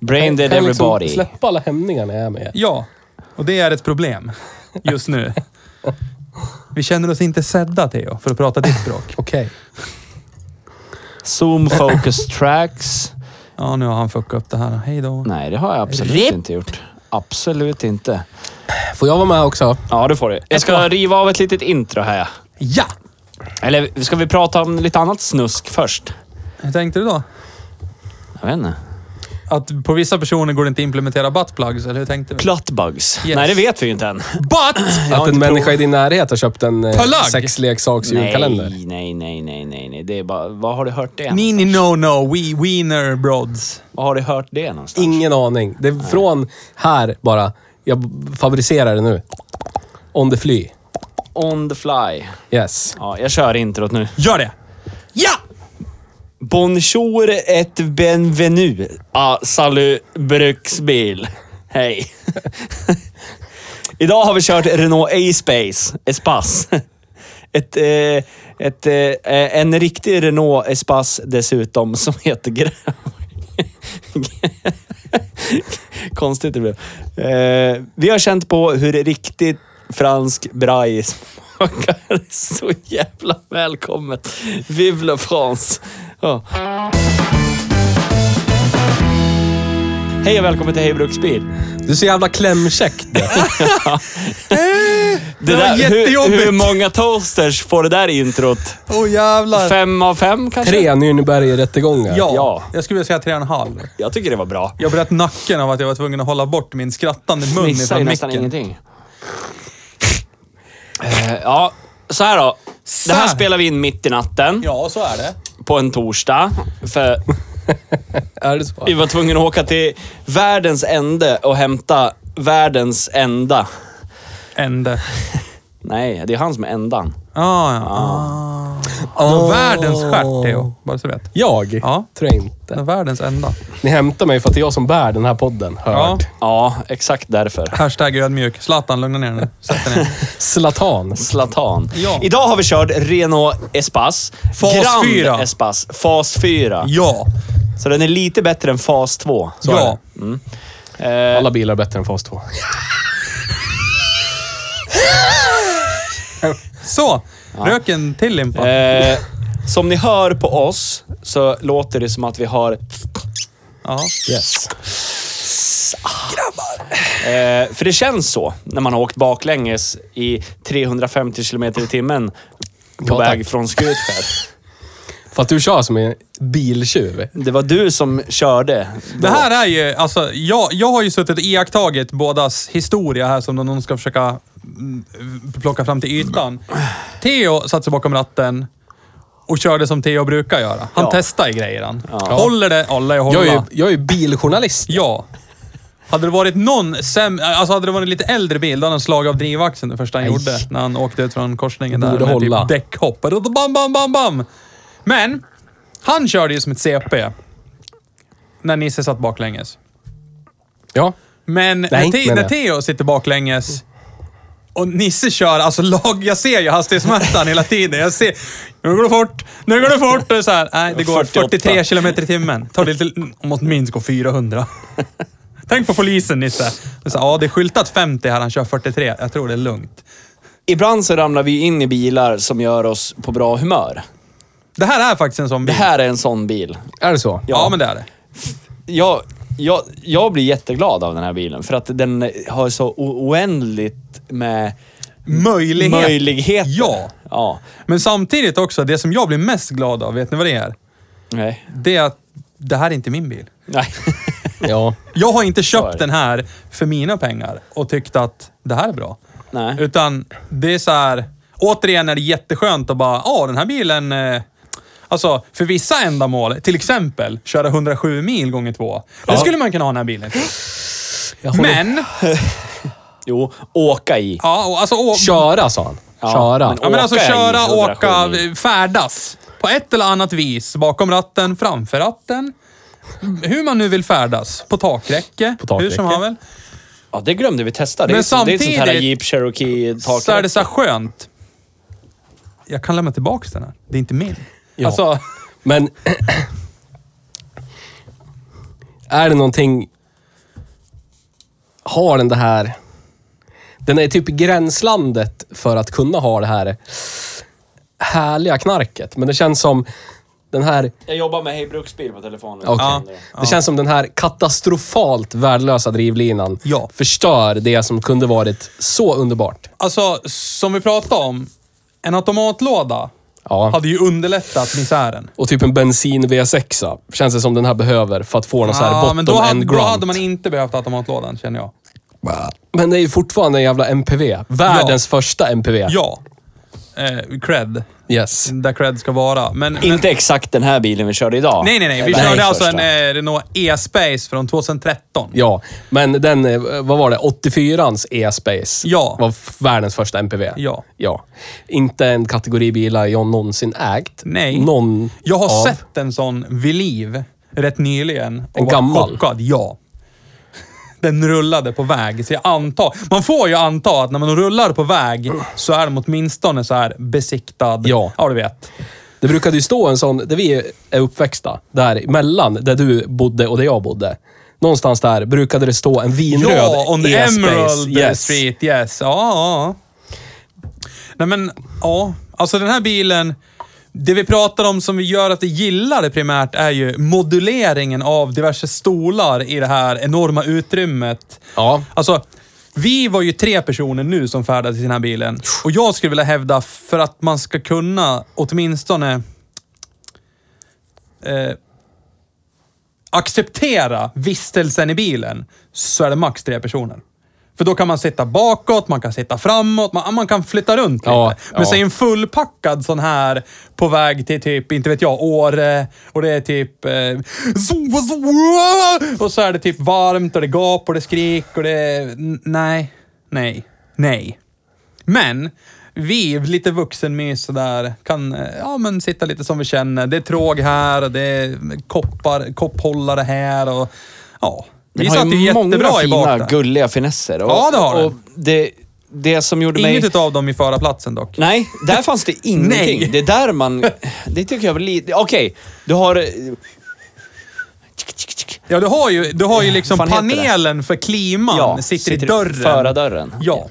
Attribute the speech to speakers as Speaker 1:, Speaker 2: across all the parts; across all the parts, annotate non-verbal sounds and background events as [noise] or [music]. Speaker 1: Brain dead
Speaker 2: Kan liksom
Speaker 1: everybody.
Speaker 2: släppa alla hämningar när jag är med.
Speaker 3: Ja, och det är ett problem just
Speaker 1: [laughs]
Speaker 3: nu. Vi känner oss inte sedda, Theo, för att prata ditt språk.
Speaker 2: Okej.
Speaker 1: Zoom focus [laughs] tracks.
Speaker 3: Ja, nu har han fuckat upp det här. Hej då.
Speaker 1: Nej, det har jag absolut
Speaker 3: Rip.
Speaker 1: inte gjort. Absolut inte.
Speaker 2: Får jag vara med också?
Speaker 1: Ja, det får du. Jag ska riva av ett litet intro här.
Speaker 3: Ja!
Speaker 1: Eller ska vi prata om lite annat snusk först?
Speaker 3: Hur tänkte du då?
Speaker 1: Jag vet inte.
Speaker 3: Att på vissa personer går det inte att implementera buttplugs, eller hur tänkte du?
Speaker 1: Plattbugs.
Speaker 3: Yes.
Speaker 1: Nej, det vet vi ju inte än.
Speaker 3: Butt!
Speaker 2: Att en
Speaker 1: inte
Speaker 2: människa i din närhet har köpt en eh,
Speaker 3: Plagg!
Speaker 2: sexleksaks julkalender.
Speaker 1: Nej, nej, nej, nej, nej, nej. Det är bara... Var har du hört det?
Speaker 3: Nini no no, we wiener brods.
Speaker 1: Var har du hört det någonstans?
Speaker 2: Ingen aning. Det är från här bara. Jag fabricerar det nu. On the fly.
Speaker 1: On the fly.
Speaker 2: Yes.
Speaker 1: Ja, jag kör introt nu.
Speaker 3: Gör det! Ja!
Speaker 1: Bonjour et bienvenue. Ah, salut bruksbil. Hej. [laughs] Idag har vi kört Renault A-Space. Espace. [laughs] Ett, eh, ett, eh, en riktig Renault Espace dessutom som heter grön. Konstigt det blev. Eh, vi har känt på hur riktigt fransk braj smakar. Så jävla välkommet. Vive la France. Ja. Hej och välkommen till Hej Bruksbil.
Speaker 2: Du är så jävla [laughs] klämkäck.
Speaker 1: Det
Speaker 3: var jättejobbigt.
Speaker 1: hur, hur många toasters får det där introt?
Speaker 3: Åh jävlar.
Speaker 1: Fem av fem kanske?
Speaker 2: Tre Nürnberg-rättegångar.
Speaker 3: Ja.
Speaker 1: Ja.
Speaker 3: jag skulle vilja säga tre och en halv.
Speaker 1: Jag tycker det var bra.
Speaker 3: Jag bröt nacken av att jag var tvungen att hålla bort min skrattande mun
Speaker 1: Missar ju
Speaker 3: ifrån
Speaker 1: nästan
Speaker 3: micken.
Speaker 1: ingenting. Eh, ja, så här då. Det här
Speaker 3: Så.
Speaker 1: spelar vi in mitt i natten
Speaker 3: Ja, så är det.
Speaker 1: på en torsdag. För
Speaker 2: Är det så?
Speaker 1: vi var tvungna att åka till världens ände och hämta världens enda.
Speaker 3: Ände.
Speaker 1: Nej, det är han som är ändan.
Speaker 3: Ah, ja, ah. Det var Världens stjärt, Theo. Bara så du vet.
Speaker 2: Jag?
Speaker 3: Ja.
Speaker 2: Tror jag
Speaker 3: Det var
Speaker 2: inte.
Speaker 3: världens enda.
Speaker 2: Ni hämtar mig för att det är jag som bär den här podden.
Speaker 3: Ja.
Speaker 2: Hört.
Speaker 1: Ja, exakt därför.
Speaker 3: Hashtag ödmjuk. Zlatan, lugna ner dig nu. Sätt dig ner.
Speaker 2: Zlatan.
Speaker 1: Zlatan.
Speaker 3: Ja.
Speaker 1: Idag har vi kört Renault Espace.
Speaker 3: Fas
Speaker 1: Grand
Speaker 3: fyra.
Speaker 1: Espace. Fas 4.
Speaker 3: Ja.
Speaker 1: Så den är lite bättre än Fas 2.
Speaker 2: Så
Speaker 3: ja.
Speaker 2: är Alla bilar är bättre än fas 2.
Speaker 3: Så. Rök en till limpa.
Speaker 1: Eh, som ni hör på oss så låter det som att vi har...
Speaker 3: Ja.
Speaker 2: Yes.
Speaker 1: Eh, för det känns så när man har åkt baklänges i 350 km i timmen på
Speaker 2: Ja, tack.
Speaker 1: väg från Skutskär.
Speaker 2: För att du kör som en biltjuv.
Speaker 1: Det var du som körde.
Speaker 3: Det här är ju, alltså, jag, jag har ju suttit och iakttagit bådas historia här som någon ska försöka mm, plocka fram till ytan. Theo satte sig bakom ratten och körde som Theo brukar göra. Han
Speaker 1: Ja.
Speaker 3: testar ju grejer han. Håller det, alla jag
Speaker 2: Jag
Speaker 3: håller.
Speaker 2: är ju jag är ju
Speaker 3: [laughs]
Speaker 2: biljournalist.
Speaker 3: Ja. Hade det varit någon säm- alltså hade det varit en lite äldre bil, då hade han slagit av drivaxeln det första han gjorde. När han åkte ut från korsningen där
Speaker 2: Borde
Speaker 3: med
Speaker 2: hålla.
Speaker 3: typ däckhopp. Bam, bam, bam, bam. Men, han körde ju som ett CP. När Nisse satt baklänges.
Speaker 2: Ja.
Speaker 3: Men
Speaker 2: Nej,
Speaker 3: när, te-
Speaker 2: menar
Speaker 3: när
Speaker 2: jag.
Speaker 3: Theo sitter baklänges och Nisse kör, alltså lag, jag ser ju hastighetsmätaren hela tiden. Jag ser, nu går det fort, nu går det fort. Och så här, nej, det går
Speaker 1: 48.
Speaker 3: 43 kilometer i timmen. Tar det lite, om minst går 400. Tänk på polisen Nisse. Det är Så, här, ja, det är skyltat 50 här, han kör 43. Jag tror det är lugnt.
Speaker 1: Ibland så ramlar vi in i bilar som gör oss på bra humör.
Speaker 3: Det här är faktiskt en sån
Speaker 1: Det
Speaker 3: bil.
Speaker 1: här är en sån bil.
Speaker 2: Är det så?
Speaker 3: Ja, men det är det.
Speaker 1: jag, jag, jag blir jätteglad av den här bilen för att den har så o- oändligt med
Speaker 3: möjlighet.
Speaker 4: möjligheter.
Speaker 3: Ja.
Speaker 4: Ja.
Speaker 3: Men samtidigt också, det som jag blir mest glad av, vet ni vad det är?
Speaker 4: Nej.
Speaker 3: Det är att det här är inte min bil.
Speaker 1: [laughs]
Speaker 4: Nej.
Speaker 2: Ja.
Speaker 3: Jag har inte köpt
Speaker 4: det.
Speaker 3: den här för mina pengar och tyckt att det här är bra.
Speaker 4: Nej.
Speaker 3: Utan det är så här, återigen är det jätteskönt att bara, ja den här bilen, eh, alltså för vissa ändamål, till exempel köra 107 mil gånger två. Det skulle man kunna ha den här bilen till. Men,
Speaker 4: Jo, åka i.
Speaker 3: ja, och alltså, å-
Speaker 2: Köra, sa han.
Speaker 4: Ja,
Speaker 2: Köra.
Speaker 4: men-
Speaker 3: ja, men alltså
Speaker 4: åka i
Speaker 3: köra,
Speaker 4: 107
Speaker 3: åka,
Speaker 4: mil.
Speaker 3: färdas. På ett eller annat vis, bakom ratten, framför ratten. Hur man nu vill färdas. På takräcke,
Speaker 2: På takräcke.
Speaker 3: hur som havel.
Speaker 4: Ja, det glömde vi testa. Det är,
Speaker 3: Men
Speaker 4: som- det är ett sånt här
Speaker 3: samtidigt
Speaker 4: Jeep Cherokee tak.
Speaker 3: så är det så här skönt. Jag kan lämna tillbaka den här. Det är inte min.
Speaker 2: Ja.
Speaker 3: Alltså,
Speaker 2: Men... [clears throat] är det någonting... Har den det här... Den är typ i gränslandet för att kunna ha det här härliga knarket. Men det känns som den här...
Speaker 4: Jag jobbar med Hej Bruksbil på telefonen.
Speaker 2: okej.
Speaker 3: Ja.
Speaker 2: Det känns som den här katastrofalt värdelösa drivlinan
Speaker 3: Ja.
Speaker 2: förstör det som kunde varit så underbart.
Speaker 3: alltså, som vi pratade om. En automatlåda
Speaker 2: Ja.
Speaker 3: hade ju underlättat misären.
Speaker 2: Och typ en bensin V6 känns det som den här behöver för att få någon så här bottom
Speaker 3: Ah, men då,
Speaker 2: end
Speaker 3: hade, då
Speaker 2: grunt.
Speaker 3: hade man inte behövt automatlådan, känner jag.
Speaker 2: Men det är ju fortfarande en jävla MPV. Världens första MPV.
Speaker 3: Ja. Eh, cred.
Speaker 2: Yes.
Speaker 3: Där cred ska vara. Men, men,
Speaker 4: Inte exakt den här bilen vi körde idag.
Speaker 3: nej, nej, nej. Vi
Speaker 4: Eller
Speaker 3: körde
Speaker 4: den
Speaker 3: alltså en
Speaker 4: första.
Speaker 3: eh, Renault E-Space från 2013.
Speaker 2: Ja, men den, eh, vad var det, 84ans E-Space
Speaker 3: Ja.
Speaker 2: var f- världens första MPV.
Speaker 3: Ja.
Speaker 2: ja. Inte en kategori bilar jag någonsin ägt.
Speaker 3: Nej.
Speaker 2: Någon
Speaker 3: Jag har
Speaker 2: av.
Speaker 3: sett en sån vid liv rätt nyligen. Och
Speaker 2: En
Speaker 3: var
Speaker 2: gammal?
Speaker 3: Chockad, ja. [laughs] Den rullade på väg, så jag antar... Man får ju anta att när man rullar på väg så är den åtminstone så här besiktad.
Speaker 2: Ja.
Speaker 3: ja du vet.
Speaker 2: Det brukade ju stå en sån, där vi är uppväxta, där mellan där du bodde och där jag bodde. Någonstans där brukade det stå en vinröd
Speaker 3: Ja, on the
Speaker 2: E-Space.
Speaker 3: Emerald
Speaker 2: Yes.
Speaker 3: Street. Yes. Ja, ja. Nej men, ja. Alltså den här bilen, det vi pratar om som vi gör att vi gillar det primärt är ju moduleringen av diverse stolar i det här enorma utrymmet.
Speaker 2: Ja.
Speaker 3: Alltså, vi var ju tre personer nu som färdades i den här bilen. Och jag skulle vilja hävda, för att man ska kunna åtminstone eh, acceptera vistelsen i bilen så är det max tre personer. För då kan man sitta bakåt, man kan sitta framåt, man, man kan flytta runt lite.
Speaker 2: Ja,
Speaker 3: Men
Speaker 2: ja.
Speaker 3: säg en fullpackad sån här på väg till typ, inte vet jag, Åre och det är typ... Eh, zo- zo- och så är det typ varmt och det gap och det skrik och det... n- Nej, nej, nej. Men vi, lite vuxenmys sådär, kan eh, ja, men sitta lite som vi känner. Det är tråg här, det är koppar, kopphållare här och ja. Vi
Speaker 4: Den har
Speaker 3: satt ju jättebra i
Speaker 4: många
Speaker 3: bak
Speaker 4: fina,
Speaker 3: där.
Speaker 4: gulliga finesser. Och,
Speaker 3: Ja, det har den.
Speaker 4: och det, det som gjorde
Speaker 3: Inget
Speaker 4: mig...
Speaker 3: utav dem i förarplatsen dock.
Speaker 4: Nej, där fanns det ingenting.
Speaker 3: [laughs] Nej.
Speaker 4: Det är där man... Det tycker jag var lite... Okej, du har... eh,
Speaker 3: Ja, du har ju, du har ju liksom
Speaker 4: Eh, Fan heter det?
Speaker 3: panelen för kliman sitter, i dörren.
Speaker 4: Förardörren.
Speaker 3: Ja.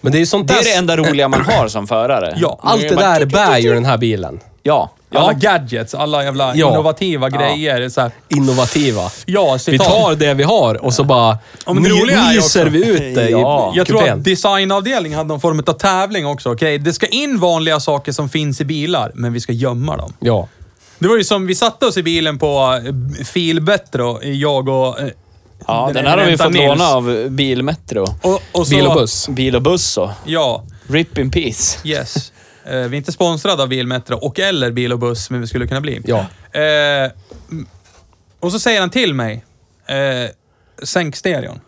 Speaker 2: Men det är ju sånt
Speaker 4: Det
Speaker 2: där...
Speaker 4: är det enda roliga man har som förare.
Speaker 3: Ja,
Speaker 2: Allt det där bär ju den här bilen.
Speaker 4: Ja.
Speaker 3: Alla
Speaker 4: ja.
Speaker 3: gadgets, alla jävla
Speaker 2: Ja.
Speaker 3: innovativa
Speaker 4: Ja.
Speaker 3: grejer. Så här.
Speaker 2: Innovativa.
Speaker 3: Ja,
Speaker 2: Vi
Speaker 3: citat.
Speaker 2: tar det vi har och så bara
Speaker 3: Ja, men det
Speaker 2: ny-
Speaker 3: roliga är ju
Speaker 2: nyser
Speaker 3: också-
Speaker 2: vi ut det
Speaker 4: Ja.
Speaker 2: i
Speaker 3: Jag tror
Speaker 2: kupén.
Speaker 3: att designavdelningen hade någon form av tävling också. Okej, det ska in vanliga saker som finns i bilar, men vi ska gömma dem.
Speaker 2: Ja.
Speaker 3: Det var ju som, vi satte oss i bilen på eh, Filbetro, jag och... eh,
Speaker 4: ja,
Speaker 3: den
Speaker 4: den här har vi
Speaker 3: eminenta
Speaker 4: fått
Speaker 3: Nils.
Speaker 4: låna av Bilmetro.
Speaker 3: Och, och så,
Speaker 2: Bil och buss.
Speaker 4: Bil och buss och
Speaker 3: Ja,
Speaker 4: Rip in peace.
Speaker 3: yes. Eh, vi är inte sponsrade av Bilmetro och eller Bil och buss, men vi skulle kunna bli.
Speaker 2: Ja.
Speaker 3: Eh, m- och så säger han till mig, eh, sänk stereon.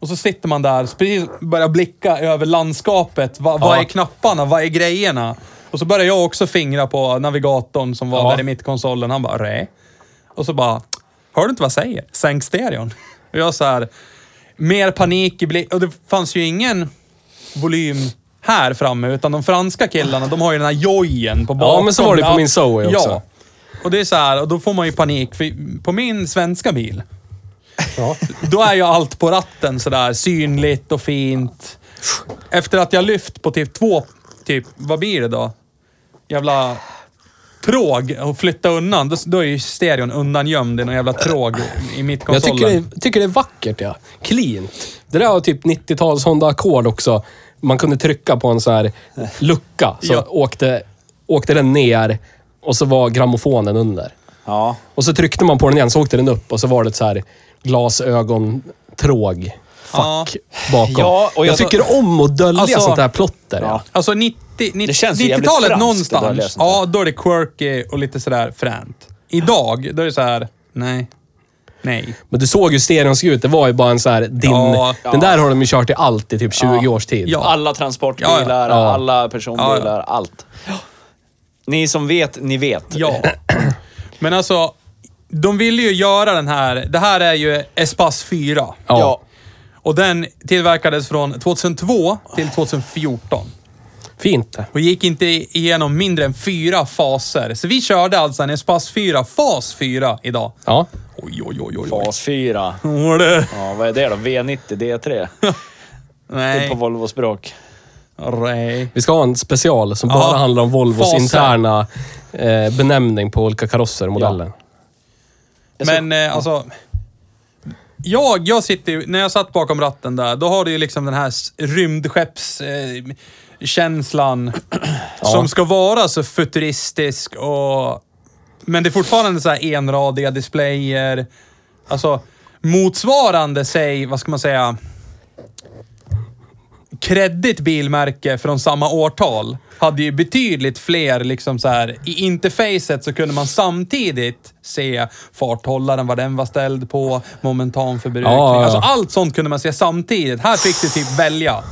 Speaker 3: Och så sitter man där, precis börjar blicka över landskapet. Va, Vad
Speaker 2: Ja.
Speaker 3: är knapparna? Vad är grejerna? Och så börjar jag också fingra på navigatorn som var
Speaker 2: Ja.
Speaker 3: där i mittkonsolen. Han bara, nej. Och så bara, hör du inte vad jag säger? Sänk stereon. Och jag så här, mer panik i blick. Och det fanns ju ingen volym här framme, utan de franska killarna, de har ju den här jojen på bakom.
Speaker 2: Ja, men så var det på min Zoe också.
Speaker 3: Ja. Och det är så här, och då får man ju panik, för på min svenska bil, då är ju allt på ratten sådär synligt och fint. Efter att jag lyft på typ två, typ, vad blir det då? Jävla tråg och flytta undan, då, då är ju stereon undangömd i någon jävla tråg i mitt
Speaker 2: Jag tycker
Speaker 3: konsolen.
Speaker 2: det, tycker det är vackert, ja. Cleant. Det där var typ 90-tals Honda Accord också. Man kunde trycka på en sån här lucka, så
Speaker 3: Ja.
Speaker 2: åkte, åkte den ner och så var grammofonen under.
Speaker 1: Ja.
Speaker 2: Och så tryckte man på den igen, så åkte den upp och så var det ett så här glasögontråg. Fack bakom.
Speaker 1: Ja, och
Speaker 2: jag,
Speaker 1: jag-
Speaker 2: tycker om att dölja
Speaker 3: Alltså-
Speaker 2: sånt här plotter. Ja.
Speaker 1: Ja.
Speaker 3: Alltså 90, 90,
Speaker 1: Det känns ju jävligt
Speaker 3: 90-talet
Speaker 1: franskt att dölja
Speaker 3: någonstans.
Speaker 1: sånt där.
Speaker 3: Ja, då är det quirky och lite sådär fränt. Idag, då är det så här. nej, nej.
Speaker 2: Men du såg ju stereon såg ut. Det var ju bara en så här din...
Speaker 3: Ja.
Speaker 2: den där har de ju kört i allt i typ 20 års tid.
Speaker 3: Ja.
Speaker 1: Alla transportbilar,
Speaker 3: Ja,
Speaker 2: ja.
Speaker 1: alla personbilar,
Speaker 3: Ja,
Speaker 1: allt. Ni som vet, ni vet.
Speaker 3: Ja. [clears throat] Men alltså, de ville ju göra den här. Det här är ju Espace 4.
Speaker 2: Ja.
Speaker 1: Ja.
Speaker 3: Och den tillverkades från 2002 till 2014.
Speaker 2: Fint.
Speaker 3: Och gick inte igenom mindre än fyra faser. Så vi körde alltså en Espace 4, fas 4, idag.
Speaker 2: Ja.
Speaker 3: Oj, oj, oj, oj. oj.
Speaker 1: Fas 4.
Speaker 3: Åh, det-
Speaker 1: Ja, vad är det då? V90 D3? Det är
Speaker 3: Nej.
Speaker 1: på Volvo-språk.
Speaker 3: Nej.
Speaker 2: Vi ska ha en special som
Speaker 3: Ja.
Speaker 2: bara handlar om Volvos
Speaker 3: Fasen.
Speaker 2: interna eh, benämning på olika karosser och modeller.
Speaker 3: Men eh, alltså... Jag, jag sitter ju, när jag satt bakom ratten där, då har du ju liksom den här s- rymdskepps... Eh, känslan eh, som ska vara så futuristisk och... Men det är fortfarande så här enradiga displayer. Alltså, motsvarande, säg, vad ska man säga? kreddigt bilmärke från samma årtal hade ju betydligt fler liksom så här i interfacet så kunde man samtidigt se farthållaren, vad den var ställd på, momentanförbrukning.
Speaker 2: Ja, ja, ja.
Speaker 3: Alltså allt sånt kunde man se samtidigt. Här fick du typ välja.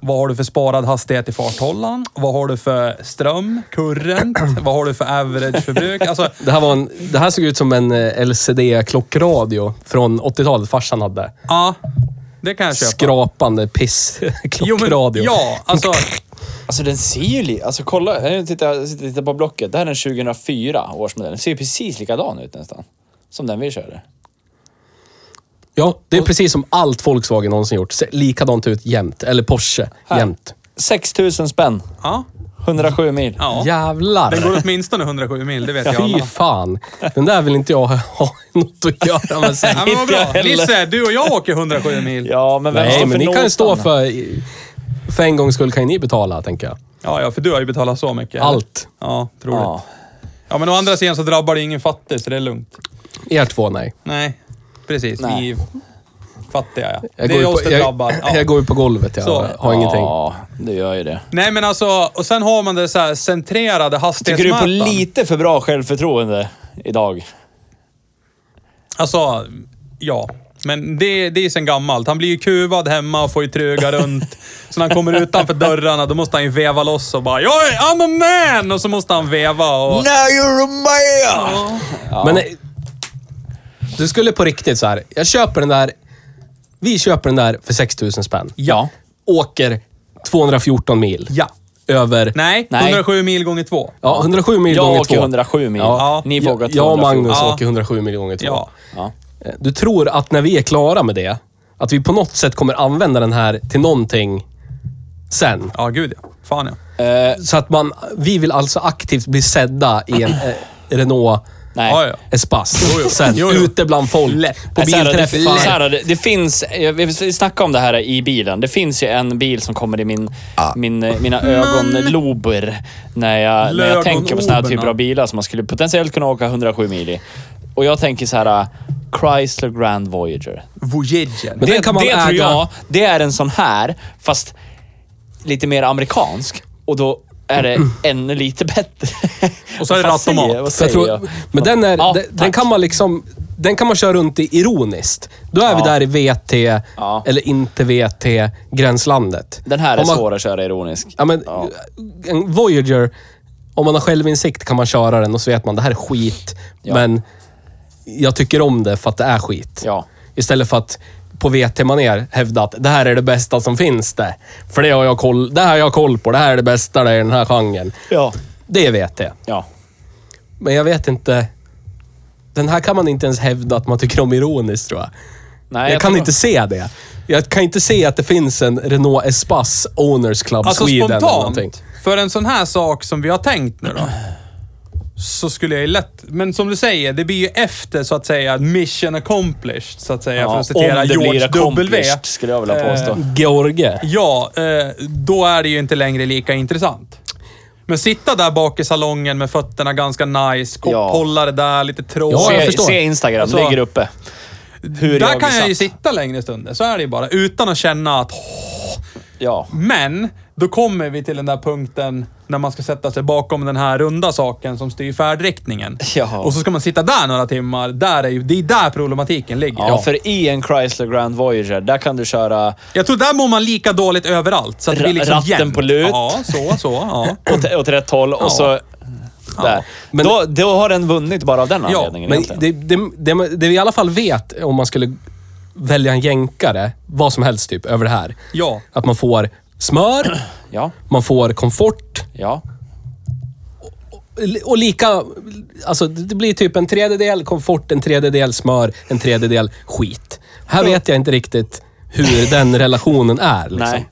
Speaker 3: Vad har du för sparad hastighet i farthållaren? Vad har du för ström, current? [clears throat] Vad har du för average förbruk? Alltså,
Speaker 2: Det här, var en, det här såg ut som en eh, LCD-klockradio från 80-talet farsan hade.
Speaker 3: ja, det kan jag köpa.
Speaker 2: Skrapande piss-klockradio.
Speaker 3: ja, alltså.
Speaker 1: Alltså den ser ju li- Alltså kolla, jag tittar, jag sitter och tittar på blocket. Det här är en 2004 årsmodell. Den ser ju precis likadan ut nästan. Som den vi körde.
Speaker 2: Ja, det är precis som allt Volkswagen någonsin gjort. Ser Likadant ut jämt. Eller Porsche
Speaker 1: Här.
Speaker 2: jämt.
Speaker 1: 6000 spänn.
Speaker 3: Ja,
Speaker 1: 107 mil.
Speaker 3: ja. Den
Speaker 2: Jävlar!
Speaker 3: går åtminstone 107 mil, det vet jag
Speaker 2: Fy
Speaker 3: alla.
Speaker 2: fan! Den där vill inte jag ha [laughs] något att göra med
Speaker 3: [laughs]
Speaker 2: sen.
Speaker 3: Ja, men vad
Speaker 1: Inte jag
Speaker 3: bra.
Speaker 1: heller.
Speaker 3: Lisse, du och jag åker 107 mil. Ja.
Speaker 1: [laughs] Ja, men vem står
Speaker 2: Nej,
Speaker 1: för
Speaker 2: men ni kan
Speaker 1: notan?
Speaker 2: ju stå för... För en gångs skull kan ju ni betala, tänker jag.
Speaker 3: ja, för du har ju betalat så mycket. eller?
Speaker 2: Allt.
Speaker 3: Ja, troligt.
Speaker 1: Ja.
Speaker 3: Ja. men å andra sidan så drabbar det ingen fattig, så det är lugnt.
Speaker 2: Er två, nej.
Speaker 3: Nej, precis.
Speaker 1: Nej.
Speaker 3: Vi är fattiga, ja.
Speaker 2: Jag
Speaker 3: det
Speaker 2: går
Speaker 3: är
Speaker 2: ju
Speaker 3: oss
Speaker 2: på,
Speaker 3: det drabbar.
Speaker 2: [laughs] jag,
Speaker 3: Ja.
Speaker 2: jag går ju på golvet, jag
Speaker 3: Så.
Speaker 2: har ingenting.
Speaker 1: Ja, det gör ju det.
Speaker 3: Nej, men alltså, och sen har man det så här centrerade
Speaker 1: Tycker du på
Speaker 3: hastighetsmätaren.
Speaker 1: lite för bra självförtroende idag?
Speaker 3: Alltså, ja. Men det, det är sen gammalt. Han blir ju kuvad hemma och får ju truga runt. Så när han kommer utanför dörrarna, då måste han ju veva loss och bara "Jag är- I'm a man!” Och så måste han veva och...
Speaker 1: Now you're a man!
Speaker 2: Men eh, du skulle på riktigt så här. jag köper den där, vi köper den där för 6 000 spänn.
Speaker 1: Ja.
Speaker 2: Åker 214 mil.
Speaker 3: Ja.
Speaker 2: Över...
Speaker 3: Nej,
Speaker 1: Nej.
Speaker 3: 107 mil gånger två.
Speaker 2: Ja, 107 mil
Speaker 1: Jag
Speaker 2: gånger
Speaker 1: åker
Speaker 2: två.
Speaker 1: 107 mil.
Speaker 3: Ja.
Speaker 1: Ni får åka
Speaker 2: Jag och
Speaker 1: 214.
Speaker 2: Magnus
Speaker 3: Ja.
Speaker 2: åker 107 mil gånger två.
Speaker 3: Ja.
Speaker 1: Ja.
Speaker 2: Eh, Du tror att när vi är klara med det, att vi på något sätt kommer använda den här till någonting sen.
Speaker 3: Ja, gud ja. Fan ja.
Speaker 1: Eh,
Speaker 2: Så att man, vi vill alltså aktivt bli sedda i en eh, Renault
Speaker 1: nej.
Speaker 3: Ja, ja.
Speaker 2: Espace. Sen
Speaker 3: Jo, jo.
Speaker 2: ute bland folk. På
Speaker 1: Nej, så här då, det,
Speaker 2: bilträffar.
Speaker 1: så här då, det, det finns, jag- vi snackade om det här i bilen. Det finns ju en bil som kommer i min,
Speaker 2: Ah.
Speaker 1: min, eh, mina ögonlober när jag, när jag tänker på såna här
Speaker 3: Lögonoberna.
Speaker 1: typer av bilar som man skulle potentiellt kunna åka 107 mil i. Och jag tänker så här, eh, Chrysler Grand Voyager.
Speaker 3: Voyager.
Speaker 2: Men den kan man
Speaker 1: det
Speaker 2: äga.
Speaker 1: tror jag, det är en sån här, fast lite mer amerikansk. Och då är
Speaker 2: [clears throat]
Speaker 1: det ännu lite bättre.
Speaker 3: Och så är det
Speaker 1: [laughs] Vad fan
Speaker 3: rattomat.
Speaker 1: säger jag? Vad
Speaker 2: Så jag
Speaker 1: säger
Speaker 2: tror,
Speaker 1: jag?
Speaker 2: men den, är,
Speaker 1: Ja,
Speaker 2: den, den
Speaker 1: tack.
Speaker 2: kan man liksom... Den kan man köra runt i ironiskt. Då är vi
Speaker 1: Ja.
Speaker 2: där i VT,
Speaker 1: Ja.
Speaker 2: eller inte VT, gränslandet.
Speaker 1: Den här är
Speaker 2: Om man,
Speaker 1: svår att köra ironisk.
Speaker 2: Ja, men,
Speaker 1: Ja.
Speaker 2: En Voyager, om man har självinsikt kan man köra den och så vet man det här är skit,
Speaker 1: Ja.
Speaker 2: men jag tycker om det för att det är skit.
Speaker 1: Ja.
Speaker 2: Istället för att på VT-manér hävda att det här är det bästa som finns det. För det har jag koll, det här har jag koll på. Det här är det bästa det är i den här genren.
Speaker 1: Ja.
Speaker 2: Det är VT.
Speaker 1: Ja.
Speaker 2: Men jag vet inte. Den här kan man inte ens hävda att man tycker om ironiskt tror jag.
Speaker 1: Nej,
Speaker 2: jag,
Speaker 1: jag
Speaker 2: kan
Speaker 1: tror-
Speaker 2: inte se det. Jag kan inte se att det finns en Renault Espace Owners Club
Speaker 3: Alltså
Speaker 2: Sweden eller någonting.
Speaker 3: spontant, för en sån här sak som vi har tänkt nu då. så skulle jag ju lätt... Men som du säger, det blir ju efter så att säga mission accomplished, så att säga. för att citera George W.
Speaker 4: accomplished, skulle jag vilja
Speaker 2: Eh,
Speaker 4: påstå.
Speaker 2: George.
Speaker 3: Ja, eh, då är det ju inte längre lika intressant. Men sitta där bak i salongen med fötterna ganska nice, kopphållare där, lite tråd.
Speaker 2: Ja, jag
Speaker 4: se,
Speaker 2: förstår.
Speaker 4: se Instagram,
Speaker 3: Alltså,
Speaker 4: ligger uppe. Hur
Speaker 3: där kan
Speaker 4: blir
Speaker 3: jag ju
Speaker 4: satt.
Speaker 3: sitta längre stunder, så är det ju bara. Utan att känna att...
Speaker 4: Ja.
Speaker 3: Men, då kommer vi till den där punkten när man ska sätta sig bakom den här runda saken som styr färdriktningen.
Speaker 4: Ja.
Speaker 3: Och så ska man sitta där några timmar. Där är ju, det är där problematiken ligger.
Speaker 4: Ja, för i en Chrysler Grand Voyager, där kan du köra
Speaker 3: Jag tror där mår man lika dåligt överallt. Så att det
Speaker 4: Ra-
Speaker 3: blir liksom
Speaker 4: ratten
Speaker 3: jämnt.
Speaker 4: på lut.
Speaker 3: Ja, så, så. Ja.
Speaker 4: åt, åt rätt håll och så... eh, Där.
Speaker 2: Men-
Speaker 4: då, då har den vunnit bara av den
Speaker 3: Ja,
Speaker 4: anledningen
Speaker 2: Men
Speaker 4: egentligen.
Speaker 2: det, det, det, det vi i alla fall vet om man skulle välja en jänkare, vad som helst typ, över det här.
Speaker 3: ja.
Speaker 2: Att man får smör,
Speaker 4: Ja,
Speaker 2: man får komfort
Speaker 4: ja.
Speaker 2: och lika... Alltså det blir typ en tredjedel komfort, en tredjedel smör, en tredjedel skit. Här vet jag inte riktigt
Speaker 3: [laughs]
Speaker 2: hur den relationen är. Liksom.
Speaker 4: Nej.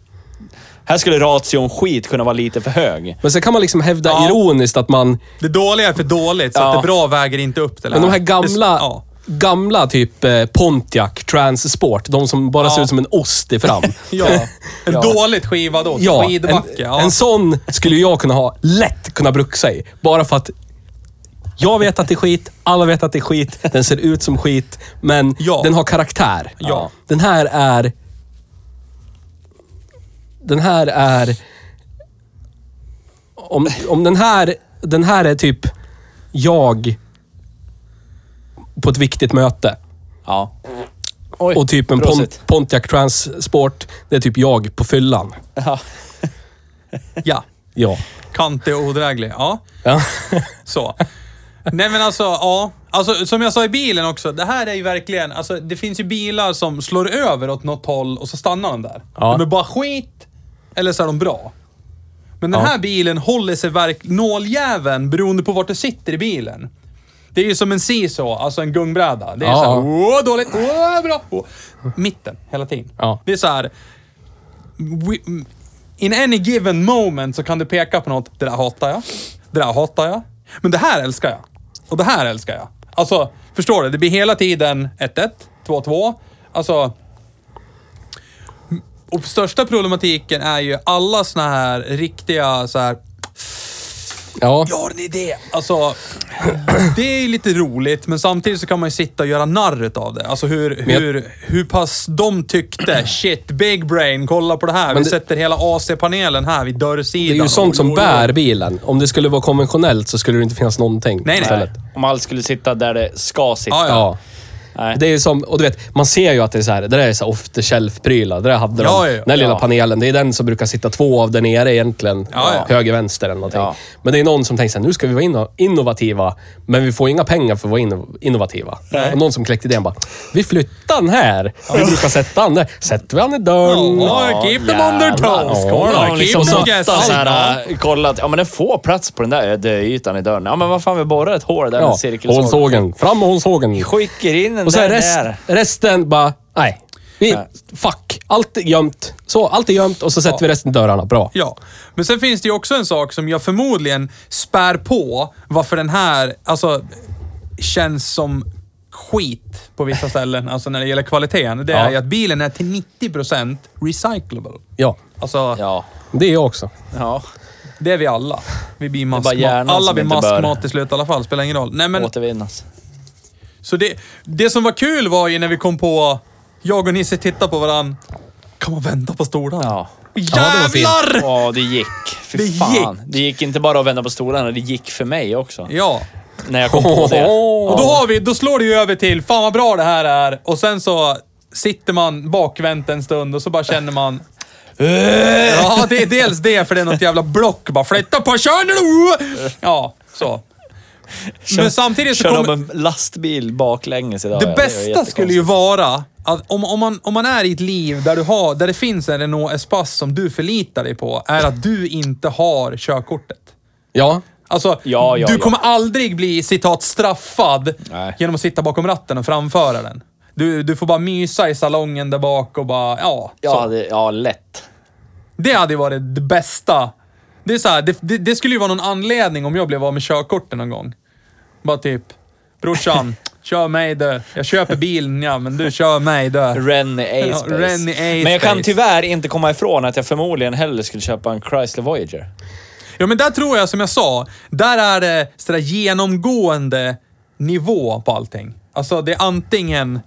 Speaker 4: Här skulle ration skit kunna vara lite för hög.
Speaker 2: Men sen kan man liksom hävda
Speaker 3: Ja.
Speaker 2: ironiskt att man...
Speaker 3: Det dåliga är för dåligt, så
Speaker 4: Ja.
Speaker 3: att det bra väger inte upp det
Speaker 2: Men de här
Speaker 3: Det-
Speaker 2: gamla,
Speaker 3: Ja.
Speaker 2: gamla typ eh, Pontiac, Transsport, de som bara ser
Speaker 3: Ja.
Speaker 2: ut som en ost
Speaker 3: [laughs]
Speaker 2: i fram.
Speaker 4: [laughs]
Speaker 3: ja. En
Speaker 4: Ja.
Speaker 3: dåligt skivad ost.
Speaker 2: Ja, en,
Speaker 3: Skidbacke. ja.
Speaker 2: en sån skulle jag kunna ha lätt kunna bruxa i. Bara för att jag vet att det är skit, alla vet att det är skit, den ser ut som skit, men
Speaker 3: Ja.
Speaker 2: den har karaktär.
Speaker 3: Ja.
Speaker 2: Den här är... Den här är... Om, om den här... Den här är typ jag på ett viktigt möte.
Speaker 4: Ja. Oj,
Speaker 2: Och typ en pon,
Speaker 4: prosit.
Speaker 2: Pontiac Transport, det är typ jag på fyllan.
Speaker 4: Ja.
Speaker 3: ja.
Speaker 2: Ja.
Speaker 3: Kantig och odräglig. Ja. [laughs]
Speaker 2: ja.
Speaker 3: Så. Nej men alltså, ja. Alltså, som jag sa i bilen också, det här är ju verkligen... Alltså, det finns ju bilar som slår över åt något håll och så stannar de där.
Speaker 2: Ja.
Speaker 3: De är bara skit, eller så är de bra. Men den
Speaker 2: Ja.
Speaker 3: här bilen håller sig verk... Nåljäveln, beroende på vart du sitter i bilen. Det är ju som en seesaw, alltså en gungbräda. Det är
Speaker 2: Ja.
Speaker 3: så här, åh dåligt, åh bra. Åh. Mitten, hela tiden.
Speaker 2: Ja.
Speaker 3: Det är så här... we- In any given moment så kan du peka på något. Det där hatar jag. Det där hatar jag. Men det här älskar jag. Och det här älskar jag. Alltså, förstår du? Det blir hela tiden 1-1, 2-2. Alltså... Och största problematiken är ju alla såna här riktiga så här...
Speaker 2: ja.
Speaker 3: Jag har en idé! Alltså, det är ju lite roligt, men samtidigt så kan man ju sitta och göra narr av det. Alltså hur,
Speaker 2: Men jag-
Speaker 3: hur, hur pass de tyckte, [clears throat] shit, big brain, kolla på det här. Vi
Speaker 2: det-
Speaker 3: sätter hela AC-panelen här vid
Speaker 2: Det
Speaker 3: dörrsidan.
Speaker 2: är ju sånt
Speaker 3: Oj,
Speaker 2: som
Speaker 3: oj, oj.
Speaker 2: bär bilen. Om det skulle vara konventionellt så skulle det inte finnas någonting
Speaker 3: Nej, nej.
Speaker 2: istället.
Speaker 4: Om allt skulle sitta där det ska sitta.
Speaker 3: Ja,
Speaker 2: Ja.
Speaker 4: Nej.
Speaker 2: Det är ju som, och du vet, man ser ju att det är så här, det där är så här off the shelf-prylar. Det där hade de.
Speaker 3: Ja, ja, ja.
Speaker 2: Den här lilla
Speaker 4: Ja.
Speaker 2: panelen, det är den som brukar sitta två av där nere egentligen.
Speaker 3: Ja, ja.
Speaker 2: Höger, vänster eller någonting.
Speaker 4: Ja.
Speaker 2: Men det är någon som tänker så här, nu ska vi vara inno- innovativa, men vi får inga pengar för att vara inno- innovativa. Och någon som kläckte idén bara, vi flyttar den här. Vi brukar sätta den där. Sätter vi den i dörren.
Speaker 3: Ja, keep them on their toes.
Speaker 2: Ja,
Speaker 3: Kolla,
Speaker 4: Ja,
Speaker 3: keep
Speaker 4: liksom
Speaker 3: them
Speaker 4: så,
Speaker 3: guessing.
Speaker 4: så här, äh, kollat. Ja, men den får plats på den där döytan i dörren. Ja, men vad fan, vi borrar ett hål där med
Speaker 2: Ja,
Speaker 4: cirkelsåg.
Speaker 2: hålsågen. Fram med hålsågen.
Speaker 4: Skickar in den
Speaker 2: Och sen
Speaker 4: där.
Speaker 2: rest,
Speaker 4: där.
Speaker 2: resten bara, nej. Vi, fuck. Allt är gömt. Så, allt är gömt och så sätter vi resten i dörrarna. Bra.
Speaker 3: Ja, men sen finns det ju också en sak som jag förmodligen spär på varför den här alltså, känns som skit på vissa ställen, alltså när det gäller kvaliteten. Det är
Speaker 2: Ja.
Speaker 3: ju att bilen är till 90% recyclable.
Speaker 2: Ja.
Speaker 3: Alltså,
Speaker 4: Ja.
Speaker 2: Det är jag också.
Speaker 4: Ja.
Speaker 3: det är vi alla. Vi blir
Speaker 4: bara hjärnan
Speaker 3: maskmat. Alla
Speaker 4: som
Speaker 3: blir
Speaker 4: inte
Speaker 3: maskmat
Speaker 4: bör.
Speaker 3: till slut i alla fall, spelar ingen roll. Nej, men,
Speaker 4: Återvinnas.
Speaker 3: så det, det som var kul var ju när vi kom på, jag och Nisse tittade på varandra. Kan man vända på stolarna?
Speaker 4: Ja.
Speaker 2: det var
Speaker 3: [laughs]
Speaker 2: fint.
Speaker 3: Jävlar!
Speaker 4: Ja, det gick. Fy
Speaker 3: Det
Speaker 4: fan. Det gick inte bara att vända på stolarna, det gick för mig också.
Speaker 3: Ja.
Speaker 4: När jag kom på det.
Speaker 3: Och då, har vi, då slår det ju över till, fan vad bra det här är. Och sen så sitter man bakvänt en stund och så bara känner man... "Äh." ja, det är dels det, för det är något jävla block. Bara flytta på körnen! Ja, så. Men samtidigt så
Speaker 4: Kör
Speaker 3: kommer...
Speaker 4: om en lastbil baklänges idag.
Speaker 3: Det
Speaker 4: ja, var
Speaker 3: bästa skulle ju
Speaker 4: jättekonstigt.
Speaker 3: vara att om, om, man, om man är i ett liv där, du har, där det finns en Renault Espace som du förlitar dig på, är att du inte har körkortet.
Speaker 2: Ja.
Speaker 3: Alltså,
Speaker 4: Ja, ja,
Speaker 3: du
Speaker 4: ja.
Speaker 3: kommer aldrig bli citat straffad
Speaker 4: Nej.
Speaker 3: genom att sitta bakom ratten och framföra den. Du, du får bara mysa i salongen där bak och bara, ja.
Speaker 4: Ja,
Speaker 3: Så.
Speaker 4: det, ja lätt.
Speaker 3: Det hade ju varit det bästa. Det, är så här, det, det, det skulle ju vara någon anledning om jag blev av med körkortet någon gång. Bara typ, brorsan, kör mig du. Jag köper bilen ja, men du kör mig du.
Speaker 1: Rennie A-Space.
Speaker 3: Ja, Rennie A-Space.
Speaker 1: Men jag kan tyvärr inte komma ifrån att jag förmodligen hellre skulle köpa en Chrysler Voyager.
Speaker 3: Ja, men där tror jag som jag sa, där är det sådär genomgående nivå på allting. Alltså det är antingen,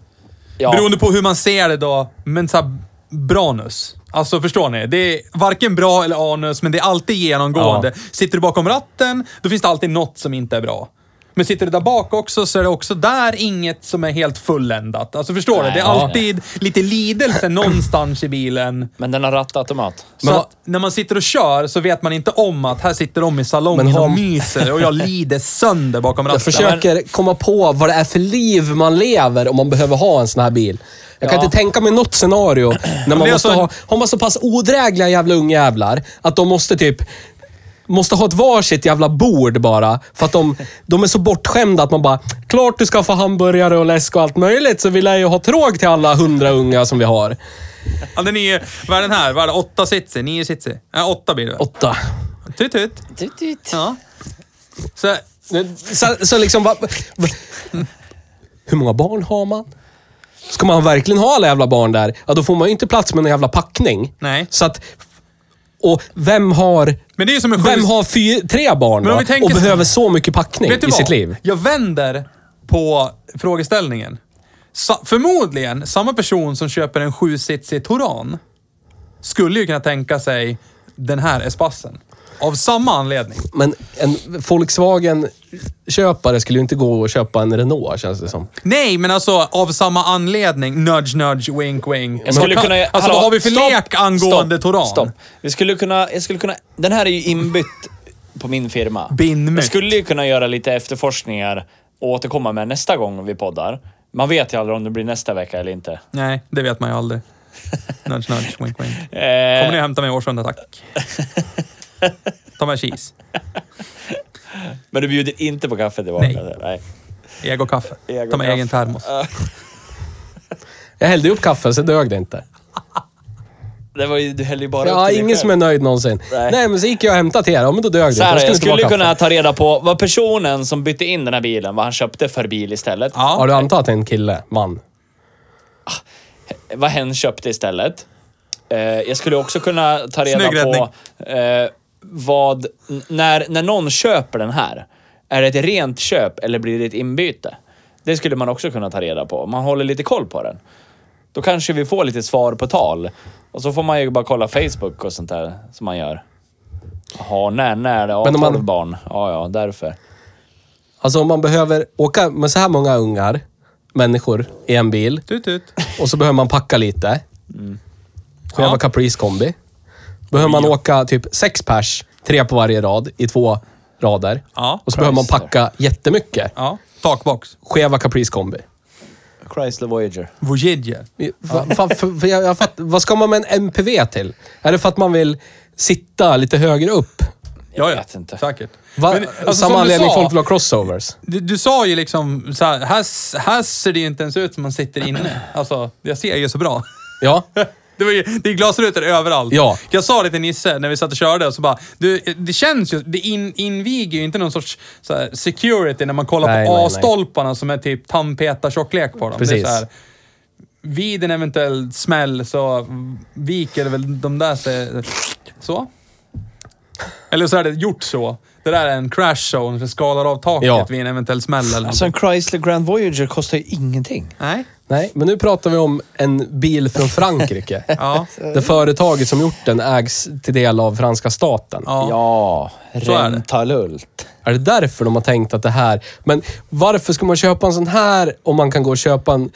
Speaker 1: Ja.
Speaker 3: beroende på hur man ser det då, men såhär branus. Alltså förstår ni? Det är varken bra eller anus, men det är alltid genomgående. Sitter du bakom ratten, då finns det alltid något som inte är bra. Men sitter du där bak också så är det också där inget som är helt fulländat. Alltså förstår du?
Speaker 1: Nej,
Speaker 3: Det är
Speaker 1: ja.
Speaker 3: alltid lite
Speaker 2: [clears throat]
Speaker 3: lidelse någonstans i bilen.
Speaker 1: Men den har rattautomat.
Speaker 3: Så
Speaker 2: Men
Speaker 3: att när man sitter och kör så vet man inte om att här sitter de i salongen
Speaker 2: Men har-
Speaker 3: och myser
Speaker 2: [laughs]
Speaker 3: och jag lider sönder bakom ratten.
Speaker 2: Jag försöker komma på vad det är för liv man lever om man behöver ha en sån här bil. Jag kan
Speaker 1: Ja.
Speaker 2: inte tänka mig
Speaker 3: [clears throat]
Speaker 2: något scenario när
Speaker 3: det
Speaker 2: man
Speaker 3: är
Speaker 2: måste
Speaker 3: alltså-
Speaker 2: ha, har man så pass odrägliga jävla ungjävlar att de måste typ Måste ha ett varsitt jävla bord bara. För att de, de är så bortskämda att man bara, klart du ska få hamburgare och läsk och allt möjligt, så vill jag ju ha tråg till alla hundra unga som vi har.
Speaker 3: Ja, den är, vad är den här? Vad är det? Åtta sitsig? Nio sitsig? Nej, åtta blir det väl?
Speaker 2: Åtta.
Speaker 3: Tut tut. Ja. Så,
Speaker 2: Så, så liksom, va, va, hur många barn har man? Ska man verkligen ha alla jävla barn där, ja, då får man ju inte plats med någon jävla packning.
Speaker 3: Nej.
Speaker 2: Så att, och vem har,
Speaker 3: men det är ju som en
Speaker 2: vem har fy, tre barn
Speaker 3: Men om vi
Speaker 2: då,
Speaker 3: tänker
Speaker 2: och
Speaker 3: så-
Speaker 2: behöver så mycket packning
Speaker 3: Vet du
Speaker 2: i
Speaker 3: vad?
Speaker 2: sitt liv?
Speaker 3: Jag vänder på frågeställningen. Sa, förmodligen, samma person som köper en sjusitsig Touran skulle ju kunna tänka sig den här Espassen. Av samma anledning.
Speaker 2: Men en Volkswagen-köpare skulle ju inte gå och köpa en Renault, känns det som.
Speaker 3: Nej, men alltså av samma anledning. Nudge, nudge, wink, wink.
Speaker 1: Jag skulle
Speaker 3: Men-
Speaker 1: kunna...
Speaker 3: alltså vad har vi för lek angående Toran?
Speaker 1: Stopp. Vi skulle kunna, jag skulle kunna... Den här är ju inbytt på min firma.
Speaker 3: Binmytt.
Speaker 1: Jag skulle ju kunna göra lite efterforskningar och återkomma med nästa gång vi poddar. Man vet ju aldrig om det blir nästa vecka eller inte. Eh,
Speaker 3: Nej, det vet man ju aldrig. Nudge, nudge, wink, wink. Kommer
Speaker 1: Eh,
Speaker 3: ni och hämtar mig i Årsunda, tack. Ta med cheese.
Speaker 1: men du bjuder inte på kaffe tillbaka?
Speaker 3: Nej.
Speaker 1: eller? Nej.
Speaker 3: Ego kaffe.
Speaker 1: Ego
Speaker 3: Ta med
Speaker 1: kaffe.
Speaker 3: egen termos.
Speaker 2: Jag hällde ju upp kaffe, så dög det inte.
Speaker 1: Det var ju, du hällde ju bara upp
Speaker 2: Ja,
Speaker 1: till dig
Speaker 2: ingen
Speaker 1: själv.
Speaker 2: som är nöjd någonsin.
Speaker 1: Nej.
Speaker 2: Nej, men så gick jag och hämtade till er. Ja, men då dög det.
Speaker 1: Så här,
Speaker 2: Då
Speaker 1: jag
Speaker 2: det vara
Speaker 1: skulle
Speaker 2: kaffe.
Speaker 1: kunna ta reda på vad personen som bytte in den här bilen, vad han köpte för bil istället.
Speaker 2: Har
Speaker 3: Ja,
Speaker 2: du antagit en kille? Man?
Speaker 1: Vad hen köpte istället. Eh, jag skulle också kunna ta reda
Speaker 3: Snygg
Speaker 1: på eh, vad... n- När, när någon köper den här, är det ett rent köp eller blir det ett inbyte? Det skulle man också kunna ta reda på. Man håller lite koll på den. Då kanske vi får lite svar på tal. Och så får man ju bara kolla Facebook och sånt där som man gör. Jaha, när, när? Ja,
Speaker 2: Men om
Speaker 1: 12
Speaker 2: man-
Speaker 1: barn. Ja, ja, därför.
Speaker 2: Alltså om man behöver åka med så här många ungar, människor, i en bil
Speaker 3: tut tut.
Speaker 2: och så behöver man packa lite. Själva
Speaker 3: Ja.
Speaker 2: Caprice kombi. Behöver man åka typ sex pers, tre på varje rad, i två rader.
Speaker 3: Ja,
Speaker 2: och så behöver man packa jättemycket.
Speaker 3: Ja. Takbox.
Speaker 2: Cheva Caprice kombi.
Speaker 1: Chrysler Voyager.
Speaker 3: Voyager.
Speaker 2: Vi- Va, fa, för, för jag, jag fatt, vad ska man med en MPV till? Är det för att man vill sitta lite högre upp?
Speaker 3: Ja, ja.
Speaker 1: vet inte.
Speaker 3: Säkert.
Speaker 2: Va,
Speaker 3: Men, alltså, som
Speaker 2: samma
Speaker 3: du
Speaker 2: anledning
Speaker 3: sa-
Speaker 2: folk vill ha crossovers.
Speaker 3: Du, du sa ju liksom så här, här, s- här ser det ju inte ens ut som man sitter inne. Alltså, jag ser ju så bra. [laughs]
Speaker 2: Ja.
Speaker 3: Det, var ju, det är glasrutor överallt.
Speaker 2: Ja.
Speaker 3: Jag sa det till Nisse när vi satt och körde, och så bara, du, det känns ju, det in, inviger ju inte någon sorts så här, security när man kollar
Speaker 2: Nej,
Speaker 3: på
Speaker 2: nej, nej.
Speaker 3: A-stolparna som är typ tandpetartjocklek på dem. Det är
Speaker 2: Precis.
Speaker 3: så här, vid en eventuell smäll så viker väl de där sig så. Eller så är det gjort så. Det där är en crash zone som skalar av taket
Speaker 2: Ja.
Speaker 3: vid en eventuell smäll eller
Speaker 1: Alltså en Chrysler Grand Voyager kostar ju ingenting.
Speaker 3: Nej.
Speaker 2: Nej, men nu pratar vi om en bil från Frankrike.
Speaker 3: Ja.
Speaker 2: Där företaget som gjort den ägs till del av franska staten.
Speaker 3: Ja.
Speaker 1: Ja,
Speaker 3: Så är det.
Speaker 1: Rentalult.
Speaker 2: Är det därför de har tänkt att det här... Men varför ska man köpa en sån här om man kan gå och köpa en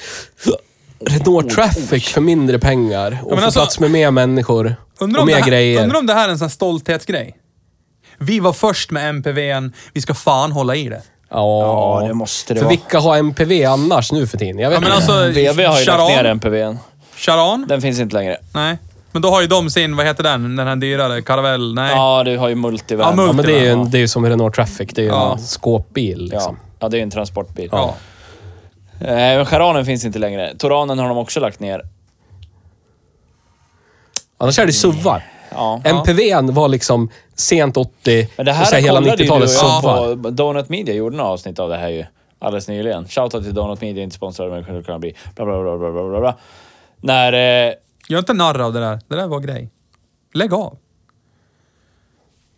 Speaker 2: Renault Traffic för mindre pengar och
Speaker 3: men
Speaker 2: få
Speaker 3: alltså-
Speaker 2: plats med mer människor
Speaker 3: Undrar
Speaker 2: och
Speaker 3: om,
Speaker 2: mer
Speaker 3: det här,
Speaker 2: grejer?
Speaker 3: undrar om det här är en sån här stolthetsgrej. Vi var först med MPVn, vi ska fan hålla i det.
Speaker 2: Ja,
Speaker 1: Ja, det måste det
Speaker 2: För
Speaker 1: vara.
Speaker 2: vilka har MPV annars nu för tiden? Jag vet
Speaker 3: Ja, men
Speaker 1: [laughs]
Speaker 2: inte.
Speaker 3: alltså,
Speaker 1: VW har ju
Speaker 3: Charan,
Speaker 1: lagt ner MPVn.
Speaker 3: Charan?
Speaker 1: Den finns inte längre.
Speaker 3: Nej. Men då har ju de sin, vad heter den, den här dyrare, Caravelle? Nej.
Speaker 1: Ja, du har ju multivan.
Speaker 3: Ja, mul-
Speaker 2: ja, men det är ju
Speaker 3: Ja.
Speaker 2: en, det är ju som Renault Traffic. Det är ju
Speaker 3: Ja.
Speaker 2: en skåpbil
Speaker 1: ja.
Speaker 2: liksom.
Speaker 1: ja, det är ju en transportbil.
Speaker 3: Ja.
Speaker 1: Eh, men Charanen finns inte längre. Toranen har de också lagt ner.
Speaker 2: Annars är det SUVar.
Speaker 1: Ja.
Speaker 2: MPVn var liksom sent 80
Speaker 1: Men det
Speaker 2: och så
Speaker 1: här
Speaker 2: här hela
Speaker 1: kollade ju du och
Speaker 2: 90-talet
Speaker 1: jag
Speaker 2: soffar.
Speaker 1: på. Donut Media gjorde några avsnitt av det här ju alldeles nyligen. Shoutout till Donut Media, inte sponsrade men kunde kunna bli. Bla, bla, bla, bla, bla, bla, bla. När... Eh,
Speaker 3: Gör inte narr av det där. Det där var grej. Lägg av.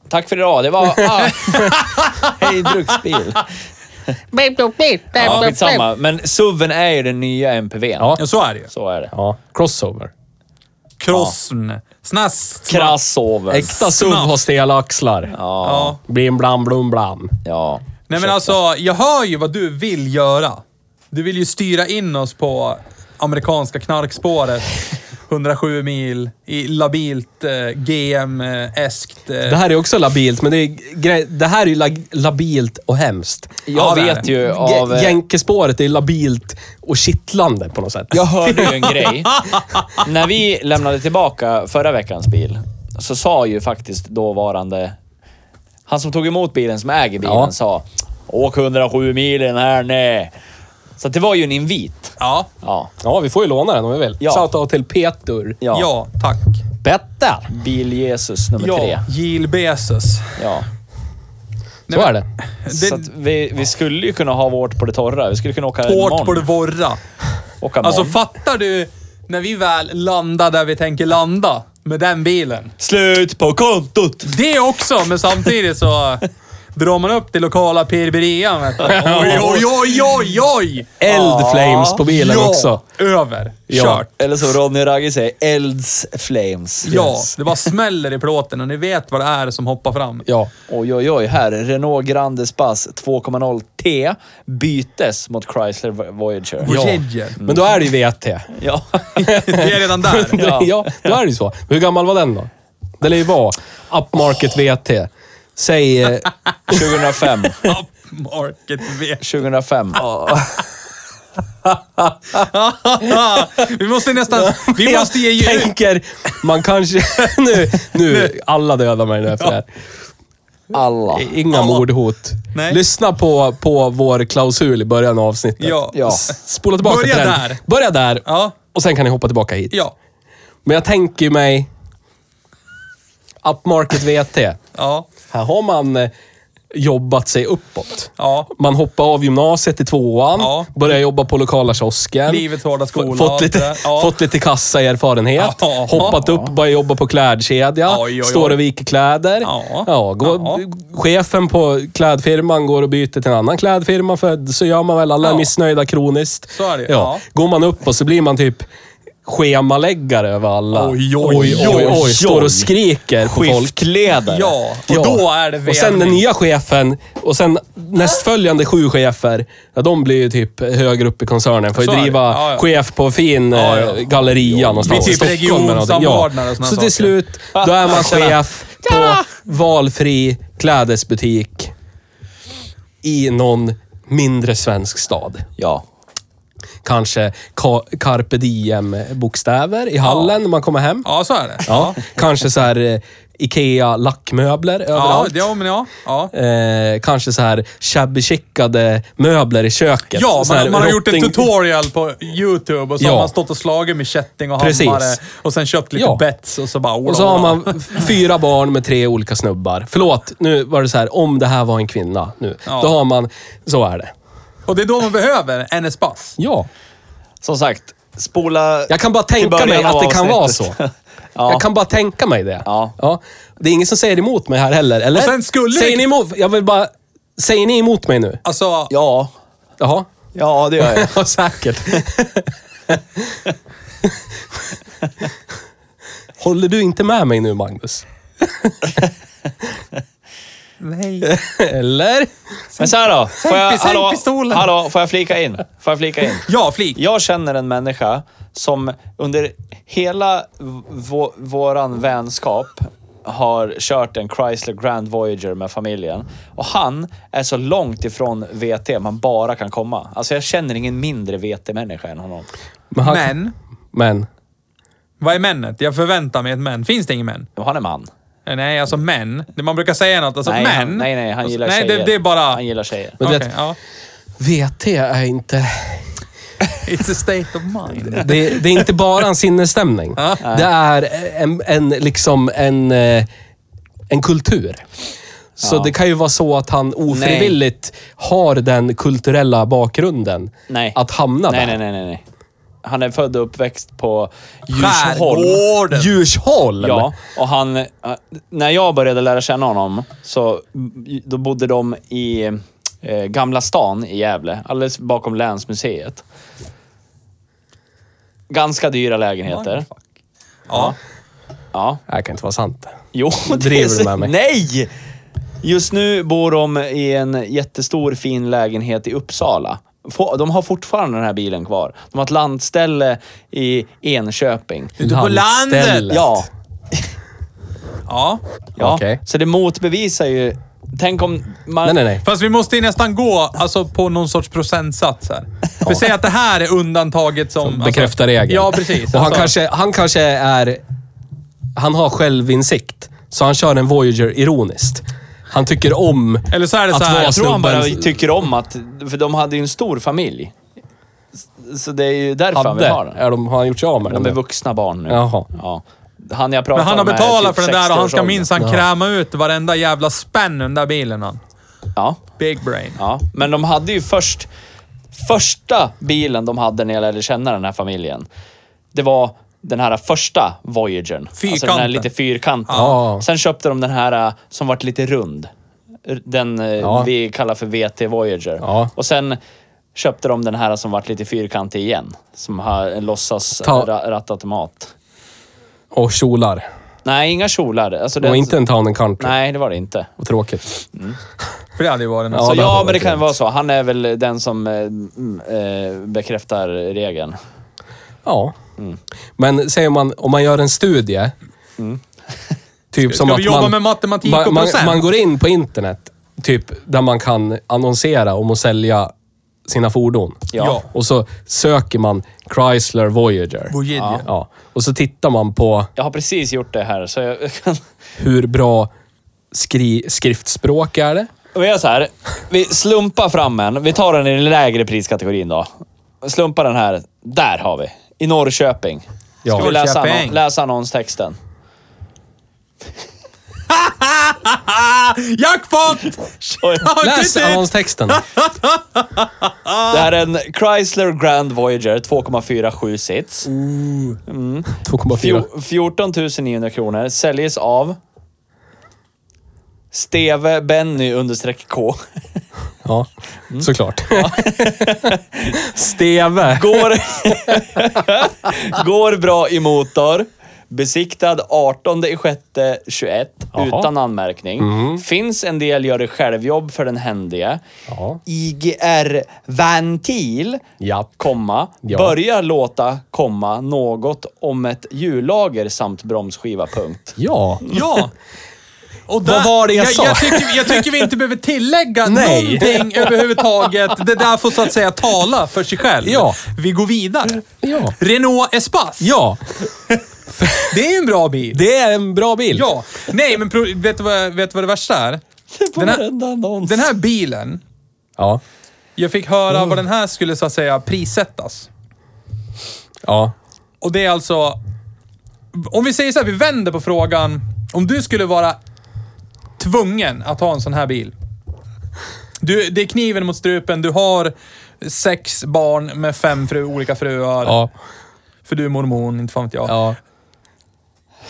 Speaker 1: tack för idag, det var... Ah, hej bruksbil. Ja, skitsamma. Men SUVen är ju den nya MPVn.
Speaker 2: Ja.
Speaker 3: Ja, så är det ju.
Speaker 1: Så är det.
Speaker 2: Ja, crossover.
Speaker 3: Krossn. Snask.
Speaker 1: Krassoven.
Speaker 2: Äkta SUV har stela axlar.
Speaker 3: Ja.
Speaker 2: Blim, blam, blum, blam.
Speaker 1: Ja.
Speaker 3: Nej men alltså, jag hör ju vad du vill göra. Du vill ju styra in oss på amerikanska
Speaker 1: [laughs]
Speaker 3: knarkspåret. 107 mil i labilt eh, GM-eskt. Eh,
Speaker 2: Det här är också labilt, men det är, gre- det här är ju lag- labilt och hemskt.
Speaker 1: Jag
Speaker 3: Ja, det är
Speaker 1: vet
Speaker 3: det.
Speaker 1: ju av...
Speaker 2: Jä-
Speaker 1: eh,
Speaker 2: Jänkespåret är labilt och kittlande på något sätt.
Speaker 1: Jag hörde
Speaker 3: [laughs]
Speaker 1: ju en grej. När vi lämnade tillbaka förra veckans bil så sa ju faktiskt dåvarande... Han som tog emot bilen, som äger bilen,
Speaker 2: Ja.
Speaker 1: sa Åk 107 milen här nej. Så att det var ju en invit.
Speaker 3: Ja,
Speaker 1: Ja.
Speaker 2: Ja, vi får ju låna den om vi vill.
Speaker 1: Ja.
Speaker 2: Shoutout till Petur.
Speaker 3: ja,
Speaker 1: Ja.
Speaker 3: tack.
Speaker 2: Petter!
Speaker 1: Bil-Jesus nummer tre.
Speaker 3: Ja, Gil Bezos.
Speaker 1: Ja.
Speaker 2: Så är det.
Speaker 3: Det,
Speaker 1: Så att vi, vi skulle ju kunna ha vårt på det torra. Vi skulle kunna åka
Speaker 3: hårt
Speaker 1: imorgon.
Speaker 3: på det vorra.
Speaker 1: Åka
Speaker 3: Alltså
Speaker 1: imorgon.
Speaker 3: fattar du när vi väl landar där vi tänker landa med den bilen?
Speaker 1: Slut på kontot!
Speaker 3: Det också, men samtidigt
Speaker 1: [laughs]
Speaker 3: så drar man upp till lokala pirberian. vet du. Oj, oj, oj, oj, oj!
Speaker 2: Eldflames på bilen också.
Speaker 3: över. Kört.
Speaker 1: Eller som Ronny Ragge säger, elds flames.
Speaker 3: Ja, det bara smäller i plåten och ni vet vad det är som hoppar fram.
Speaker 2: Ja.
Speaker 1: Oj, oj, oj. Här. Renault Grande Spass 2.0 T bytes mot Chrysler Voyager.
Speaker 3: Ja.
Speaker 2: Men då är det ju VT.
Speaker 1: Ja. [laughs]
Speaker 3: Vi är redan där.
Speaker 2: Ja. ja, då är [laughs] det ju så. Hur gammal var den då? Den lär ju vara upmarket VT. Säg... eh,
Speaker 1: 2005.
Speaker 3: Upmarket V.
Speaker 1: 2005.
Speaker 3: [laughs] vi måste nästan... [laughs] Vi måste ge
Speaker 2: jag
Speaker 3: ju...
Speaker 2: tänker, man kanske... [laughs] nu, nu, alla dödar mig nu efter det här.
Speaker 1: Alla.
Speaker 2: Inga mordhot.
Speaker 3: Nej.
Speaker 2: Lyssna på, på vår klausul i början av avsnittet.
Speaker 3: Ja.
Speaker 1: Ja.
Speaker 2: S- Spola tillbaka
Speaker 3: Börja
Speaker 2: till den.
Speaker 3: där.
Speaker 2: Börja där.
Speaker 3: Ja.
Speaker 2: Och sen kan ni hoppa tillbaka hit.
Speaker 3: Ja.
Speaker 2: Men jag tänker mig... Upmarket VT.
Speaker 3: Ja.
Speaker 2: Här har man eh, jobbat sig uppåt.
Speaker 3: Ja.
Speaker 2: Man hoppar av gymnasiet i tvåan,
Speaker 3: Ja.
Speaker 2: börjar jobba på lokala kiosken.
Speaker 3: Livets hårda skola
Speaker 2: F-
Speaker 3: och allt
Speaker 2: Fått
Speaker 3: det
Speaker 2: lite,
Speaker 3: där. Ja.
Speaker 2: fått lite kassaerfarenhet.
Speaker 3: Ja.
Speaker 2: Hoppat upp, börjat jobba på klädkedja.
Speaker 3: Oj, oj, oj.
Speaker 2: Står och viker kläder.
Speaker 3: Ja.
Speaker 2: går, Chefen på klädfirman går och byter till en annan klädfirma, för så gör man väl. Alla är
Speaker 3: Ja.
Speaker 2: missnöjda kroniskt.
Speaker 3: Så är det ju. Ja.
Speaker 2: Går man upp och så blir man typ schemaläggare över alla.
Speaker 3: Oj, oj,
Speaker 1: oj, oj.
Speaker 2: Står och skriker på folk.
Speaker 1: Skiftledare.
Speaker 3: Ja, och då är det
Speaker 2: Och sen den nya chefen och sen nästföljande sju chefer, ja, de blir ju typ högre upp i koncernen. Får ju
Speaker 3: Så är det.
Speaker 2: driva
Speaker 3: Ja, ja.
Speaker 2: chef på fin
Speaker 3: Ja,
Speaker 2: ja,
Speaker 3: ja.
Speaker 2: galleria någonstans
Speaker 3: Blir
Speaker 2: i
Speaker 3: typ
Speaker 2: Stockholm. eller någonting.
Speaker 3: regionsamordnare och såna
Speaker 2: Så
Speaker 3: saker.
Speaker 2: till slut, då är man chef på valfri klädesbutik i någon mindre svensk stad.
Speaker 1: Ja.
Speaker 2: Kanske ka- carpe diem-bokstäver i hallen när man kommer hem.
Speaker 3: Ja, så är det.
Speaker 2: Ja, kanske så här eh, Ikea-lackmöbler
Speaker 3: Ja,
Speaker 2: överallt.
Speaker 3: det, ja, men ja. ja.
Speaker 2: Eh, kanske så här shabby chicade möbler i köket.
Speaker 3: Ja,
Speaker 2: Så här
Speaker 3: man, man har gjort en
Speaker 2: rotting-
Speaker 3: tutorial på YouTube och så
Speaker 2: Ja.
Speaker 3: har man stått och slagit med kätting och
Speaker 2: Precis.
Speaker 3: hammare och sen köpt lite
Speaker 2: Ja.
Speaker 3: bets och så bara...
Speaker 2: Och så har man fyra barn med tre olika snubbar. Förlåt, nu var det så här, om det här var en kvinna nu.
Speaker 3: Ja.
Speaker 2: Då har man, så är det.
Speaker 3: Och det är då man behöver en espass.
Speaker 2: Ja.
Speaker 1: Som sagt, spola...
Speaker 2: Jag kan bara
Speaker 1: till
Speaker 2: tänka
Speaker 1: början
Speaker 2: mig
Speaker 1: av
Speaker 2: att det kan vara
Speaker 3: [laughs]
Speaker 2: så.
Speaker 1: avsnittet. [laughs] ja.
Speaker 2: Jag kan bara tänka mig det.
Speaker 1: Ja.
Speaker 2: Det är ingen som säger emot mig här heller, eller?
Speaker 3: Och sen skulle
Speaker 2: säger
Speaker 3: det-
Speaker 2: ni emot? Jag vill bara... Säger ni emot mig nu?
Speaker 3: Alltså,
Speaker 1: Ja.
Speaker 2: Jaha?
Speaker 1: Ja, det gör jag.
Speaker 2: [laughs] Ja, säkert. Håller du inte med mig nu, Magnus? [laughs]
Speaker 3: nej.
Speaker 2: Eller?
Speaker 1: Men så här då. Får jag,
Speaker 3: Sänk- sänk
Speaker 1: hallå,
Speaker 3: pistolen.
Speaker 1: hallå, får jag flika in? Får jag flika in?
Speaker 3: Ja, flik.
Speaker 1: Jag känner en människa som under hela v- vå- våran vänskap har kört en Chrysler Grand Voyager med familjen. Och han är så långt ifrån VT man bara kan komma. Alltså jag känner ingen mindre VT-människa än honom.
Speaker 2: han-
Speaker 3: Men,
Speaker 2: Men.
Speaker 3: vad är männet? Jag förväntar mig ett män. Finns det ingen män?
Speaker 1: Och Han är man.
Speaker 3: Nej, alltså män. Det Man brukar säga något, alltså
Speaker 1: nej,
Speaker 3: män.
Speaker 1: Han, nej, nej, han gillar
Speaker 3: nej,
Speaker 1: tjejer.
Speaker 3: Det, det är bara...
Speaker 1: Han gillar tjejer.
Speaker 2: Men du
Speaker 3: Okej,
Speaker 2: vet-
Speaker 3: ja.
Speaker 2: VT är inte...
Speaker 3: It's a state of mind.
Speaker 2: Det, det är inte bara en sinnesstämning. Det är en, en, liksom en, eh, en kultur. Så det kan ju vara så att han ofrivilligt har den kulturella bakgrunden
Speaker 1: Nej.
Speaker 2: att hamna
Speaker 1: nej,
Speaker 2: där.
Speaker 1: nej, nej, nej, nej. Han är född och uppväxt på Djursholm.
Speaker 3: Skärgården.
Speaker 2: Djursholm!
Speaker 1: Ja, och han... eh, När jag började lära känna honom så då bodde de i eh, Gamla stan i Gävle, alldeles bakom länsmuseet. Ganska dyra lägenheter.
Speaker 3: Ja.
Speaker 1: Ja.
Speaker 2: Det här kan inte vara sant.
Speaker 1: Jo, det
Speaker 2: driver
Speaker 1: är
Speaker 2: du
Speaker 1: så...
Speaker 2: med mig?
Speaker 1: Nej! Just nu bor de i en jättestor fin lägenhet i Uppsala. Få- De har fortfarande den här bilen kvar. De har ett landställe i Enköping.
Speaker 3: Ute på
Speaker 2: Landstället.
Speaker 3: landet.
Speaker 1: Ja,
Speaker 3: Ja.
Speaker 1: ja.
Speaker 2: Okej.
Speaker 1: så det motbevisar ju... Tänk om man...
Speaker 2: Nej, nej, nej.
Speaker 3: Fast vi måste ju nästan gå alltså, på någon sorts procentsats här. För säg att det här är undantaget som... som
Speaker 2: Bekräftar regeln.
Speaker 3: alltså. Ja, precis.
Speaker 2: Och han,
Speaker 3: Alltså,
Speaker 2: kanske, han kanske är... Han har självinsikt. Så han kör en Voyager ironiskt. Han tycker om
Speaker 3: Eller så är det så
Speaker 2: att
Speaker 3: här,
Speaker 2: vara
Speaker 1: Jag tror han bara
Speaker 2: snubbens-
Speaker 1: tycker om att... För de hade ju en stor familj. S- Så det är ju därför han vill
Speaker 2: Hade.
Speaker 1: ha den.
Speaker 2: Är de, har han gjort sig av med
Speaker 1: De är
Speaker 2: den?
Speaker 1: vuxna barn nu.
Speaker 2: Jaha.
Speaker 1: Ja. Han jag pratar
Speaker 3: men han har
Speaker 1: om är
Speaker 3: betalat
Speaker 1: typ
Speaker 3: för den där och han ska
Speaker 1: 60-årsåldern.
Speaker 3: minsann kräma ut varenda jävla spänn den där bilen han.
Speaker 1: Ja.
Speaker 3: Big brain.
Speaker 1: Ja, men de hade ju först... Första bilen de hade när jag lärde känna den här familjen, det var den här första Voyagern. Alltså den här
Speaker 3: Fyrkanten.
Speaker 1: lite fyrkanten.
Speaker 2: Ja.
Speaker 1: Sen köpte de den här eh, som vart lite rund. R- Den eh,
Speaker 2: Ja.
Speaker 1: vi kallar för VT Voyager.
Speaker 2: Ja.
Speaker 1: Och sen köpte de den här som vart lite fyrkantig igen. Som har en låtsas
Speaker 2: Ta-
Speaker 1: ra- rattautomat.
Speaker 2: Och kjolar.
Speaker 1: Nej, inga kjolar. Alltså den...
Speaker 2: Och inte en town and country.
Speaker 1: Nej, det var det inte.
Speaker 2: Och tråkigt.
Speaker 3: För det hade ju varit något.
Speaker 2: Ja,
Speaker 1: Så
Speaker 2: det hade
Speaker 1: ja,
Speaker 2: varit
Speaker 1: men det kan
Speaker 2: trevligt.
Speaker 1: vara så. Han är väl den som eh, mm, eh, bekräftar regeln.
Speaker 2: Ja. Men säger man, om man gör en studie. Typ som
Speaker 3: Ska
Speaker 2: att
Speaker 3: vi jobba
Speaker 2: man,
Speaker 3: med matematik
Speaker 2: man,
Speaker 3: och
Speaker 2: man,
Speaker 3: procent?
Speaker 2: man går in på internet, typ där man kan annonsera om att sälja sina fordon.
Speaker 1: Ja.
Speaker 3: Ja.
Speaker 2: Och så söker man Chrysler Voyager.
Speaker 3: Voyager.
Speaker 2: Ja. ja. Och så tittar man på
Speaker 1: Jag har precis gjort det här, så jag kan... [laughs]
Speaker 2: hur bra skri, skriftspråk är det.
Speaker 1: Vi gör så här. Vi slumpar fram en. Vi tar den i den lägre priskategorin då. Slumpa den här. Där har vi. I Norrköping.
Speaker 2: Ja.
Speaker 1: Ska vi läsa,
Speaker 3: Norrköping.
Speaker 1: annon- läsa annonstexten?
Speaker 3: Jackpot!
Speaker 1: Oj.
Speaker 3: [laughs]
Speaker 2: Läs annonstexten.
Speaker 1: Det här är en Chrysler Grand Voyager 2,47 sits.
Speaker 2: Mm. 2,4.
Speaker 1: Fjo- 14 900 kronor. Säljs av... Steve Benny understreck K.
Speaker 2: Ja,
Speaker 3: Mm.
Speaker 2: såklart. [laughs] Steve.
Speaker 1: Går, går bra i motor. Besiktad 18 i sjätte 21
Speaker 2: Jaha.
Speaker 1: utan anmärkning. Finns en del gör det självjobb för den händige.
Speaker 2: Ja.
Speaker 1: IGR-ventil,
Speaker 2: Japp.
Speaker 1: komma,
Speaker 2: Ja.
Speaker 1: börjar låta, komma, något om ett hjullager samt bromsskiva, punkt.
Speaker 2: Ja.
Speaker 3: Ja. Och
Speaker 2: Vad var det jag sa?
Speaker 3: Jag tycker, jag tycker vi inte behöver tillägga
Speaker 2: Nej.
Speaker 3: någonting överhuvudtaget. Det där får så att säga tala för sig själv.
Speaker 2: Ja.
Speaker 3: Vi går vidare.
Speaker 2: Ja.
Speaker 3: Renault Espace.
Speaker 2: Ja,
Speaker 3: Det är ju en bra bil.
Speaker 2: det är en bra bild.
Speaker 3: Ja. Nej, men pro- vet du vad, vet du vad det värsta
Speaker 2: [laughs]
Speaker 3: är? Den här,
Speaker 1: annons.
Speaker 3: den här bilen,
Speaker 2: Ja.
Speaker 3: jag fick höra
Speaker 2: Oh.
Speaker 3: vad den här skulle så att säga prissättas.
Speaker 2: Ja.
Speaker 3: Och det är alltså... Om vi säger så här, vi vänder på frågan. Om du skulle vara tvungen att ha en sån här bil. Du, det är kniven mot strupen, du har sex barn med fem fru, olika fruar.
Speaker 2: Ja.
Speaker 3: För du är mormon, inte fan vet jag.
Speaker 2: ja.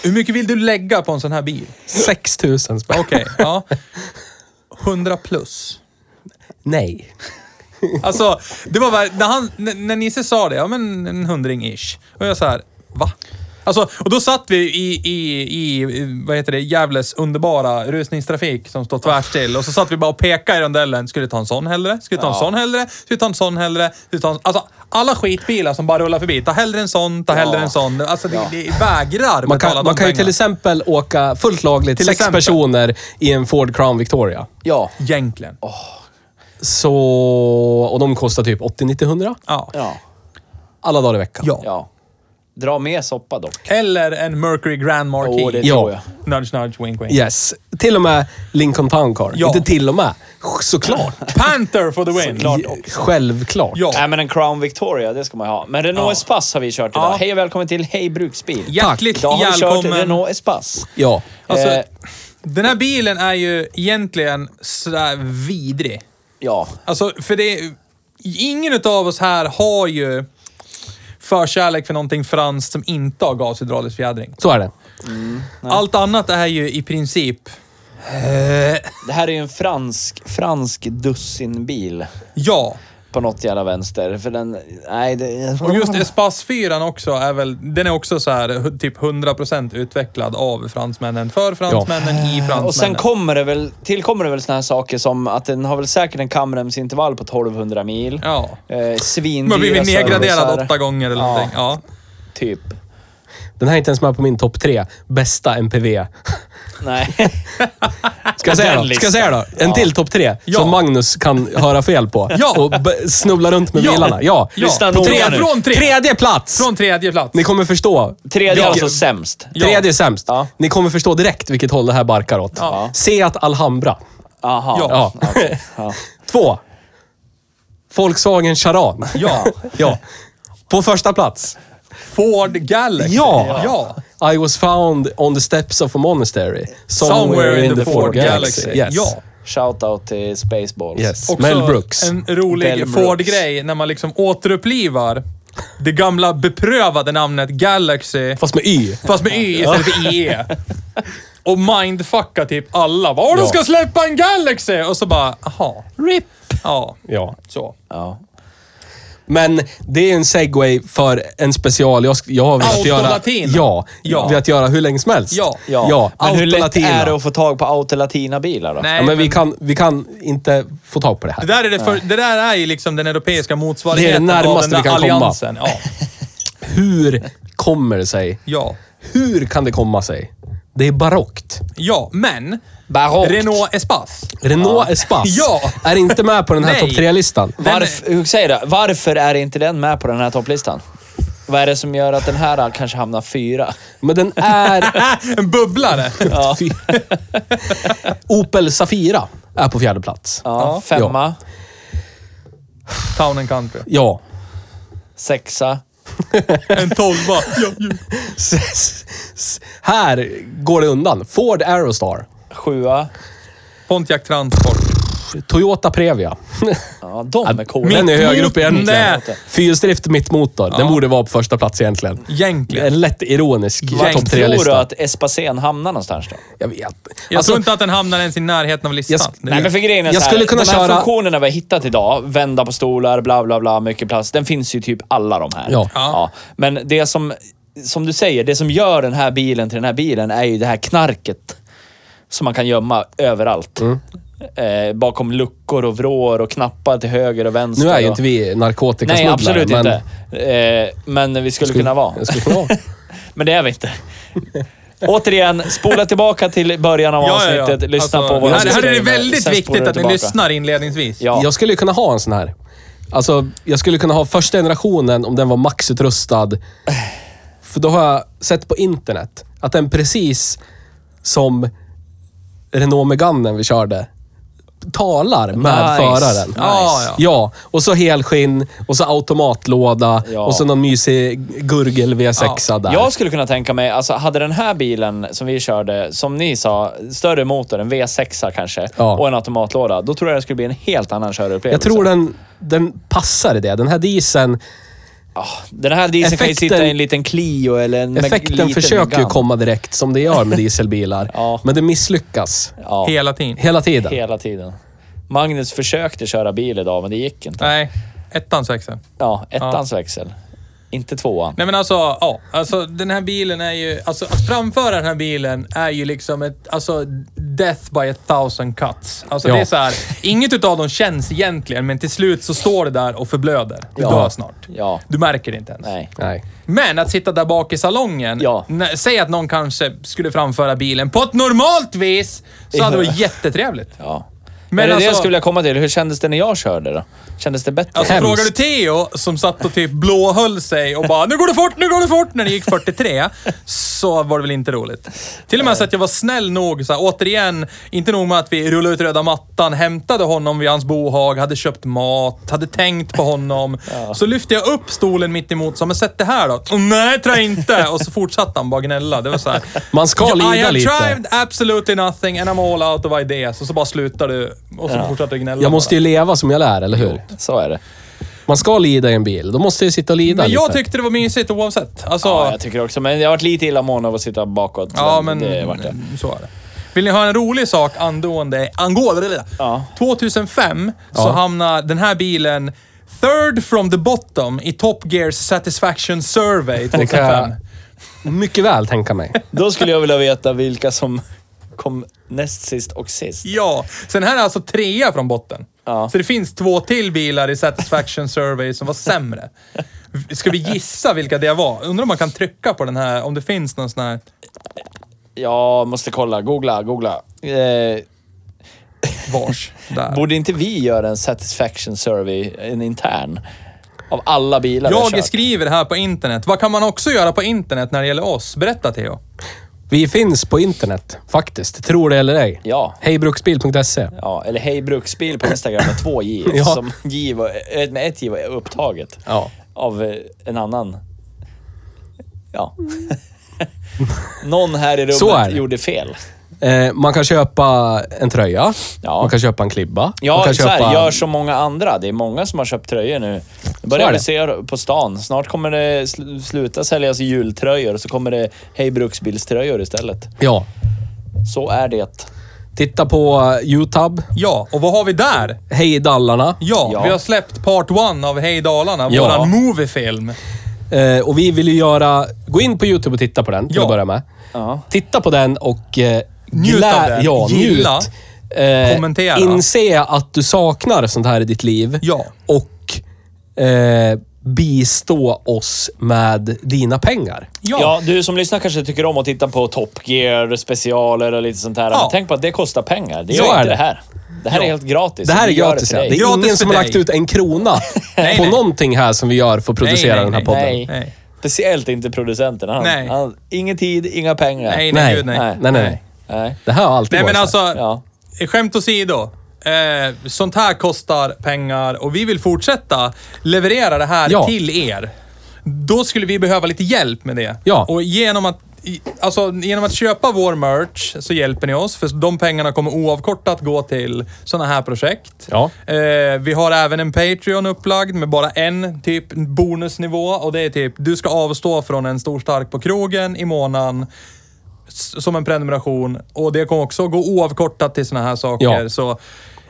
Speaker 3: Hur mycket vill du lägga på en sån här
Speaker 2: [laughs]
Speaker 3: bil?
Speaker 2: 6 000 spänn.
Speaker 3: Okej, ja. 100 plus.
Speaker 2: Nej.
Speaker 3: Alltså, det var bara, när, han, när, när Nisse sa det, ja men en hundring-ish. Och jag så här, va? Alltså, och då satt vi i, i, i, vad heter det, Gävles underbara rusningstrafik som står tvärstill. Och så satt vi bara och pekade i rondellen. Skulle ta en sån hellre? Skulle ta en sån hellre? Skulle ta en sån hellre? Skulle ta en, alltså, alla skitbilar som bara rullar förbi. Ta hellre en sån, ta hellre en sån. Alltså, det, det vägrar
Speaker 2: Man
Speaker 3: betala
Speaker 2: kan,
Speaker 3: de
Speaker 2: man kan ju
Speaker 3: pengarna.
Speaker 2: till exempel åka fullt lagligt
Speaker 3: Till
Speaker 2: sex
Speaker 3: exempel.
Speaker 2: personer i en Ford Crown Victoria.
Speaker 1: Ja.
Speaker 3: Egentligen.
Speaker 2: Så... Och de kostar typ 80-90-100
Speaker 3: Ja.
Speaker 1: Ja.
Speaker 2: alla dagar i veckan.
Speaker 3: Ja.
Speaker 1: Ja. Dra med soppa dock.
Speaker 3: Eller en Mercury Grand Marquis.
Speaker 1: Åh, det
Speaker 2: Ja.
Speaker 1: tror jag.
Speaker 3: Nudge, nudge, wink, wink.
Speaker 2: Yes. Till och med Lincoln Town Car.
Speaker 3: Ja.
Speaker 2: Inte till och med. Såklart.
Speaker 3: Panther for the win!
Speaker 2: Självklart.
Speaker 3: Ja.
Speaker 1: Nej, men en Crown Victoria, det ska man ju ha. Men Renault
Speaker 3: Ja.
Speaker 1: Espace har vi kört idag.
Speaker 3: Ja.
Speaker 1: Hej och välkommen till Hej Bruksbil.
Speaker 3: Hjärtligt
Speaker 1: Idag har vi kört
Speaker 3: välkommen.
Speaker 1: Renault Espace.
Speaker 2: Ja.
Speaker 3: Alltså,
Speaker 1: Eh.
Speaker 3: Den här bilen är ju egentligen sådär vidrig.
Speaker 1: Ja,
Speaker 3: Alltså, för det... Ingen av oss här har ju förkärlek för någonting franskt som inte har gasohydraulisk fjädring.
Speaker 2: Så är det.
Speaker 3: Allt annat är ju i princip... Eh,
Speaker 1: det här är ju en fransk, fransk dussinbil.
Speaker 3: ja.
Speaker 1: På något jävla vänster. För den... Nej, det...
Speaker 3: Och just Espace 4 också är väl... Den är också så här hu- typ 100% utvecklad av fransmännen. För fransmännen, i fransmännen.
Speaker 1: Och sen kommer det väl, tillkommer det väl såna här saker som att den har väl säkert en kamremsintervall på 1200 mil.
Speaker 3: Ja.
Speaker 1: Eh,
Speaker 3: Man
Speaker 1: svindyra
Speaker 3: har blivit nedgraderad
Speaker 1: servicer.
Speaker 3: åtta gånger eller
Speaker 1: Ja.
Speaker 3: någonting. Ja.
Speaker 1: Typ.
Speaker 2: Den här är inte ens med på min topp tre. Bästa MPV.
Speaker 1: Nej. [laughs]
Speaker 2: Ska jag säga
Speaker 1: Den
Speaker 2: då? Ska
Speaker 1: listan.
Speaker 2: jag säga då? En till topp tre
Speaker 3: Ja.
Speaker 2: som Magnus kan höra fel på.
Speaker 3: Ja.
Speaker 2: Och b- snubbla runt med
Speaker 3: Ja.
Speaker 2: bilarna. Ja.
Speaker 3: Ja.
Speaker 1: Lyssna
Speaker 2: På
Speaker 1: noga
Speaker 2: tre,
Speaker 1: nu.
Speaker 2: från tre. Tredje plats!
Speaker 3: Från tredje plats.
Speaker 2: Ni kommer förstå.
Speaker 1: Tredje
Speaker 2: Ja.
Speaker 1: alltså sämst.
Speaker 3: Ja.
Speaker 2: Tredje är sämst.
Speaker 1: Ja.
Speaker 2: Ni kommer förstå direkt vilket håll det här barkar åt.
Speaker 3: Ja.
Speaker 2: Seat Alhambra.
Speaker 1: Aha.
Speaker 3: Ja.
Speaker 2: Ja.
Speaker 1: Okej. Ja.
Speaker 2: [laughs] Två. Volkswagen Charan.
Speaker 3: Ja.
Speaker 2: Ja. På första plats.
Speaker 3: Ford Galaxy.
Speaker 2: Ja.
Speaker 3: ja.
Speaker 2: I was found on the steps of a monastery. Somewhere,
Speaker 3: Somewhere in the Ford Galaxy.
Speaker 2: Yes.
Speaker 3: Ja.
Speaker 1: Shout out till Spaceballs.
Speaker 2: Yes.
Speaker 3: Också
Speaker 2: Mel Brooks.
Speaker 3: en rolig
Speaker 1: Mel Brooks.
Speaker 3: Ford-grej när man liksom återupplivar det gamla beprövade namnet Galaxy,
Speaker 2: Fast med Y.
Speaker 3: fast med Y istället för IE. Och mindfucka typ alla. Bara, Åh, de
Speaker 2: Ja.
Speaker 3: ska släppa en Galaxy! Och så bara, aha.
Speaker 2: RIP.
Speaker 3: Ja,
Speaker 2: Ja.
Speaker 3: så.
Speaker 1: Ja.
Speaker 2: Men det är en segway för en special. Jag, sk- jag har velat göra...
Speaker 3: Autolatina.
Speaker 2: Ja.
Speaker 3: Ja.
Speaker 2: Velat göra hur länge som helst.
Speaker 3: Ja.
Speaker 1: Ja.
Speaker 2: ja.
Speaker 1: Men hur lätt
Speaker 2: Autolatina.
Speaker 1: är det att få tag på autolatina-bilar då?
Speaker 3: Nej,
Speaker 2: Ja, men vi
Speaker 3: men
Speaker 2: kan, vi kan inte få tag på det här.
Speaker 3: det, där är det, för, det där är ju liksom den europeiska motsvarigheten
Speaker 2: Det är det
Speaker 3: av den
Speaker 2: närmaste
Speaker 3: där
Speaker 2: vi kan komma.
Speaker 3: alliansen. Ja,
Speaker 2: Hur kommer det sig?
Speaker 3: ja.
Speaker 2: Hur kan det komma sig? Det är barockt.
Speaker 3: ja, men
Speaker 1: Barockt.
Speaker 3: Renault Espace.
Speaker 2: Renault Espace
Speaker 3: Ja.
Speaker 2: är inte med på den
Speaker 3: [laughs]
Speaker 2: här
Speaker 3: Nej.
Speaker 2: topp tre-listan.
Speaker 1: Varför, hur säger jag det? Varför är inte den med på den här topplistan? Vad är det som gör att den här kanske hamnar fyra?
Speaker 2: Men den är...
Speaker 3: [laughs] En bubblare.
Speaker 2: [laughs] Fy- Opel Safira är på fjärde plats.
Speaker 1: Ja, femma,
Speaker 3: Town and country.
Speaker 2: Ja.
Speaker 1: sexa.
Speaker 3: En tolva. Ja, ja.
Speaker 2: S- s- Här går det undan. Ford Aerostar.
Speaker 1: Sjua.
Speaker 3: Pontiac Transport.
Speaker 2: Toyota Previa.
Speaker 1: Ja, de är coola.
Speaker 2: Den är högre upp
Speaker 3: Mittmotorn,
Speaker 2: egentligen.
Speaker 3: nej.
Speaker 2: Fyrhjulsdrift mittmotor. Den borde vara på första plats egentligen.
Speaker 3: Egentligen.
Speaker 2: En lätt ironisk
Speaker 3: Vart
Speaker 2: topp
Speaker 1: Tror du
Speaker 2: tre-lista.
Speaker 1: att Espacen hamnar någonstans då?
Speaker 2: Jag vet. Alltså,
Speaker 3: Jag tror inte att den hamnar ens i närheten av listan.
Speaker 2: Jag sk-
Speaker 3: Det är
Speaker 1: Nej,
Speaker 3: ju-
Speaker 1: men för grejen är
Speaker 2: Jag
Speaker 1: så här,
Speaker 2: skulle kunna
Speaker 1: de här
Speaker 2: köra-
Speaker 1: funktionerna vi har hittat idag, vända på stolar, bla bla bla, mycket plats. Den finns ju typ alla de här.
Speaker 2: Ja.
Speaker 3: Ja.
Speaker 1: Men det som, som du säger, det som gör den här bilen till den här bilen är ju det här knarket. Som man kan gömma överallt.
Speaker 2: Mm.
Speaker 1: Eh, bakom luckor och vrår och knappar till höger och vänster.
Speaker 2: Nu är ju
Speaker 1: och-
Speaker 2: inte vi
Speaker 1: Nej,
Speaker 2: narkotikasmugglare.
Speaker 1: absolut
Speaker 2: men-
Speaker 1: inte. Eh, men vi skulle kunna vara.
Speaker 2: Jag skulle kunna vara.
Speaker 1: Men det är vi inte. Återigen, spola tillbaka till början av avsnittet. Lyssna
Speaker 3: Alltså,
Speaker 1: på våra
Speaker 3: här, här är det
Speaker 1: disclaimer,
Speaker 3: väldigt
Speaker 1: sen spolar
Speaker 3: viktigt
Speaker 1: du
Speaker 3: att ni
Speaker 1: tillbaka.
Speaker 3: lyssnar inledningsvis.
Speaker 1: Ja.
Speaker 2: Jag skulle kunna ha en sån här. Alltså, jag skulle kunna ha första generationen om den var maxutrustad. För då har jag sett på internet att den precis som Renault Meganen vi körde talar med
Speaker 1: Nice.
Speaker 2: föraren.
Speaker 3: Ja, ja.
Speaker 2: Ja, och så helskinn och så automatlåda
Speaker 1: Ja.
Speaker 2: och så någon mysig gurgel V6
Speaker 3: Ja.
Speaker 2: där.
Speaker 1: Jag skulle kunna tänka mig, alltså hade den här bilen som vi körde, som ni sa, större motor, en V6 kanske,
Speaker 2: Ja.
Speaker 1: och en automatlåda, då tror jag det skulle bli en helt annan
Speaker 2: jag
Speaker 1: körupplevelse.
Speaker 2: tror den, den passar i det. Den här dieseln,
Speaker 1: Ah, Den här dieseln kan ju
Speaker 2: Effekten-
Speaker 1: sitta i en liten Clio eller en Meg-
Speaker 2: effekten
Speaker 1: liten
Speaker 2: försöker ju
Speaker 1: Megane.
Speaker 2: komma direkt som det gör
Speaker 3: [laughs]
Speaker 2: med dieselbilar.
Speaker 1: Ja.
Speaker 2: Men det misslyckas.
Speaker 1: Ja,
Speaker 3: Hela tiden.
Speaker 2: Hela tiden.
Speaker 1: hela tiden. Magnus försökte köra bil idag, men det gick inte.
Speaker 3: Nej, ettans växel.
Speaker 1: Ja, ettans växel. Inte tvåan.
Speaker 3: Nej men alltså, ja. Alltså den här bilen är ju... Alltså att framföra den här bilen är ju liksom ett... Alltså death by a thousand cuts. Alltså
Speaker 2: Ja.
Speaker 3: det är så här, inget utav dem känns egentligen, men till slut så står det där och förblöder. Du
Speaker 1: Ja.
Speaker 3: dör snart.
Speaker 1: Ja.
Speaker 3: Du märker det inte ens.
Speaker 1: Nej.
Speaker 2: Nej.
Speaker 3: Men att sitta där bak i salongen.
Speaker 1: Ja.
Speaker 3: Nä- Säg att någon
Speaker 1: [laughs]
Speaker 3: kanske skulle framföra bilen på ett normalt vis, så hade det varit jättetrevligt.
Speaker 1: Ja. Men det är det jag
Speaker 3: alltså-
Speaker 1: skulle vilja komma till. Hur kändes det när jag körde då? Kändes det bättre?
Speaker 3: Alltså
Speaker 2: Hemskt.
Speaker 3: frågar du Theo som satt och typ blåhöll sig och bara “Nu går det fort, nu går det fort” när det gick 43, så var det väl inte roligt. Till och med så att jag var snäll nog, så här, återigen, inte nog med att vi rullade ut röda mattan, hämtade honom vid hans bohag, hade köpt mat, hade tänkt på
Speaker 2: [laughs]
Speaker 3: honom. Så lyfte jag upp stolen mitt emot så “Men sätt det här då”. "Åh, “Nej, tror jag inte” och så fortsatte han bara gnälla. Det var
Speaker 2: [laughs]
Speaker 3: så här,
Speaker 2: Man ska
Speaker 3: I
Speaker 2: lida
Speaker 3: have
Speaker 2: lite.
Speaker 3: tried absolutely nothing and I'm all out of ideas. Och så bara slutar du och så fortsätter du gnälla.
Speaker 2: Jag
Speaker 3: bara.
Speaker 2: måste ju leva som jag lär, eller hur?
Speaker 1: Så är det.
Speaker 2: Man ska lida i en bil. Då måste jag sitta och lida
Speaker 3: Men jag
Speaker 2: lite.
Speaker 3: tyckte det var mysigt oavsett. Alltså,
Speaker 1: Ja, jag tycker också. Men jag har varit lite illamående av att sitta bakåt.
Speaker 3: Ja, men
Speaker 1: Det vart det.
Speaker 3: så är det. Vill ni höra en rolig sak angående Angola?
Speaker 1: Ja.
Speaker 3: 2005 så
Speaker 2: Ja.
Speaker 3: hamnar den här bilen third from the bottom i Top Gear Satisfaction
Speaker 1: [laughs]
Speaker 3: Survey
Speaker 2: Det kan
Speaker 3: 2005.
Speaker 2: jag mycket väl tänka mig.
Speaker 1: Då skulle jag vilja veta vilka som kom näst sist och sist.
Speaker 3: Ja, så den här är alltså trea från botten.
Speaker 1: Ja.
Speaker 3: Så det finns två till bilar i Satisfaction Survey som var sämre. Ska vi gissa vilka det var? Undrar om man kan trycka på den här, om det finns någon sån här...
Speaker 1: Jag måste kolla. Googla, googla. Eh,
Speaker 3: Vars? Där.
Speaker 1: borde inte vi göra en satisfaction survey, en intern? Av alla bilar vi har
Speaker 3: Jag
Speaker 1: kört?
Speaker 3: skriver här på internet. Vad kan man också göra på internet när det gäller oss? Berätta Theo.
Speaker 2: Vi finns på internet, faktiskt. Tror det eller ej.
Speaker 1: Ja.
Speaker 2: Hejbruksbil.se.
Speaker 1: Ja, eller Hej Bruksbil på Instagram med två J.
Speaker 2: [laughs] Ja.
Speaker 1: som J var, eh, med ett J var upptaget.
Speaker 2: Ja.
Speaker 1: Av eh, en annan. Ja. [laughs] Någon här i
Speaker 2: Så är
Speaker 1: rummet
Speaker 2: det.
Speaker 1: gjorde fel.
Speaker 2: Eh, man kan köpa en tröja.
Speaker 1: Ja.
Speaker 2: Man kan köpa en klibba. man
Speaker 1: Ja,
Speaker 2: kan
Speaker 1: så här, gör som många andra. Det är många som har köpt tröjor nu. Det
Speaker 2: Så
Speaker 1: börjar
Speaker 2: är
Speaker 1: vi
Speaker 2: det.
Speaker 1: se på stan. Snart kommer det sl- sluta säljas jultröjor, så kommer det Hej Bruksbilströjor istället.
Speaker 2: Ja.
Speaker 1: Så är det.
Speaker 2: Titta på eh, Youtube.
Speaker 3: Ja, och vad har vi där?
Speaker 2: Hej Dallarna.
Speaker 3: Ja,
Speaker 1: Ja.
Speaker 3: vi har släppt part one av Hej Dalarna,
Speaker 2: Ja.
Speaker 3: våran moviefilm.
Speaker 2: Eh, och vi vill ju göra... Gå in på Youtube och titta på den till
Speaker 3: Ja.
Speaker 2: att börja med.
Speaker 1: Ja.
Speaker 2: Titta på den och... Eh,
Speaker 3: Njut av
Speaker 2: glä-
Speaker 3: den.
Speaker 2: Ja,
Speaker 3: Gilla.
Speaker 2: njut. Eh,
Speaker 3: Kommentera.
Speaker 2: Inse att du saknar sånt här i ditt liv.
Speaker 3: Ja.
Speaker 2: Och eh, bistå oss med dina pengar.
Speaker 3: Ja.
Speaker 1: Ja, du som lyssnar kanske tycker om att titta på Top Gear, specialer och lite sånt här.
Speaker 3: Ja.
Speaker 1: Men tänk på att det kostar pengar. Det
Speaker 2: Så
Speaker 1: gör
Speaker 2: är
Speaker 1: inte
Speaker 2: det.
Speaker 1: det här. Det här är helt gratis.
Speaker 2: Det här är
Speaker 1: Vi gör
Speaker 2: gratis,
Speaker 1: för
Speaker 2: ja.
Speaker 1: dig.
Speaker 2: Det är
Speaker 3: Gratis
Speaker 2: ingen som
Speaker 3: för
Speaker 2: har
Speaker 3: dig.
Speaker 2: lagt ut en krona
Speaker 3: [laughs] Nej,
Speaker 2: på
Speaker 3: nej.
Speaker 2: någonting här som vi gör för att producera
Speaker 3: Nej, nej,
Speaker 2: den här
Speaker 3: nej.
Speaker 2: podden.
Speaker 1: Nej.
Speaker 3: Nej.
Speaker 1: Speciellt inte producenten. Han,
Speaker 3: Nej.
Speaker 1: Han, ingen tid, inga pengar.
Speaker 3: Nej, nej,
Speaker 2: Nej.
Speaker 3: gud, nej.
Speaker 2: Nej, nej, nej.
Speaker 1: Nej.
Speaker 2: Det här har alltid
Speaker 3: Nej,
Speaker 2: varit
Speaker 3: men
Speaker 2: så här.
Speaker 3: alltså,
Speaker 1: Ja.
Speaker 3: skämt åsido. Eh, sånt här kostar pengar och vi vill fortsätta leverera det här
Speaker 2: Ja.
Speaker 3: till er. Då skulle vi behöva lite hjälp med det.
Speaker 2: Ja.
Speaker 3: Och genom att, i- alltså, genom att köpa vår merch så hjälper ni oss, för de pengarna kommer oavkortat gå till sådana här projekt.
Speaker 2: Ja.
Speaker 3: Eh, vi har även en Patreon upplagd med bara en typ bonusnivå och det är typ, du ska avstå från en stor stark på krogen i månaden s- som en prenumeration och det kommer också gå oavkortat till såna här saker.
Speaker 2: Ja.
Speaker 3: Så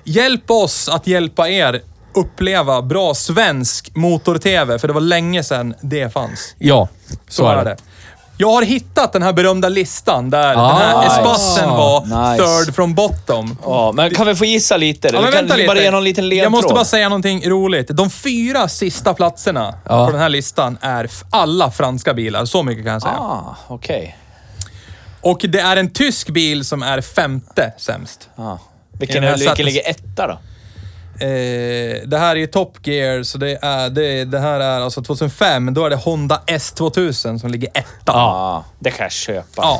Speaker 3: hjälp oss att hjälpa er uppleva bra svensk motor-tv, för det var länge sedan det fanns.
Speaker 2: Ja,
Speaker 3: Så, är det. Jag har hittat den här berömda listan där
Speaker 2: Ah,
Speaker 3: den här
Speaker 1: nice. Ah,
Speaker 3: espassen var
Speaker 1: Nice.
Speaker 3: third from bottom.
Speaker 1: Ja, men kan vi få gissa lite?
Speaker 3: Ja, men
Speaker 1: kan
Speaker 3: vänta
Speaker 1: du
Speaker 3: lite.
Speaker 1: bara ge någon liten ledtråd?
Speaker 3: jag måste bara säga någonting roligt. De fyra sista platserna på den här listan är f- alla franska bilar. Så mycket kan jag säga.
Speaker 1: Ah, okej.
Speaker 3: Och det är en tysk bil som är femte sämst.
Speaker 1: Ah.
Speaker 3: Ja,
Speaker 1: Vilken,
Speaker 3: men jag
Speaker 1: vilken
Speaker 3: satte-
Speaker 1: ligger etta då?
Speaker 3: Eh, det här är ju Top Gear, så det, är, det, det här är alltså 2005. Då är det Honda S2000 som ligger etta. Ja.
Speaker 1: Ah, det kan jag köpa.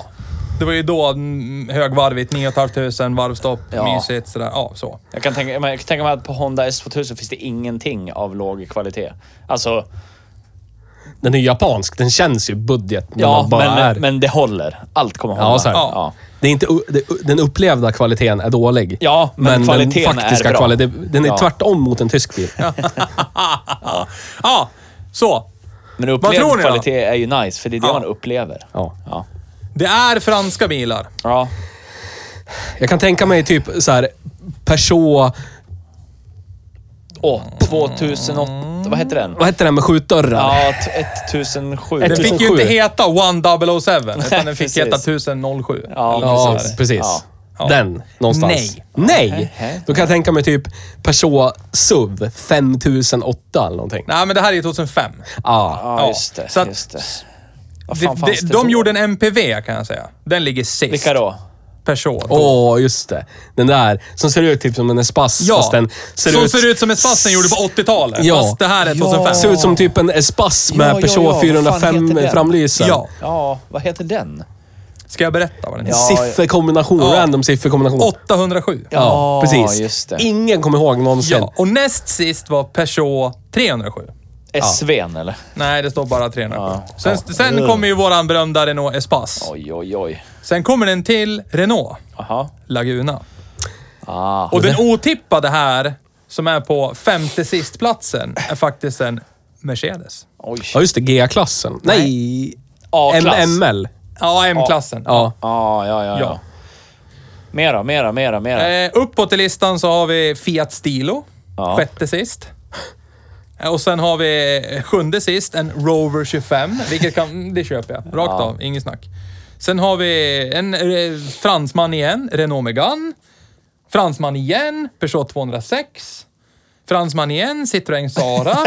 Speaker 3: Det var ju då mm, högvarvigt, 9 500, varvstopp,
Speaker 1: Ja.
Speaker 3: mysigt sådär. Ja, så. [laughs]
Speaker 1: Jag kan tänka, man kan tänka mig att på Honda S2000 finns det ingenting av låg kvalitet. Alltså,
Speaker 2: Den är ju japansk. Den känns ju budget när
Speaker 1: ja,
Speaker 2: man bara är...
Speaker 1: men, men det håller. Allt kommer hålla.
Speaker 2: ja, så här.
Speaker 3: Ja.
Speaker 1: Ja.
Speaker 2: Det är inte, u- det, u- den upplevda kvaliteten är dålig.
Speaker 1: Ja, men kvaliteten
Speaker 2: den faktiska
Speaker 1: är bra.
Speaker 2: kvaliteten... Den är
Speaker 1: Ja.
Speaker 2: tvärtom mot en tysk bil.
Speaker 3: Ja, så.
Speaker 1: Men
Speaker 3: tror ni
Speaker 1: upplevd
Speaker 3: då?
Speaker 1: kvalitet är ju nice, för det är det
Speaker 3: Ja.
Speaker 1: man upplever.
Speaker 2: Ja.
Speaker 1: Ja.
Speaker 3: Det är franska bilar.
Speaker 1: ja.
Speaker 2: Jag kan tänka mig typ så här Peugeot...
Speaker 1: Åh, 2008... Vad heter
Speaker 3: Mm.
Speaker 1: den?
Speaker 2: Vad heter den med skjutdörrar?
Speaker 1: Ja, t- 1007.
Speaker 3: Den fick ju
Speaker 2: 1007.
Speaker 3: inte heta 1007, utan den fick
Speaker 1: Typ [laughs] precis.
Speaker 3: heta 1007.
Speaker 1: Ja,
Speaker 3: Eller
Speaker 2: Ja,
Speaker 3: något
Speaker 2: precis.
Speaker 3: sådär. Ja.
Speaker 2: Ja. Den, någonstans.
Speaker 3: Nej.
Speaker 2: Nej!
Speaker 1: Nej.
Speaker 2: Då kan jag tänka mig typ Peugeot SUV 5008 eller någonting.
Speaker 3: Nej, men det här är 2005.
Speaker 2: Ja.
Speaker 1: Ja, just det.
Speaker 3: Så att-
Speaker 1: just det. Vad
Speaker 3: Det,
Speaker 1: fan fanns
Speaker 3: det,
Speaker 1: det
Speaker 3: de
Speaker 1: då?
Speaker 3: gjorde en MPV, kan jag säga. Den ligger sist.
Speaker 1: Vilka då?
Speaker 3: Peugeot.
Speaker 2: Åh, just det. Den där som ser ut typ som en espas.
Speaker 3: ja,
Speaker 2: fast den ser
Speaker 3: som
Speaker 2: ut...
Speaker 3: ser ut som en spass den gjorde på 80-talet.
Speaker 2: Ja.
Speaker 3: Fast det här är 2005.
Speaker 2: Ser ut som typ en espas med
Speaker 1: Ja, ja,
Speaker 2: Peugeot
Speaker 1: ja. Vad fan
Speaker 2: 405
Speaker 1: heter den?
Speaker 2: framlysen.
Speaker 3: Ja.
Speaker 1: Ja, vad heter den?
Speaker 3: Ska jag berätta vad den heter?
Speaker 1: Ja.
Speaker 2: Sifferkombination,
Speaker 3: Ja.
Speaker 2: random sifferkombination.
Speaker 3: 807.
Speaker 2: Ja,
Speaker 1: Ja,
Speaker 2: precis.
Speaker 1: just det.
Speaker 2: Ingen kommer ihåg någonsin.
Speaker 3: Ja, och näst sist var Peugeot 307.
Speaker 1: SVn eller?
Speaker 3: Nej, det står bara 307.
Speaker 1: Ja.
Speaker 3: Sen, sen kommer ju våran berömda Renault Espace.
Speaker 1: Oj, oj, oj.
Speaker 3: Sen kommer den till Renault
Speaker 1: Aha.
Speaker 3: Laguna.
Speaker 1: Ah.
Speaker 3: Och den otippade här, som är på femte sistplatsen, är faktiskt en Mercedes.
Speaker 1: Oj.
Speaker 2: Ja, just det. G-klassen. Nej.
Speaker 1: A-klass.
Speaker 2: MML.
Speaker 3: Ja, M-klassen.
Speaker 2: Ja.
Speaker 1: Ah, ja, ja, ja.
Speaker 3: Ja.
Speaker 1: Mera, mera, mera, mera.
Speaker 3: Eh, uppåt i listan så har vi Fiat Stilo,
Speaker 1: Ja.
Speaker 3: sjätte sist. Eh, Och sen har vi eh, sjunde sist, en Rover 25, vilket kan, mm, det köper jag. Rakt av, inget snack. Sen har vi en eh, fransman igen, Renault Megane. Fransman igen, Peugeot 206. Fransman igen, Citroën Sara.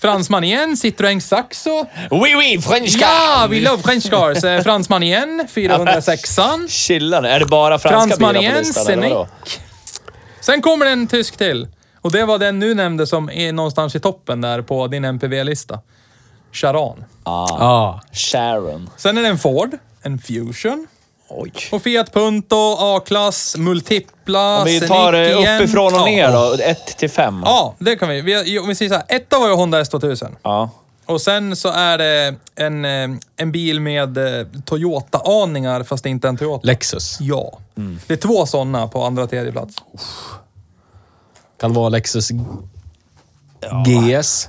Speaker 3: fransman igen, Citroën Saxo.
Speaker 1: Oui, oui, franska!
Speaker 3: Ja, we love French cars. Eh, Fransman igen, 406an.
Speaker 1: Chilla nu. Är det bara franska
Speaker 3: Fransman
Speaker 1: bilar på
Speaker 3: igen,
Speaker 1: listan? eller vadå?
Speaker 3: Scenic. Sen kommer en tysk till. Och det var den nu nämnde som är någonstans i toppen där på din MPV-lista. Charan.
Speaker 1: Ah.
Speaker 2: Ja.
Speaker 1: Sharon.
Speaker 3: Sen är det en Ford, en Fusion.
Speaker 1: Oj.
Speaker 3: Och Fiat Punto, A-klass, Multipla,
Speaker 1: Om vi
Speaker 3: Scenic
Speaker 1: tar eh,
Speaker 3: igen.
Speaker 1: uppifrån och
Speaker 3: Ja.
Speaker 1: ner då. 1 till 5.
Speaker 3: Ja, det kan vi. vi. Om vi säger så här, etta var ju Honda S2000.
Speaker 1: Ja.
Speaker 3: Och sen så är det en, eh, en bil med eh, Toyota-aningar, fast det är inte en Toyota.
Speaker 2: Lexus.
Speaker 3: Ja.
Speaker 1: Mm.
Speaker 3: Det är två sådana på andra och tredje plats.
Speaker 2: Kan vara Lexus GS.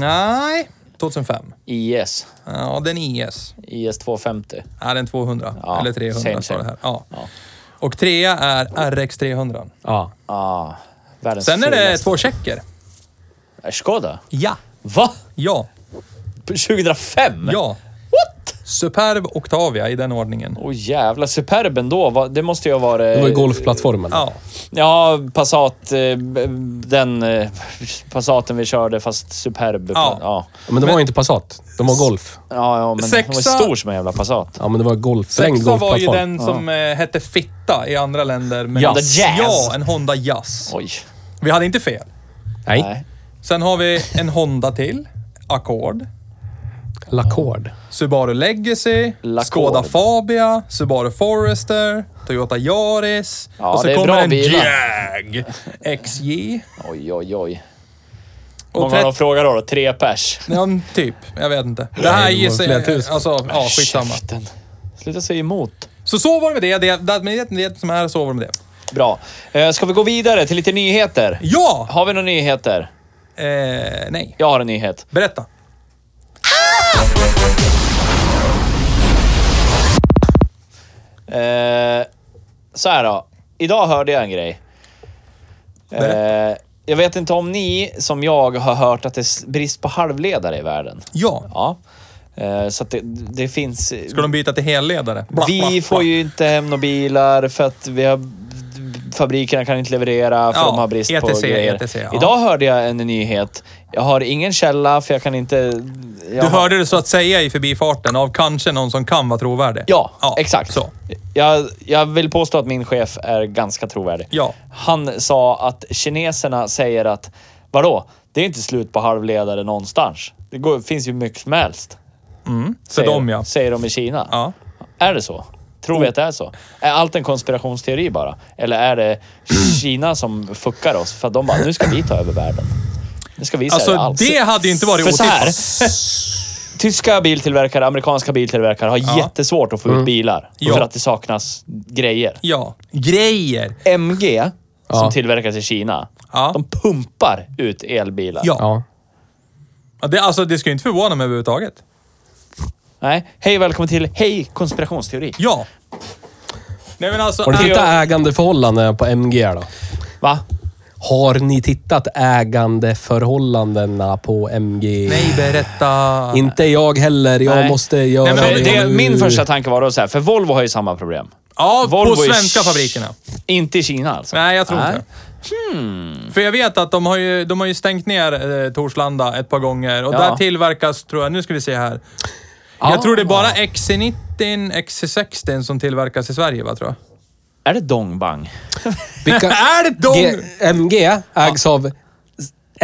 Speaker 3: Nej, 2005.
Speaker 1: IS.
Speaker 3: Ja, den är IS.
Speaker 1: IS 250.
Speaker 3: Ja, den 200.
Speaker 1: Ja,
Speaker 3: Eller 300
Speaker 1: same,
Speaker 3: står det här. Ja.
Speaker 1: Ja.
Speaker 3: Och trea är RX 300.
Speaker 2: Ja.
Speaker 1: Ah. Världens
Speaker 3: Sen är det
Speaker 1: fulaste.
Speaker 3: två tjecker.
Speaker 1: Skoda?
Speaker 3: Ja.
Speaker 1: Va?
Speaker 3: Ja.
Speaker 1: 2005?
Speaker 3: Ja.
Speaker 1: What? Oh.
Speaker 3: Superb Octavia i den ordningen.
Speaker 1: Åh jävlar, Superben då, va- det måste ju ha varit...
Speaker 2: Det var ju golfplattformen.
Speaker 3: Ja.
Speaker 1: Ja, Passat, eh, b- den eh, Passaten vi körde fast Superb.
Speaker 3: Ja.
Speaker 1: ja.
Speaker 2: Men det var ju inte Passat. De var golf.
Speaker 1: Ja, ja, men den var
Speaker 3: Sexa-
Speaker 1: stor som en jävla Passat.
Speaker 2: Ja, men det var golfregn
Speaker 3: Sexa var ju
Speaker 2: golfplattform.
Speaker 3: den som eh, hette Fitta i andra länder. Men
Speaker 1: Honda Jazz.
Speaker 3: Ja, en Honda Jazz.
Speaker 1: Oj.
Speaker 3: Vi hade inte fel.
Speaker 2: Nej.
Speaker 1: Nej.
Speaker 3: Sen har vi en Honda till. Accord.
Speaker 2: L'accord.
Speaker 3: Subaru Legacy,
Speaker 1: L'accord.
Speaker 3: Skoda Fabia, Subaru Forester, Toyota Yaris.
Speaker 1: Ja,
Speaker 3: och så
Speaker 1: det är
Speaker 3: kommer
Speaker 1: bra
Speaker 3: en
Speaker 1: bilar.
Speaker 3: Jag XJ.
Speaker 1: Oj, oj, oj.
Speaker 3: Och
Speaker 1: Många de
Speaker 3: 30,
Speaker 1: frågar då? då? Tre pers?
Speaker 3: ja, typ. Jag vet inte. Det här
Speaker 2: Nej, det var
Speaker 3: gissar
Speaker 2: flera
Speaker 3: jag...
Speaker 2: tusen.
Speaker 3: Alltså, ja, skitsamma.
Speaker 1: Käften. Sluta säga emot.
Speaker 3: Så så var det med det. Det, det, med det, det som är, så var det med det.
Speaker 1: Bra. Eh, ska vi gå vidare till lite nyheter?
Speaker 3: Ja!
Speaker 1: Har vi några nyheter?
Speaker 3: Eh, nej.
Speaker 1: Jag har en nyhet.
Speaker 3: Berätta.
Speaker 1: Eh, så här då. Idag hörde jag en grej. Eh, jag vet inte om ni, som jag, har hört att det är s- brist på halvledare i världen.
Speaker 3: Ja.
Speaker 1: Ja. Eh, så att det, det finns...
Speaker 3: Ska de byta till helledare? Bla, bla,
Speaker 1: Vi
Speaker 3: bla.
Speaker 1: får ju inte hem några bilar för att vi har, fabrikerna kan inte leverera för
Speaker 3: Ja, E
Speaker 1: de har brist på
Speaker 3: ETC,
Speaker 1: grejer.
Speaker 3: ETC, ja.
Speaker 1: Idag hörde jag en nyhet. Jag har ingen källa för jag kan inte... Jag
Speaker 3: Du
Speaker 1: har-
Speaker 3: hörde det så att säga i förbifarten av kanske någon som kan vara trovärdig.
Speaker 1: Ja, exakt.
Speaker 3: Så.
Speaker 1: Jag, jag vill påstå att min chef är ganska trovärdig.
Speaker 3: Ja.
Speaker 1: Han sa att kineserna säger att vadå, det är inte slut på halvledare någonstans. Det går, finns ju mycket som helst.
Speaker 3: Mm, För
Speaker 1: säger,
Speaker 3: dem ja.
Speaker 1: Säger de i Kina.
Speaker 3: Ja. Oh.
Speaker 1: Är det så? Tror vi att det är så? Är allt en konspirationsteori bara? Eller är det Kina som fuckar oss? För att de bara, nu ska vi ta över världen. Nu ska vi sälja
Speaker 3: Alltså,
Speaker 1: allt.
Speaker 3: det hade ju inte varit
Speaker 1: För så här,
Speaker 3: otippat.
Speaker 1: Tyska biltillverkare, amerikanska biltillverkare har jättesvårt att få ut bilar.
Speaker 3: Mm. Ja.
Speaker 1: För att det saknas grejer.
Speaker 3: Ja. Grejer.
Speaker 1: MG,
Speaker 2: Ja.
Speaker 1: som tillverkas i Kina,
Speaker 3: Ja.
Speaker 1: de pumpar ut elbilar.
Speaker 3: Ja.
Speaker 2: Ja.
Speaker 3: Ja, Det, alltså, det ska ju inte förvåna mig överhuvudtaget.
Speaker 1: Nej, hej välkommen till Hej konspirationsteori.
Speaker 3: Ja. Nej men alltså...
Speaker 2: Har du
Speaker 3: är-
Speaker 2: tittat ägandeförhållanden på MG då?
Speaker 1: Va?
Speaker 2: Har ni tittat ägandeförhållandena på MG?
Speaker 3: Nej, berätta.
Speaker 2: Inte jag heller. Jag
Speaker 1: Nej.
Speaker 2: måste göra
Speaker 3: men
Speaker 1: För
Speaker 3: Ja,
Speaker 2: det,
Speaker 3: det
Speaker 1: det,
Speaker 3: är-
Speaker 2: nu.
Speaker 1: min första tanke var då så här, för Volvo har ju samma problem.
Speaker 3: ja,
Speaker 1: Volvo
Speaker 3: på
Speaker 1: i
Speaker 3: svenska
Speaker 1: Ch-
Speaker 3: fabrikerna.
Speaker 1: Inte i Kina alltså?
Speaker 3: Nej, jag tror inte Hmm. För jag vet att de har ju, de har ju stängt ner eh, Torslanda ett par gånger och
Speaker 1: Ja.
Speaker 3: där tillverkas, tror jag, nu ska vi se här. Jag tror det är bara E XC90, XC60 E som tillverkas i Sverige, va, tror jag.
Speaker 1: Är det dongbang?
Speaker 2: Vilka,
Speaker 3: [laughs] Är det de?
Speaker 2: G- MG ägs av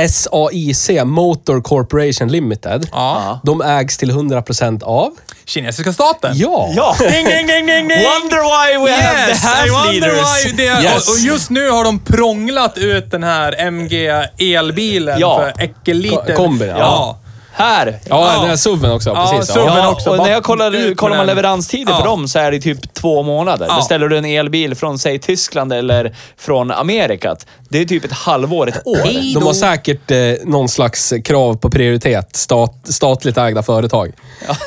Speaker 2: SAIC, Motor Corporation Limited.
Speaker 3: Ja.
Speaker 2: De ägs till 100% av...
Speaker 3: Kinesiska staten.
Speaker 2: Ja!
Speaker 3: Ding, ding, ding, ding, ding.
Speaker 1: [laughs] Wonder why we have
Speaker 3: Yes,
Speaker 1: the half
Speaker 3: I wonder
Speaker 1: leaders.
Speaker 3: why they-
Speaker 1: Yes.
Speaker 3: och, och just nu har de prånglat ut den här MG elbilen
Speaker 1: Ja.
Speaker 3: för äckeliten.
Speaker 2: Ko- kombi, ja.
Speaker 3: ja.
Speaker 1: Här!
Speaker 2: Ja,
Speaker 3: Ja.
Speaker 2: den här SUVen också.
Speaker 3: Ja,
Speaker 2: precis.
Speaker 3: SUVen.
Speaker 2: Ja.
Speaker 3: Men
Speaker 1: Ja,
Speaker 3: också
Speaker 1: och
Speaker 3: bara
Speaker 1: när jag kollar,
Speaker 3: ut
Speaker 1: kollar
Speaker 3: med
Speaker 1: man
Speaker 3: den.
Speaker 1: leveranstider
Speaker 3: Ja.
Speaker 1: på dem så är det typ två månader.
Speaker 3: Ja.
Speaker 1: Beställer du en elbil från, säg Tyskland eller från Amerikat, det är typ ett halvår, ett år.
Speaker 2: De har säkert eh, någon slags krav på prioritet, stat, statligt ägda företag.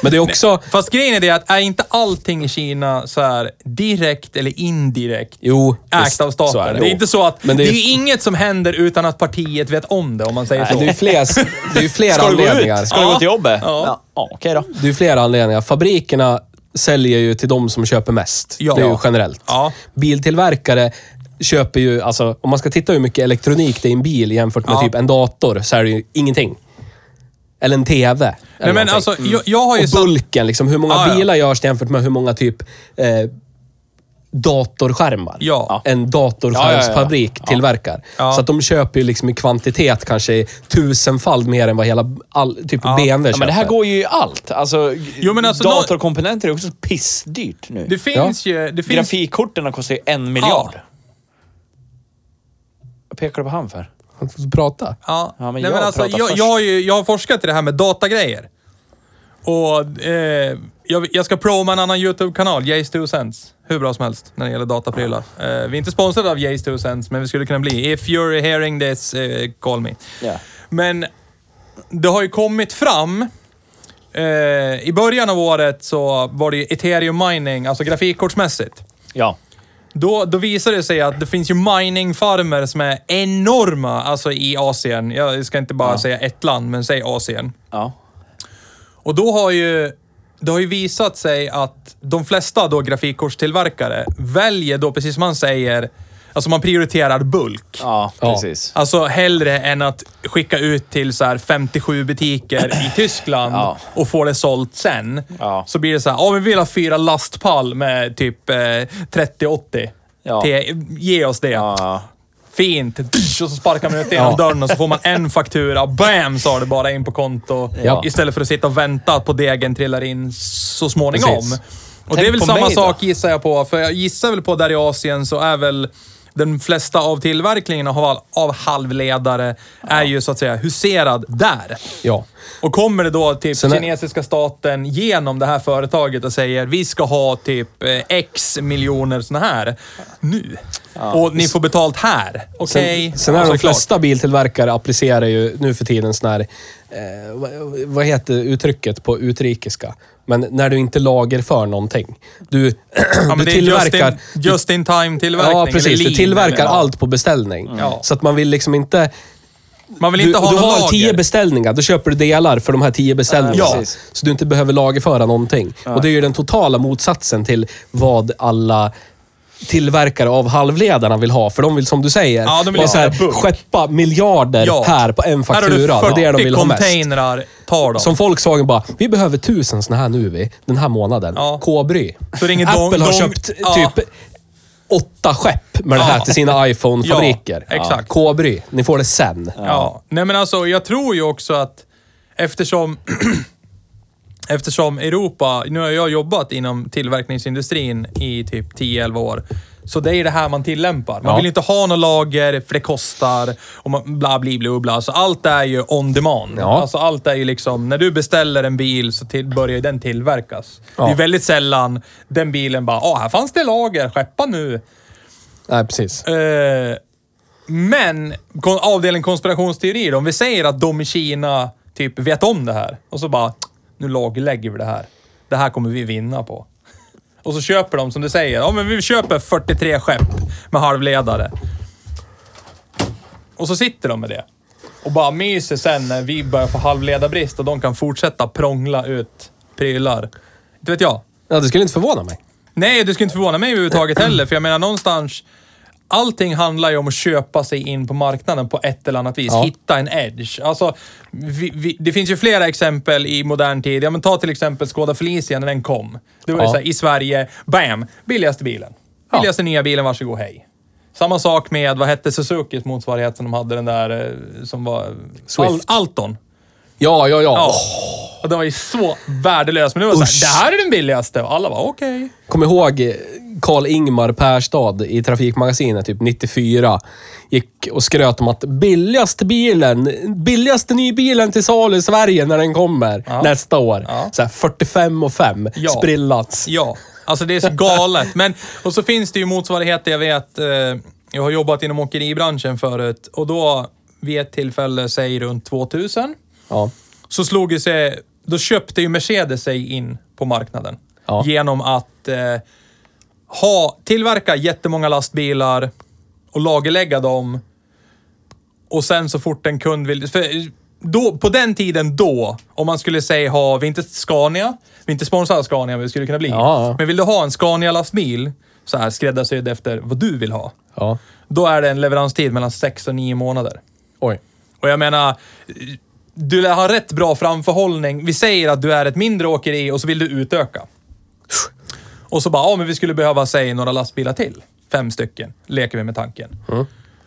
Speaker 2: Men det är också...
Speaker 3: Fast grejen är det att är inte allting i Kina så här direkt eller indirekt
Speaker 2: Jo,
Speaker 3: ägt
Speaker 2: visst,
Speaker 3: av staten?
Speaker 2: så är
Speaker 3: det.
Speaker 2: det.
Speaker 3: är inte så att...
Speaker 2: Men
Speaker 3: det
Speaker 2: det
Speaker 3: är,
Speaker 2: är-
Speaker 3: ju inget som händer utan att partiet vet om det, om man säger
Speaker 2: Men Det är ju
Speaker 3: så.
Speaker 2: flera, det är
Speaker 3: [laughs]
Speaker 2: ju flera
Speaker 1: Ska du gå
Speaker 2: anledningar.
Speaker 1: ut? Ska du gå till jobbet?
Speaker 3: Ja.
Speaker 1: Ja. ja, Okej då.
Speaker 2: Det är flera anledningar. Fabrikerna säljer ju till de som köper mest.
Speaker 3: Ja.
Speaker 2: Det är ju generellt.
Speaker 3: Ja.
Speaker 2: Biltillverkare köper ju, alltså om man ska titta hur mycket elektronik det är i en bil jämfört med
Speaker 3: Ja.
Speaker 2: typ en dator, så är det ju ingenting. Eller en TV. Eller
Speaker 3: Nej, men
Speaker 2: någonting. Mm.
Speaker 3: alltså, jag, jag har ju...
Speaker 2: Och
Speaker 3: satt-
Speaker 2: bulken, liksom, hur många
Speaker 3: Ja, ja.
Speaker 2: bilar görs det jämfört med hur många typ eh, datorskärmar
Speaker 3: Ja.
Speaker 2: en datorskärmsfabrik tillverkar.
Speaker 3: Ja.
Speaker 2: Så att de köper ju liksom i kvantitet kanske tusenfald mer än vad hela all, typ BMW
Speaker 1: Ja,
Speaker 2: köper.
Speaker 1: men det här går ju i allt. Alltså,
Speaker 3: Jo, men alltså,
Speaker 1: datorkomponenter är också pissdyrt nu.
Speaker 3: Det finns ju... Det finns,
Speaker 1: Grafikkorten kostar ju en miljard. Vad pekar du på han för?
Speaker 2: Han får prata.
Speaker 3: Ja.
Speaker 1: Ja, men
Speaker 3: Nej,
Speaker 1: jag
Speaker 3: men alltså,
Speaker 1: pratar
Speaker 3: jag,
Speaker 1: först.
Speaker 3: jag, har ju, jag har forskat i det här med datagrejer. Och eh, jag, jag ska proma en annan YouTube-kanal, Jays 2 cents. Hur bra som helst när det gäller dataprylar. Eh, vi är inte sponsrade av Jays 2 cents, men vi skulle kunna bli. If you're hearing this, eh, call me.
Speaker 1: Ja.
Speaker 3: Men det har ju kommit fram. Eh, I början av året så var det ju ethereum mining, alltså grafikkortsmässigt.
Speaker 1: Ja.
Speaker 3: Då, då visar det sig att det finns ju miningfarmer som är enorma, alltså i Asien. Jag ska inte bara säga ett land, men säg Asien.
Speaker 1: ja.
Speaker 3: Och då har ju... Det har ju visat sig att de flesta då grafikkortstillverkare väljer då, precis som man säger, alltså man prioriterar bulk.
Speaker 1: Ja,
Speaker 2: Ja.
Speaker 1: precis.
Speaker 3: Alltså hellre än att skicka ut till så här 57 butiker
Speaker 1: [clears throat]
Speaker 3: i Tyskland
Speaker 1: Ja.
Speaker 3: och få det sålt sen.
Speaker 1: Ja.
Speaker 3: Så blir det så här, ja vi vill ha fyra lastpall med typ eh, 30-80.
Speaker 1: Ja.
Speaker 3: Till- Ge oss det.
Speaker 1: Ja.
Speaker 3: Fint! Och så sparkar man ut genom dörren och så får man en faktura. Bam! Så har det bara in på konto.
Speaker 2: Ja.
Speaker 3: Istället för att sitta och vänta på degen trillar in så småningom.
Speaker 2: Precis.
Speaker 3: Och
Speaker 1: Tänk
Speaker 3: det är väl
Speaker 1: på
Speaker 3: samma
Speaker 1: mig då.
Speaker 3: sak gissar jag på. För jag gissar väl på där i Asien så är väl den flesta av tillverkningen av, av halvledare är ju så att säga huserad där.
Speaker 2: Ja.
Speaker 3: Och kommer det då typ
Speaker 2: Sen är-
Speaker 3: kinesiska staten genom det här företaget och säger vi ska ha typ eh, x miljoner såna här nu. Och ni får betalt här.
Speaker 2: Sen,
Speaker 3: Okej?
Speaker 2: sen är
Speaker 3: Ja,
Speaker 2: de
Speaker 3: såklart.
Speaker 2: flesta biltillverkare applicerar ju nu för tiden sån här, eh, vad- vad heter uttrycket på utrikiska? Men när du inte lagerför någonting. Du,
Speaker 3: Ja,
Speaker 2: du
Speaker 3: men det är just
Speaker 2: tillverkar...
Speaker 3: in, just in time tillverkning.
Speaker 2: ja, precis.
Speaker 3: eller
Speaker 2: Du
Speaker 3: lean,
Speaker 2: tillverkar
Speaker 3: eller-
Speaker 2: allt på beställning.
Speaker 3: Ja.
Speaker 2: Så att man vill liksom inte...
Speaker 3: Man vill
Speaker 2: Du,
Speaker 3: inte ha
Speaker 2: du
Speaker 3: någon
Speaker 2: har
Speaker 3: lager.
Speaker 2: tio beställningar, då köper du delar för de här tio beställningarna.
Speaker 3: Ja.
Speaker 2: Precis. Så du inte behöver lagerföra någonting. Och det är ju den totala motsatsen till vad alla tillverkare av halvledarna vill ha. För de vill, som du säger,
Speaker 3: Ja, de vill
Speaker 2: bara
Speaker 3: ha
Speaker 2: så här,
Speaker 3: bulk.
Speaker 2: skeppa miljarder
Speaker 3: Ja.
Speaker 2: här på en faktura.
Speaker 3: Här har
Speaker 2: det
Speaker 3: du
Speaker 2: är
Speaker 3: 40
Speaker 2: det de vill ha mest.
Speaker 3: containrar. Ta dem.
Speaker 2: Som Volkswagen bara, vi behöver tusen såna här nu vi, den här månaden.
Speaker 3: Ja.
Speaker 2: K-bry.
Speaker 3: Så ringer
Speaker 2: Apple
Speaker 3: Dong-
Speaker 2: har
Speaker 3: Dong-
Speaker 2: köpt
Speaker 3: Ja.
Speaker 2: typ åtta skepp med det här
Speaker 3: Ja.
Speaker 2: till sina iPhone-fabriker.
Speaker 3: Ja, exakt.
Speaker 2: K-bry, ni får det sen.
Speaker 3: Ja. Nej men alltså, jag tror ju också att eftersom, [clears throat] eftersom Europa, nu har jag jobbat inom tillverkningsindustrin i typ 10-11 år. Så det är ju det här man tillämpar. Man
Speaker 2: Ja.
Speaker 3: vill inte ha något lager, för det kostar och man, bla bli bli bla. Så allt är ju on demand.
Speaker 2: Ja.
Speaker 3: Alltså allt är ju liksom, när du beställer en bil så till, börjar ju den tillverkas.
Speaker 2: Ja.
Speaker 3: Det är väldigt sällan den bilen bara, ah här fanns det lager, skeppa nu.
Speaker 2: Nej, precis.
Speaker 3: Eh, men kon- avdelning konspirationsteorier, om vi säger att de i Kina typ vet om det här och så bara, nu laglägger vi det här. Det här kommer vi vinna på. [laughs] Och så köper de som du säger, ja men vi köper 43 skepp med halvledare. Och så sitter de med det. Och bara myser sen när vi börjar få halvledarbrist och de kan fortsätta prångla ut prylar. Inte vet jag.
Speaker 2: Ja, det skulle inte förvåna mig.
Speaker 3: Nej, du skulle inte förvåna mig överhuvudtaget heller, för jag menar någonstans... allting handlar ju om att köpa sig in på marknaden på ett eller annat vis.
Speaker 2: Ja.
Speaker 3: Hitta en edge. Alltså, vi, vi, det finns ju flera exempel i modern tid. Ja, men ta till exempel Skoda Felicia när den kom. Det var ju
Speaker 2: Ja.
Speaker 3: så här, i Sverige, bam! Billigaste bilen. Billigaste nya bilen, varsågod, hej. Samma sak med, vad hette Suzukis motsvarighet som de hade, den där eh, som var...
Speaker 2: Swift.
Speaker 3: Alton.
Speaker 2: Ja, ja, ja.
Speaker 3: Ja. Och den var ju så värdelös. Men det var
Speaker 2: Usch.
Speaker 3: såhär, det här är den billigaste. Och alla var okej.
Speaker 2: Kom ihåg Karl-Ingmar Perstad i Trafikmagasinet typ 94. Gick och skröt om att billigaste bilen, billigaste nybilen till salu i Sverige när den kommer nästa år.
Speaker 3: Ja.
Speaker 2: Så här 45 och 5
Speaker 3: Ja.
Speaker 2: sprillans.
Speaker 3: Ja, alltså det är så galet. Men, och så finns det ju motsvarigheter. Jag vet, eh, jag har jobbat inom åkeribranschen förut och då vid ett tillfälle, säg runt 2000,
Speaker 2: Ja.
Speaker 3: så slog ju sig, då köpte ju Mercedes sig in på marknaden.
Speaker 2: Ja.
Speaker 3: Genom att eh, ha, tillverka jättemånga lastbilar och lagerlägga dem. Och sen så fort en kund vill... För då, på den tiden då, om man skulle säga ha, vi är inte Scania, vi är inte sponsrade av Scania, men vi skulle kunna bli.
Speaker 2: Ja, ja.
Speaker 3: Men vill du ha en Scania-lastbil, så här skräddarsydd efter vad du vill ha,
Speaker 2: ja.
Speaker 3: då är det en leveranstid mellan 6 och 9 månader.
Speaker 2: Oj.
Speaker 3: Och jag menar, du lär ha rätt bra framförhållning. Vi säger att du är ett mindre åkeri och så vill du utöka. Och så bara, ja men vi skulle behöva, säg några lastbilar till. Fem stycken, leker vi med tanken.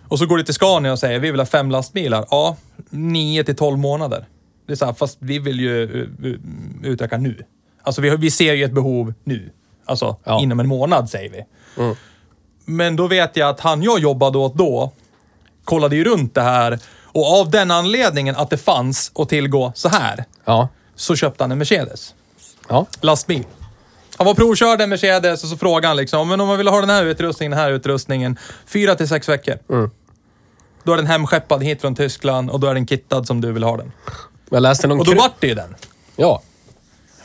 Speaker 3: Och så går du till Scania och säger, vi vill ha fem lastbilar. Ja, nio till 12 månader. Det är så här, fast vi vill ju eh, eh, utöka nu. Alltså vi, har- vi ser ju ett behov nu. Alltså
Speaker 2: Ja.
Speaker 3: inom en månad säger vi. Men då vet jag att han jag jobbade åt då kollade ju runt det här och av den anledningen att det fanns att tillgå så här
Speaker 2: Ja.
Speaker 3: så köpte han en Mercedes
Speaker 2: Ja.
Speaker 3: lastbil. Han var provkörd en Mercedes och så frågade han liksom, men om man vill ha den här utrustningen, den här utrustningen, fyra till sex veckor.
Speaker 2: Mm.
Speaker 3: Då är den hemskeppad hit från Tyskland och då är den kittad som du vill ha den.
Speaker 2: Jag läste någon
Speaker 3: Och då
Speaker 2: kry-
Speaker 3: vart det ju den.
Speaker 2: Ja.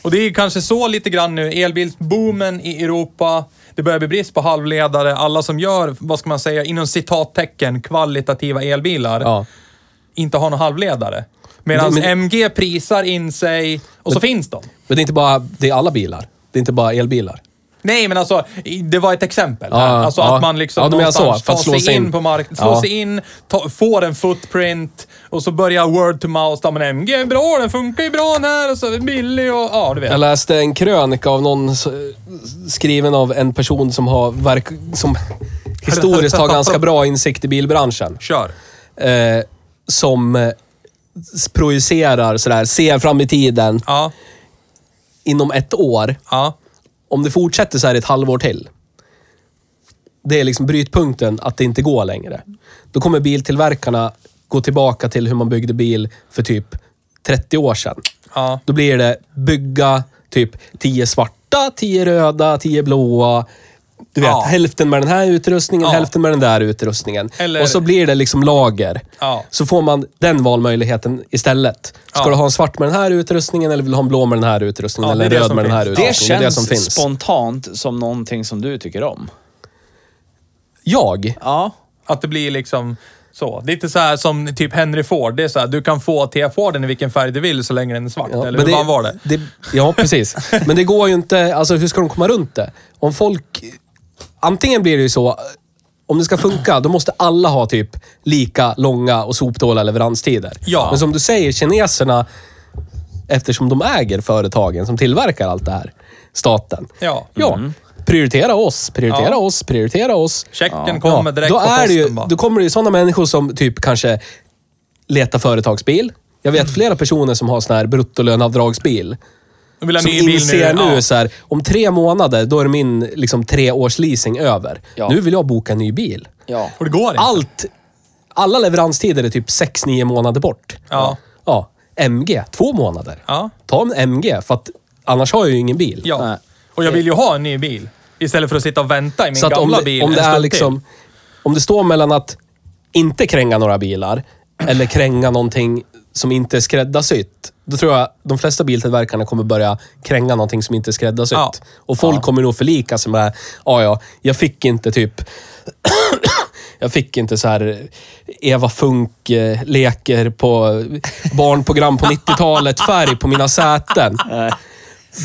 Speaker 3: Och det är ju kanske så lite grann nu, elbilsboomen i Europa, det börjar bli brist på halvledare, alla som gör, vad ska man säga, inom citattecken, kvalitativa elbilar
Speaker 2: Ja.
Speaker 3: inte har någon halvledare. Medan
Speaker 2: Men-
Speaker 3: MG prisar in sig och så finns de.
Speaker 2: Men det är inte bara, det är alla bilar. Det är inte bara elbilar.
Speaker 3: Nej, men alltså, i- det var ett exempel.
Speaker 2: Ja,
Speaker 3: här. alltså
Speaker 2: ja.
Speaker 3: att man liksom
Speaker 2: Ja, du menar så,
Speaker 3: någonstans
Speaker 2: för att
Speaker 3: tar
Speaker 2: slå sig in.
Speaker 3: på marknaden, slår
Speaker 2: Ja.
Speaker 3: sig in, ta, får en footprint och så börjar word to mouth. Ja, men MG är bra, den funkar ju bra den här och så är den billig och ja, du vet.
Speaker 2: Jag läste en krönika av någon s- skriven av en person som har verk, som historiskt har ganska bra insikt i bilbranschen.
Speaker 3: Kör.
Speaker 2: Eh, som eh, s- projicerar sådär, ser fram i tiden
Speaker 3: Ja,
Speaker 2: inom ett år.
Speaker 3: ja.
Speaker 2: Om det fortsätter så här ett halvår till. Det är liksom brytpunkten att det inte går längre. Då kommer biltillverkarna gå tillbaka till hur man byggde bil för typ 30 år sedan.
Speaker 3: Ja.
Speaker 2: Då blir det bygga typ 10 svarta, 10 röda, 10 blåa. Du vet,
Speaker 3: Ja.
Speaker 2: hälften med den här utrustningen,
Speaker 3: Ja.
Speaker 2: hälften med den där utrustningen.
Speaker 3: Eller-
Speaker 2: Och så blir det liksom lager.
Speaker 3: Ja.
Speaker 2: Så får man den valmöjligheten istället. Ska
Speaker 3: Ja.
Speaker 2: du ha en svart med den här utrustningen eller vill du ha en blå med den här utrustningen
Speaker 3: Ja, det
Speaker 2: eller
Speaker 3: är
Speaker 2: en
Speaker 3: det
Speaker 2: röd
Speaker 3: som
Speaker 2: med den här
Speaker 3: finns.
Speaker 1: Det
Speaker 2: utrustningen?
Speaker 1: känns
Speaker 2: det är det som finns.
Speaker 1: spontant som någonting som du tycker om.
Speaker 2: jag?
Speaker 1: Ja.
Speaker 3: Att det blir liksom så. Det är inte så här som typ Henry Ford. Det är så här, du kan få T-Forden i vilken färg du vill så länge den är svart.
Speaker 2: Ja,
Speaker 3: eller hur fan var det?
Speaker 2: Ja, precis. Men det går ju inte... Alltså hur ska de komma runt det? Om folk... Antingen blir det ju så... Om det ska funka, då måste alla ha typ lika långa och sopdåliga leveranstider.
Speaker 3: Ja.
Speaker 2: Men som du säger, kineserna, eftersom de äger företagen som tillverkar allt det här, staten.
Speaker 3: Ja. Mm.
Speaker 2: ja Prioritera oss, prioritera
Speaker 3: Ja.
Speaker 2: oss, prioritera oss.
Speaker 3: Checken kommer direkt
Speaker 2: då
Speaker 3: på
Speaker 2: är
Speaker 3: posten
Speaker 2: det ju,
Speaker 3: bara.
Speaker 2: Då kommer det ju sådana människor som typ kanske letar företagsbil. Jag
Speaker 3: Mm.
Speaker 2: vet flera personer som har sån här bruttolönavdragsbil.
Speaker 3: De vill ha
Speaker 2: Som
Speaker 3: ny bil
Speaker 2: inser nu,
Speaker 3: Ja.
Speaker 2: så här, om tre månader, då är min liksom, treårsleasing över.
Speaker 1: Ja.
Speaker 2: Nu vill jag boka en ny bil.
Speaker 1: Ja.
Speaker 3: Och det går inte.
Speaker 2: Allt, alla leveranstider är typ 6-9 månader bort.
Speaker 3: Ja.
Speaker 2: ja. MG, två månader.
Speaker 3: Ja.
Speaker 2: Ta en MG, för att annars har jag ju ingen bil.
Speaker 3: Ja.
Speaker 1: Nej.
Speaker 3: Och jag vill ju ha en ny bil. Istället för att sitta och vänta i min
Speaker 2: Eh. Så att om
Speaker 3: gamla
Speaker 2: det,
Speaker 3: bil
Speaker 2: om
Speaker 3: en
Speaker 2: det är
Speaker 3: stund
Speaker 2: liksom...
Speaker 3: till.
Speaker 2: Om det står mellan att inte kränga några bilar eller kränga någonting som inte är skräddarsytt. Då tror jag de flesta biltillverkarna kommer börja kränga någonting som inte är skräddarsytt.
Speaker 3: Ja.
Speaker 2: Och folk kommer nog förlika sig med, ja ja, jag fick inte typ... [coughs] jag fick inte så här eh, Eva
Speaker 3: [laughs]
Speaker 2: eh, Funk-leker på barnprogram på 90-talet, färg på mina säten.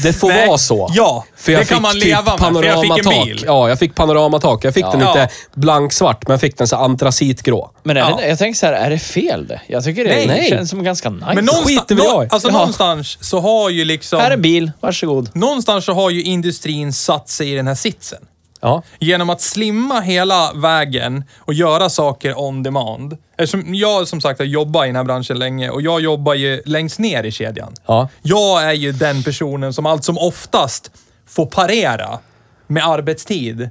Speaker 2: Det får
Speaker 3: Nej,
Speaker 2: vara så.
Speaker 3: ja.
Speaker 2: för jag
Speaker 3: Det kan
Speaker 2: fick
Speaker 3: man
Speaker 2: typ
Speaker 3: leva med, för jag fick en
Speaker 2: panoramatak.
Speaker 3: bil.
Speaker 2: Ja, jag fick panoramatak. Jag fick den
Speaker 3: Ja.
Speaker 2: inte blanksvart, men jag fick den så här antracitgrå.
Speaker 1: Men är
Speaker 3: Ja.
Speaker 1: det, jag tänker så här, är det fel det? Jag tycker det
Speaker 3: Nej.
Speaker 1: känns som ganska nice.
Speaker 3: Men någonstans,
Speaker 2: skiter väl jag i.
Speaker 3: alltså
Speaker 2: Jaha.
Speaker 3: någonstans så har ju liksom...
Speaker 1: Här är en bil, varsågod.
Speaker 3: Någonstans så har ju industrin satt sig i den här sitsen.
Speaker 2: Ja.
Speaker 3: Genom att slimma hela vägen och göra saker on demand. Eftersom jag som sagt har jobbat i den här branschen länge och jag jobbar ju längst ner i kedjan.
Speaker 2: Ja.
Speaker 3: Jag är ju den personen som allt som oftast får parera med arbetstid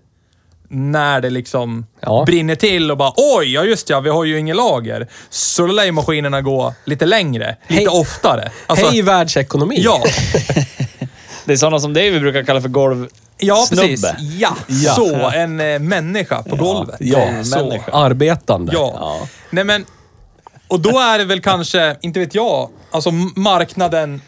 Speaker 3: när det liksom
Speaker 2: Ja.
Speaker 3: brinner till och bara oj, ja just ja, vi har ju inget lager. Så då lär ju maskinerna gå lite längre, lite
Speaker 2: Hej.
Speaker 3: oftare. Alltså,
Speaker 2: Hej världsekonomi!
Speaker 3: Ja,
Speaker 1: Det är sådana som dig vi brukar kalla för golv...
Speaker 3: ja
Speaker 1: Snubbe.
Speaker 3: precis. Ja.
Speaker 2: Ja.
Speaker 3: Så, en eh, människa på golvet.
Speaker 2: Ja,
Speaker 3: så.
Speaker 2: så. Arbetande.
Speaker 3: Ja.
Speaker 1: Ja.
Speaker 3: Nej men, och då är det väl kanske, inte vet jag, alltså m- marknaden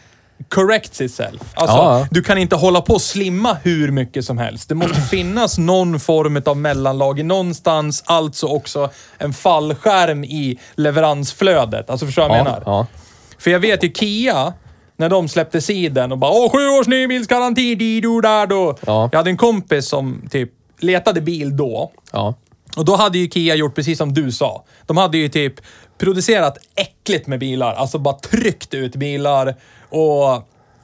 Speaker 3: corrects itself. Alltså,
Speaker 2: Ja.
Speaker 3: du kan inte hålla på och slimma hur mycket som helst. Det
Speaker 2: [clears throat]
Speaker 3: måste finnas någon form av mellanlager någonstans, alltså också en fallskärm i leveransflödet. Alltså förstår du vad jag
Speaker 2: ja,
Speaker 3: menar?
Speaker 2: ja.
Speaker 3: För jag vet ju Kia, när de släppte siden och bara åh, sju års nybilsgaranti, dido dado.
Speaker 2: Ja.
Speaker 3: Jag hade en kompis som typ letade bil då.
Speaker 2: ja.
Speaker 3: Och då hade ju Kia gjort precis som du sa. De hade ju typ producerat äckligt med bilar, alltså bara tryckt ut bilar. Och,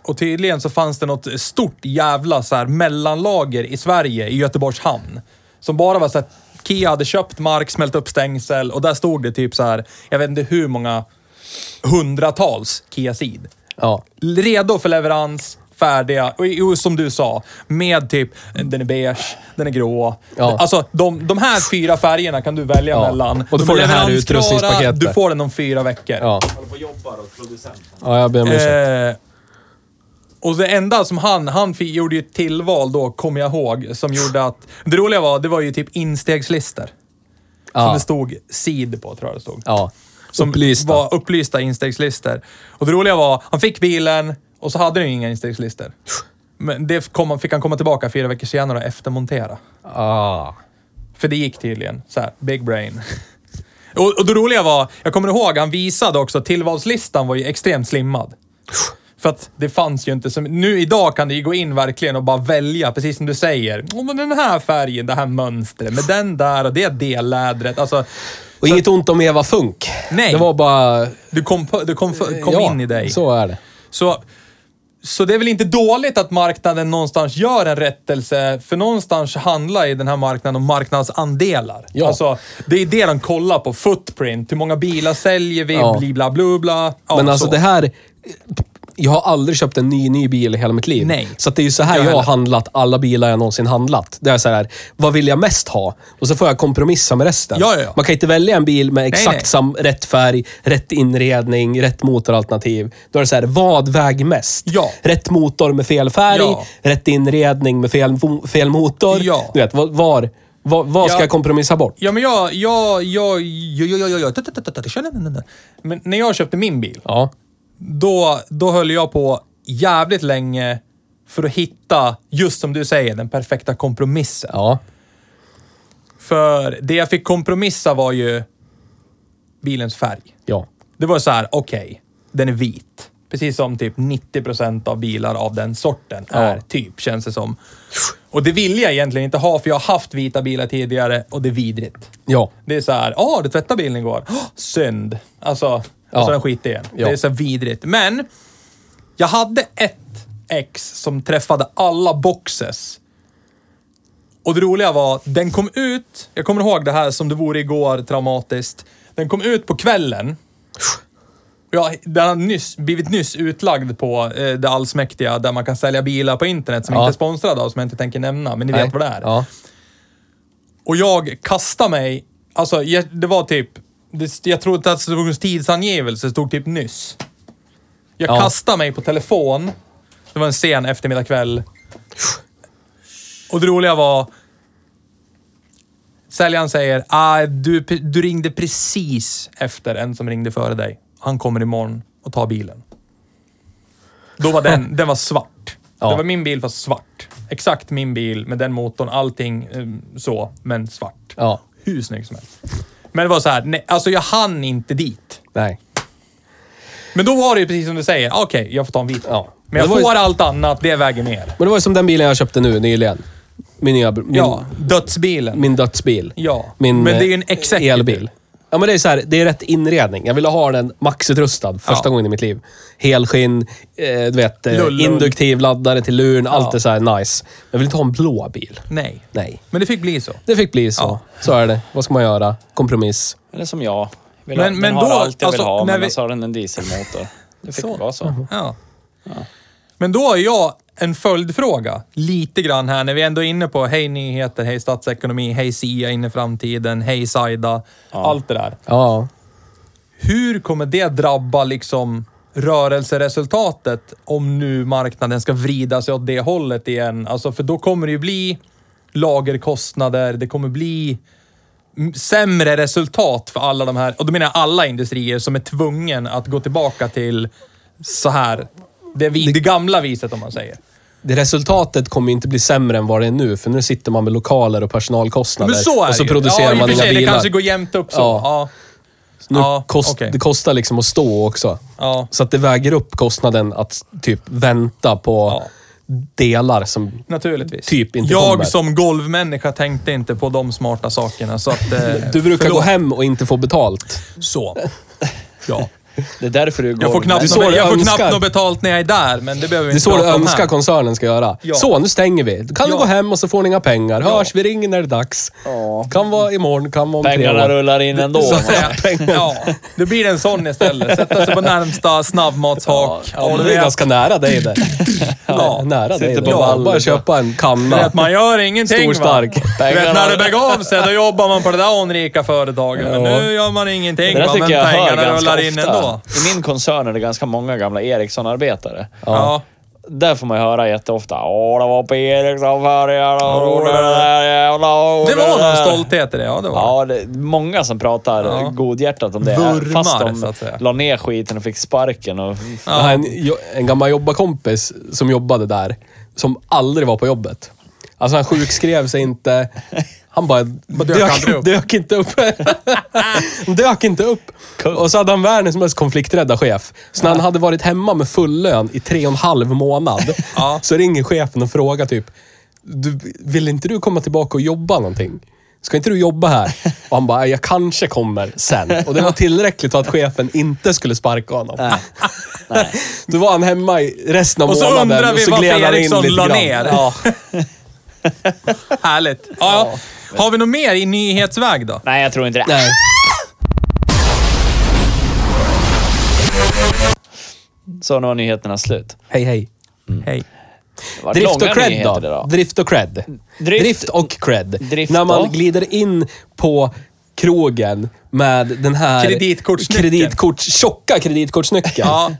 Speaker 3: och tydligen så fanns det något stort jävla så här mellanlager i Sverige, i Göteborgs hamn. Som bara var så att Kia hade köpt mark, smält upp stängsel och där stod det typ så här, jag vet inte hur många hundratals Kia Ceed
Speaker 2: ja.
Speaker 3: redo för leverans, färdiga. Och, och som du sa, med typ, den är beige, den är grå.
Speaker 2: Ja.
Speaker 3: Alltså, de, de här fyra färgerna kan du välja
Speaker 2: Ja.
Speaker 3: mellan.
Speaker 2: Och du
Speaker 3: De
Speaker 2: får
Speaker 3: är
Speaker 2: det här
Speaker 3: leveransklara,
Speaker 2: utrustningspaketet.
Speaker 3: Du får den om fyra veckor.
Speaker 2: Ja. Ja, jag ber om ursäkt.
Speaker 3: Eh, och det enda som han, han fi- gjorde ju ett tillval då, kommer jag ihåg, som gjorde att... Det roliga var, det var ju typ instegslister. Som
Speaker 2: Ja.
Speaker 3: det stod SID på, tror jag det stod
Speaker 2: Ja.
Speaker 3: som
Speaker 2: Upplysta.
Speaker 3: var upplysta instegslistor. Och det roliga var, han fick bilen och så hade den ju inga instegslistor. Men det kom, han- fick han komma tillbaka fyra veckor senare och eftermontera.
Speaker 2: Ah.
Speaker 3: För det gick tydligen. Så här, big brain. Och, och det roliga var, jag kommer ihåg, han visade också, tillvalslistan var ju extremt slimmad. För att det fanns ju inte som... Nu idag kan du ju gå in verkligen och bara välja, precis som du säger. Åh, men den här färgen, det här mönstret, med den där och det dellädret. Alltså,
Speaker 2: Och inget ont om Eva Funk.
Speaker 3: Nej.
Speaker 2: Det var bara...
Speaker 3: du kom, på- du kom, för- kom
Speaker 2: Eh, ja,
Speaker 3: in i dig.
Speaker 2: så är det.
Speaker 3: Så, så det är väl inte dåligt att marknaden någonstans gör en rättelse, för någonstans handlar i den här marknaden om marknadsandelar.
Speaker 2: Ja.
Speaker 3: Alltså, det är det de kollar på. Footprint. Hur många bilar säljer vi?
Speaker 2: Ja.
Speaker 3: Bli bla bla bla. Ja,
Speaker 2: Men alltså
Speaker 3: så.
Speaker 2: det här... Jag har aldrig köpt en ny, ny bil i hela mitt liv.
Speaker 3: Nej.
Speaker 2: Så att det är ju så här
Speaker 3: Jag
Speaker 2: jag, har
Speaker 3: heller.
Speaker 2: handlat alla bilar jag någonsin handlat. Det är så här, vad vill jag mest ha? Och så får jag kompromissa med resten.
Speaker 3: Ja, ja, ja.
Speaker 2: Man kan inte välja en bil med exakt
Speaker 3: nej.
Speaker 2: sam, rätt färg, rätt inredning, rätt motoralternativ. Då är det så här, vad väger mest?
Speaker 3: Ja.
Speaker 2: Rätt motor med fel färg,
Speaker 3: Ja.
Speaker 2: rätt inredning med fel, fel motor.
Speaker 3: Ja.
Speaker 2: Du vet, vad- var, var, vad ska
Speaker 3: Ja.
Speaker 2: jag kompromissa bort?
Speaker 3: Ja, men jag... Jag... Jag... Jag... Jag... Jag... jag, jag, jag, jag, jag men när jag köpte min bil,
Speaker 2: Ja.
Speaker 3: då, då höll jag på jävligt länge för att hitta, just som du säger, den perfekta kompromissen.
Speaker 2: Ja.
Speaker 3: För det jag fick kompromissa var ju bilens färg.
Speaker 2: Ja.
Speaker 3: Det var så här, okej, den är vit. Precis som typ 90% av bilar av den sorten är,
Speaker 2: Ja.
Speaker 3: typ, känns det som. Och det vill jag egentligen inte ha, för jag har haft vita bilar tidigare och det är vidrigt.
Speaker 2: Ja.
Speaker 3: Det är så här, ja, du tvättade bilen igår. Oh, synd. Alltså, och
Speaker 2: Ja.
Speaker 3: så den skiter igen.
Speaker 2: Ja.
Speaker 3: Det är så här vidrigt. Men, jag hade ett ex som träffade alla boxes. Och det roliga var, den kom ut, jag kommer ihåg det här som det vore igår, traumatiskt. Den kom ut på kvällen. Och Jag, den har nyss, blivit nyss utlagd på eh, det allsmäktiga där man kan sälja bilar på internet som
Speaker 2: Ja.
Speaker 3: inte är sponsrade av, som jag inte tänker nämna, men ni
Speaker 2: Nej.
Speaker 3: vet vad det är.
Speaker 2: Ja.
Speaker 3: Och jag kastade mig, alltså jag, det var typ, det, jag tror inte att det stod en tidsangivelse, det stod typ nyss. Jag
Speaker 2: Ja.
Speaker 3: kastade mig på telefon. Det var en sen eftermiddag kväll. Och det roliga var... Säljaren säger, ah, du, du ringde precis efter en som ringde före dig. Han kommer imorgon och tar bilen. Då var den, den var svart.
Speaker 2: Ja.
Speaker 3: Det var min bil fast svart. Exakt min bil med den motorn, allting eh, så, men svart.
Speaker 2: Ja.
Speaker 3: Hur snygg som helst. Men det var så här, nej, alltså jag hann inte dit.
Speaker 2: Nej.
Speaker 3: Men då var det ju precis som du säger, okej, jag får ta en vit.
Speaker 2: Ja.
Speaker 3: Men jag
Speaker 2: Det var ju-
Speaker 3: får allt annat, det väger ner.
Speaker 2: Men det var ju som den bilen jag köpte nu nyligen. Min nya... Min,
Speaker 3: Ja, dödsbilen.
Speaker 2: min dödsbil.
Speaker 3: Ja,
Speaker 2: Min
Speaker 3: men det är ju en
Speaker 2: eh,
Speaker 3: executive.
Speaker 2: elbil. Ja, men det är så här, det är rätt inredning. Jag ville ha den maxutrustad första
Speaker 3: Ja.
Speaker 2: gången i mitt liv. Helskinn, eh, du vet, eh,
Speaker 3: Lull, lull.
Speaker 2: induktiv laddare till luren. Allt
Speaker 3: Ja.
Speaker 2: är så här nice. Men jag vill inte ha en blå bil.
Speaker 3: Nej.
Speaker 2: Nej.
Speaker 3: Men det fick bli så.
Speaker 2: Det fick bli så.
Speaker 3: Ja.
Speaker 2: Så är det. Vad ska man göra? Kompromiss.
Speaker 1: Eller som jag. Vill
Speaker 3: Men-
Speaker 1: ha, den
Speaker 3: men
Speaker 1: har
Speaker 3: då,
Speaker 1: allt jag
Speaker 3: alltså,
Speaker 1: vill ha,
Speaker 3: när
Speaker 1: men
Speaker 3: vi-
Speaker 1: så har den en dieselmotor. Det fick
Speaker 3: Så.
Speaker 1: vara så.
Speaker 3: Ja. Men då har jag en följdfråga. Lite grann här när vi ändå är inne på hej nyheter, hej statsekonomi, hej SIA in i framtiden, hej Saida. Allt det där.
Speaker 2: Ja.
Speaker 3: Hur kommer det drabba liksom rörelseresultatet om nu marknaden ska vrida sig åt det hållet igen? Alltså, för då kommer det ju bli lagerkostnader, det kommer bli m- sämre resultat för alla de här, och då menar jag alla industrier som är tvungen att gå tillbaka till så här, det, vi, det gamla viset om man säger.
Speaker 2: Det resultatet kommer ju inte bli sämre än vad det är nu, för nu sitter man med lokaler och personalkostnader.
Speaker 3: Men så är
Speaker 2: Och så
Speaker 3: det ju.
Speaker 2: producerar
Speaker 3: ja, i och
Speaker 2: man
Speaker 3: för
Speaker 2: inga
Speaker 3: sig, Det
Speaker 2: bilar.
Speaker 3: kanske går jämnt upp så.
Speaker 2: Ja.
Speaker 3: Ja.
Speaker 2: Nu
Speaker 3: Ja,
Speaker 2: kost,
Speaker 3: okej.
Speaker 2: Det kostar liksom att stå också.
Speaker 3: Ja.
Speaker 2: Så att det väger upp kostnaden att typ vänta på
Speaker 3: Ja.
Speaker 2: delar som...
Speaker 3: Naturligtvis.
Speaker 2: Typ inte
Speaker 3: jag
Speaker 2: kommer.
Speaker 3: som golvmänniska tänkte inte på de smarta sakerna. Så att, eh,
Speaker 2: Du brukar
Speaker 3: förlåt.
Speaker 2: gå hem och inte få betalt.
Speaker 3: Så. Ja.
Speaker 1: Det är därför du går...
Speaker 3: Jag får
Speaker 2: Det är
Speaker 3: knappt,
Speaker 2: så
Speaker 3: något,
Speaker 2: du
Speaker 3: jag får
Speaker 2: önskar.
Speaker 3: knappt något betalt när jag är där, men det behöver vi
Speaker 2: Det är
Speaker 3: inte
Speaker 2: så du
Speaker 3: prata om
Speaker 2: önskar
Speaker 3: här.
Speaker 2: koncernen ska göra.
Speaker 3: Ja.
Speaker 2: Så, nu stänger vi. Då kan du
Speaker 3: Ja.
Speaker 2: gå hem och så får ni inga pengar. Hörs, vi ringer när det är dags.
Speaker 1: Ja.
Speaker 2: Kan vara imorgon, kan vara om
Speaker 1: Pengarna
Speaker 2: tre år.
Speaker 1: rullar in ändå.
Speaker 3: Så att säga. Ja, det blir en sån istället. Sätta sig på närmsta snabbmatshak.
Speaker 2: Ja, men det är ganska nära
Speaker 3: [laughs]
Speaker 2: dig det. Ja, nära dig
Speaker 1: sitter
Speaker 2: det.
Speaker 1: på
Speaker 2: Ja,
Speaker 1: valvet
Speaker 2: bara
Speaker 1: då.
Speaker 2: köpa en
Speaker 3: Det är
Speaker 2: kanna.
Speaker 3: att man gör ingenting
Speaker 2: Stor, stark.
Speaker 3: va. Du vet, när det begav sig, då jobbar man på det där anrika företaget. Men
Speaker 2: Ja.
Speaker 3: nu gör man ingenting
Speaker 1: Det där
Speaker 3: va, men
Speaker 1: tycker jag hör
Speaker 3: pengarna
Speaker 1: ganska
Speaker 3: rullar in
Speaker 1: ofta.
Speaker 3: ändå.
Speaker 1: I min koncern är det ganska många gamla Ericsson-arbetare.
Speaker 3: Ja.
Speaker 1: Där får man ju höra jätteofta. Åh, det var på Ericsson förr. ja, då gjorde den där jävla-
Speaker 3: Det var någon
Speaker 2: eh,
Speaker 3: stolthet i det, ja det var
Speaker 1: Ja, det är många som pratar
Speaker 3: Ja.
Speaker 1: godhjärtat om det.
Speaker 3: Vurmar,
Speaker 1: fast de
Speaker 3: så att säga.
Speaker 1: la ner skiten och fick sparken. Och,
Speaker 2: Jag har En, jo- en gammal jobbarkompis som jobbade där, som aldrig var på jobbet. Alltså han sjukskrev sig inte. Han bara dök,
Speaker 3: aldrig upp.
Speaker 2: dök inte upp. [laughs] dök inte upp. Och så hade han världens mest konflikträdda chef. Så när han hade varit hemma med full lön i tre och en halv [laughs] månad,
Speaker 3: Ja.
Speaker 2: så ringer chefen och frågar typ, du, vill inte du komma tillbaka och jobba någonting? Ska inte du jobba här? Och han bara, jag kanske kommer sen. Och det var tillräckligt för att chefen inte skulle sparka honom. Då var han hemma i resten av
Speaker 3: Och så
Speaker 2: månaden
Speaker 3: undrar vi
Speaker 2: och så
Speaker 3: varför
Speaker 2: gled han in
Speaker 3: Ericsson
Speaker 2: lite
Speaker 3: la
Speaker 2: grann.
Speaker 3: ner.
Speaker 2: Ja.
Speaker 3: [laughs] härligt. Ja, ja. Har vi något mer i nyhetsväg då?
Speaker 1: nej, jag tror inte det.
Speaker 2: Nej.
Speaker 1: Så nu var nyheterna slut.
Speaker 2: Hej, hej. Mm.
Speaker 3: Hej.
Speaker 1: Det var
Speaker 2: Drift
Speaker 1: långa
Speaker 2: och cred
Speaker 1: nyheter
Speaker 2: då?
Speaker 1: idag.
Speaker 2: Drift och cred.
Speaker 1: Drift-
Speaker 2: Drift, och cred.
Speaker 1: Drift
Speaker 2: När man
Speaker 1: då?
Speaker 2: glider in på krogen med den här
Speaker 3: Kreditkortsnyckeln.
Speaker 2: kreditkort, tjocka kreditkortsnyckeln.
Speaker 3: Ja.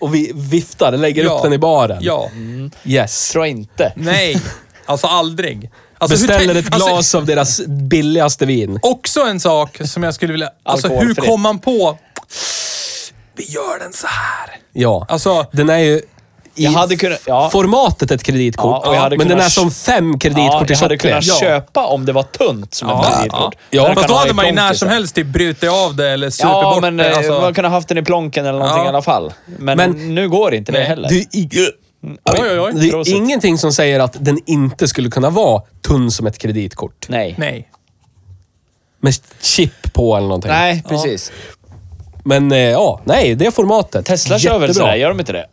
Speaker 2: Och vi viftar, lägger
Speaker 3: Ja.
Speaker 2: upp den i baren.
Speaker 3: Ja.
Speaker 2: Yes.
Speaker 1: Tror jag inte.
Speaker 3: Nej, alltså aldrig. Alltså, hur
Speaker 2: Beställer
Speaker 3: tänk-
Speaker 2: ett glas
Speaker 3: Alltså,
Speaker 2: av deras billigaste vin.
Speaker 3: också en sak som jag skulle vilja... Alltså, hur
Speaker 1: Alkoholfritt.
Speaker 3: kom man på... Vi gör den så här.
Speaker 2: Ja.
Speaker 3: Alltså-
Speaker 2: den är ju... I
Speaker 1: Jag hade kunnat- ja.
Speaker 2: formatet ett kreditkort,
Speaker 1: Ja, och jag hade
Speaker 2: men den
Speaker 1: kunnat-
Speaker 2: är som fem
Speaker 1: Ja,
Speaker 2: kreditkort i
Speaker 1: jag hade
Speaker 2: tjocklek.
Speaker 1: kunnat köpa om det var tunt som ett
Speaker 3: ja.
Speaker 1: kreditkort.
Speaker 3: ja.
Speaker 1: Man
Speaker 3: Fast
Speaker 1: kan
Speaker 3: då
Speaker 1: ha i
Speaker 3: hade man ju när
Speaker 1: plånken
Speaker 3: som
Speaker 1: sen.
Speaker 3: helst typ brutit av det eller supit
Speaker 1: Ja,
Speaker 3: bort
Speaker 1: men
Speaker 3: det.
Speaker 1: eh,
Speaker 3: Alltså,
Speaker 1: man kan ha haft den i plånken eller någonting
Speaker 3: Ja.
Speaker 1: i alla fall. Men,
Speaker 2: Men-
Speaker 1: nu går inte det
Speaker 3: Nej.
Speaker 1: heller.
Speaker 2: Det är, i-
Speaker 3: Mm. Oj, oj, oj.
Speaker 2: det är
Speaker 1: Prosit.
Speaker 2: ingenting som säger att den inte skulle kunna vara tunn som ett kreditkort.
Speaker 1: Nej. Nej.
Speaker 3: Nej.
Speaker 2: Med chip på eller någonting.
Speaker 1: precis.
Speaker 2: Men eh, ja, nej, det är formatet.
Speaker 1: Tesla kör väl
Speaker 2: Jättebra.
Speaker 1: sådär, gör de inte det?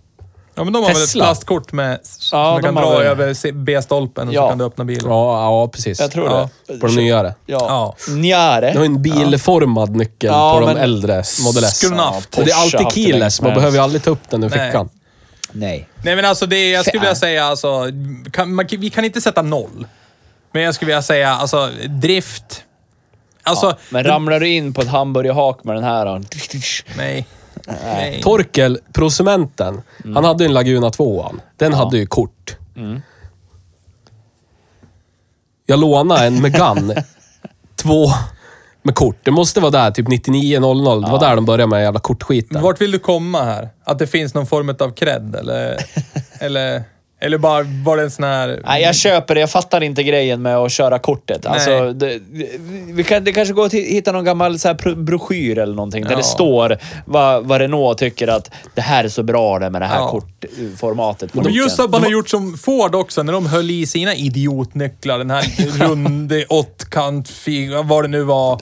Speaker 3: Ja, men de har väl ett
Speaker 2: Tesla.
Speaker 3: plastkort med... Som
Speaker 1: Ja,
Speaker 3: man kan
Speaker 1: de har
Speaker 3: dra
Speaker 1: väl-
Speaker 3: över C- B-stolpen och
Speaker 1: Ja.
Speaker 3: så kan du öppna bilen.
Speaker 2: Ja, ja, precis.
Speaker 1: Jag tror
Speaker 2: ja.
Speaker 1: det.
Speaker 2: På de nyare.
Speaker 1: Ja.
Speaker 3: Ja.
Speaker 1: Njare.
Speaker 2: Det har ju en bilformad nyckel
Speaker 1: Ja,
Speaker 2: på de
Speaker 1: men-
Speaker 2: äldre Model S.
Speaker 3: Skulle haft.
Speaker 2: Men
Speaker 1: Porsche
Speaker 2: det är
Speaker 1: har
Speaker 2: alltid
Speaker 1: haft det länge
Speaker 2: keyless.
Speaker 1: som
Speaker 2: Man
Speaker 1: helst.
Speaker 2: behöver ju aldrig ta upp den ur
Speaker 3: Nej.
Speaker 2: fickan.
Speaker 1: Nej.
Speaker 3: Nej, men alltså det jag skulle
Speaker 1: Fan.
Speaker 3: vilja säga alltså... Kan, man, vi kan inte sätta noll. Men jag skulle vilja säga alltså drift... Alltså...
Speaker 1: Men ramlar du in på ett hamburgerhak med den här... då?
Speaker 3: Nej. Nej.
Speaker 2: Torkel, prosumenten,
Speaker 3: Mm.
Speaker 2: han hade ju en Laguna 2 Den hade ju kort. Jag lånade en [laughs] Megane 2 med kort. Det måste vara där, typ 99.00. Det var där de började med jävla kortskiten. [laughs]
Speaker 3: Vart vill du komma här? Att det finns någon form av cred eller... eller Eller bara var det en sån här...
Speaker 1: Nej, jag köper det. Jag fattar inte grejen med att köra kortet. Alltså,
Speaker 3: Nej.
Speaker 1: det, det- vi kan, det kanske går att hi- hitta någon gammal så här pro- broschyr eller någonting där
Speaker 3: Ja.
Speaker 1: det står vad, vad Renault tycker att det här är så bra det med det här
Speaker 3: Ja.
Speaker 1: kortformatet. på
Speaker 3: Men
Speaker 1: nyckeln.
Speaker 3: just att man har gjort som Ford också, när de höll i sina idiotnycklar. Den
Speaker 2: [laughs]
Speaker 3: här runda åttkant, fig- vad det nu var.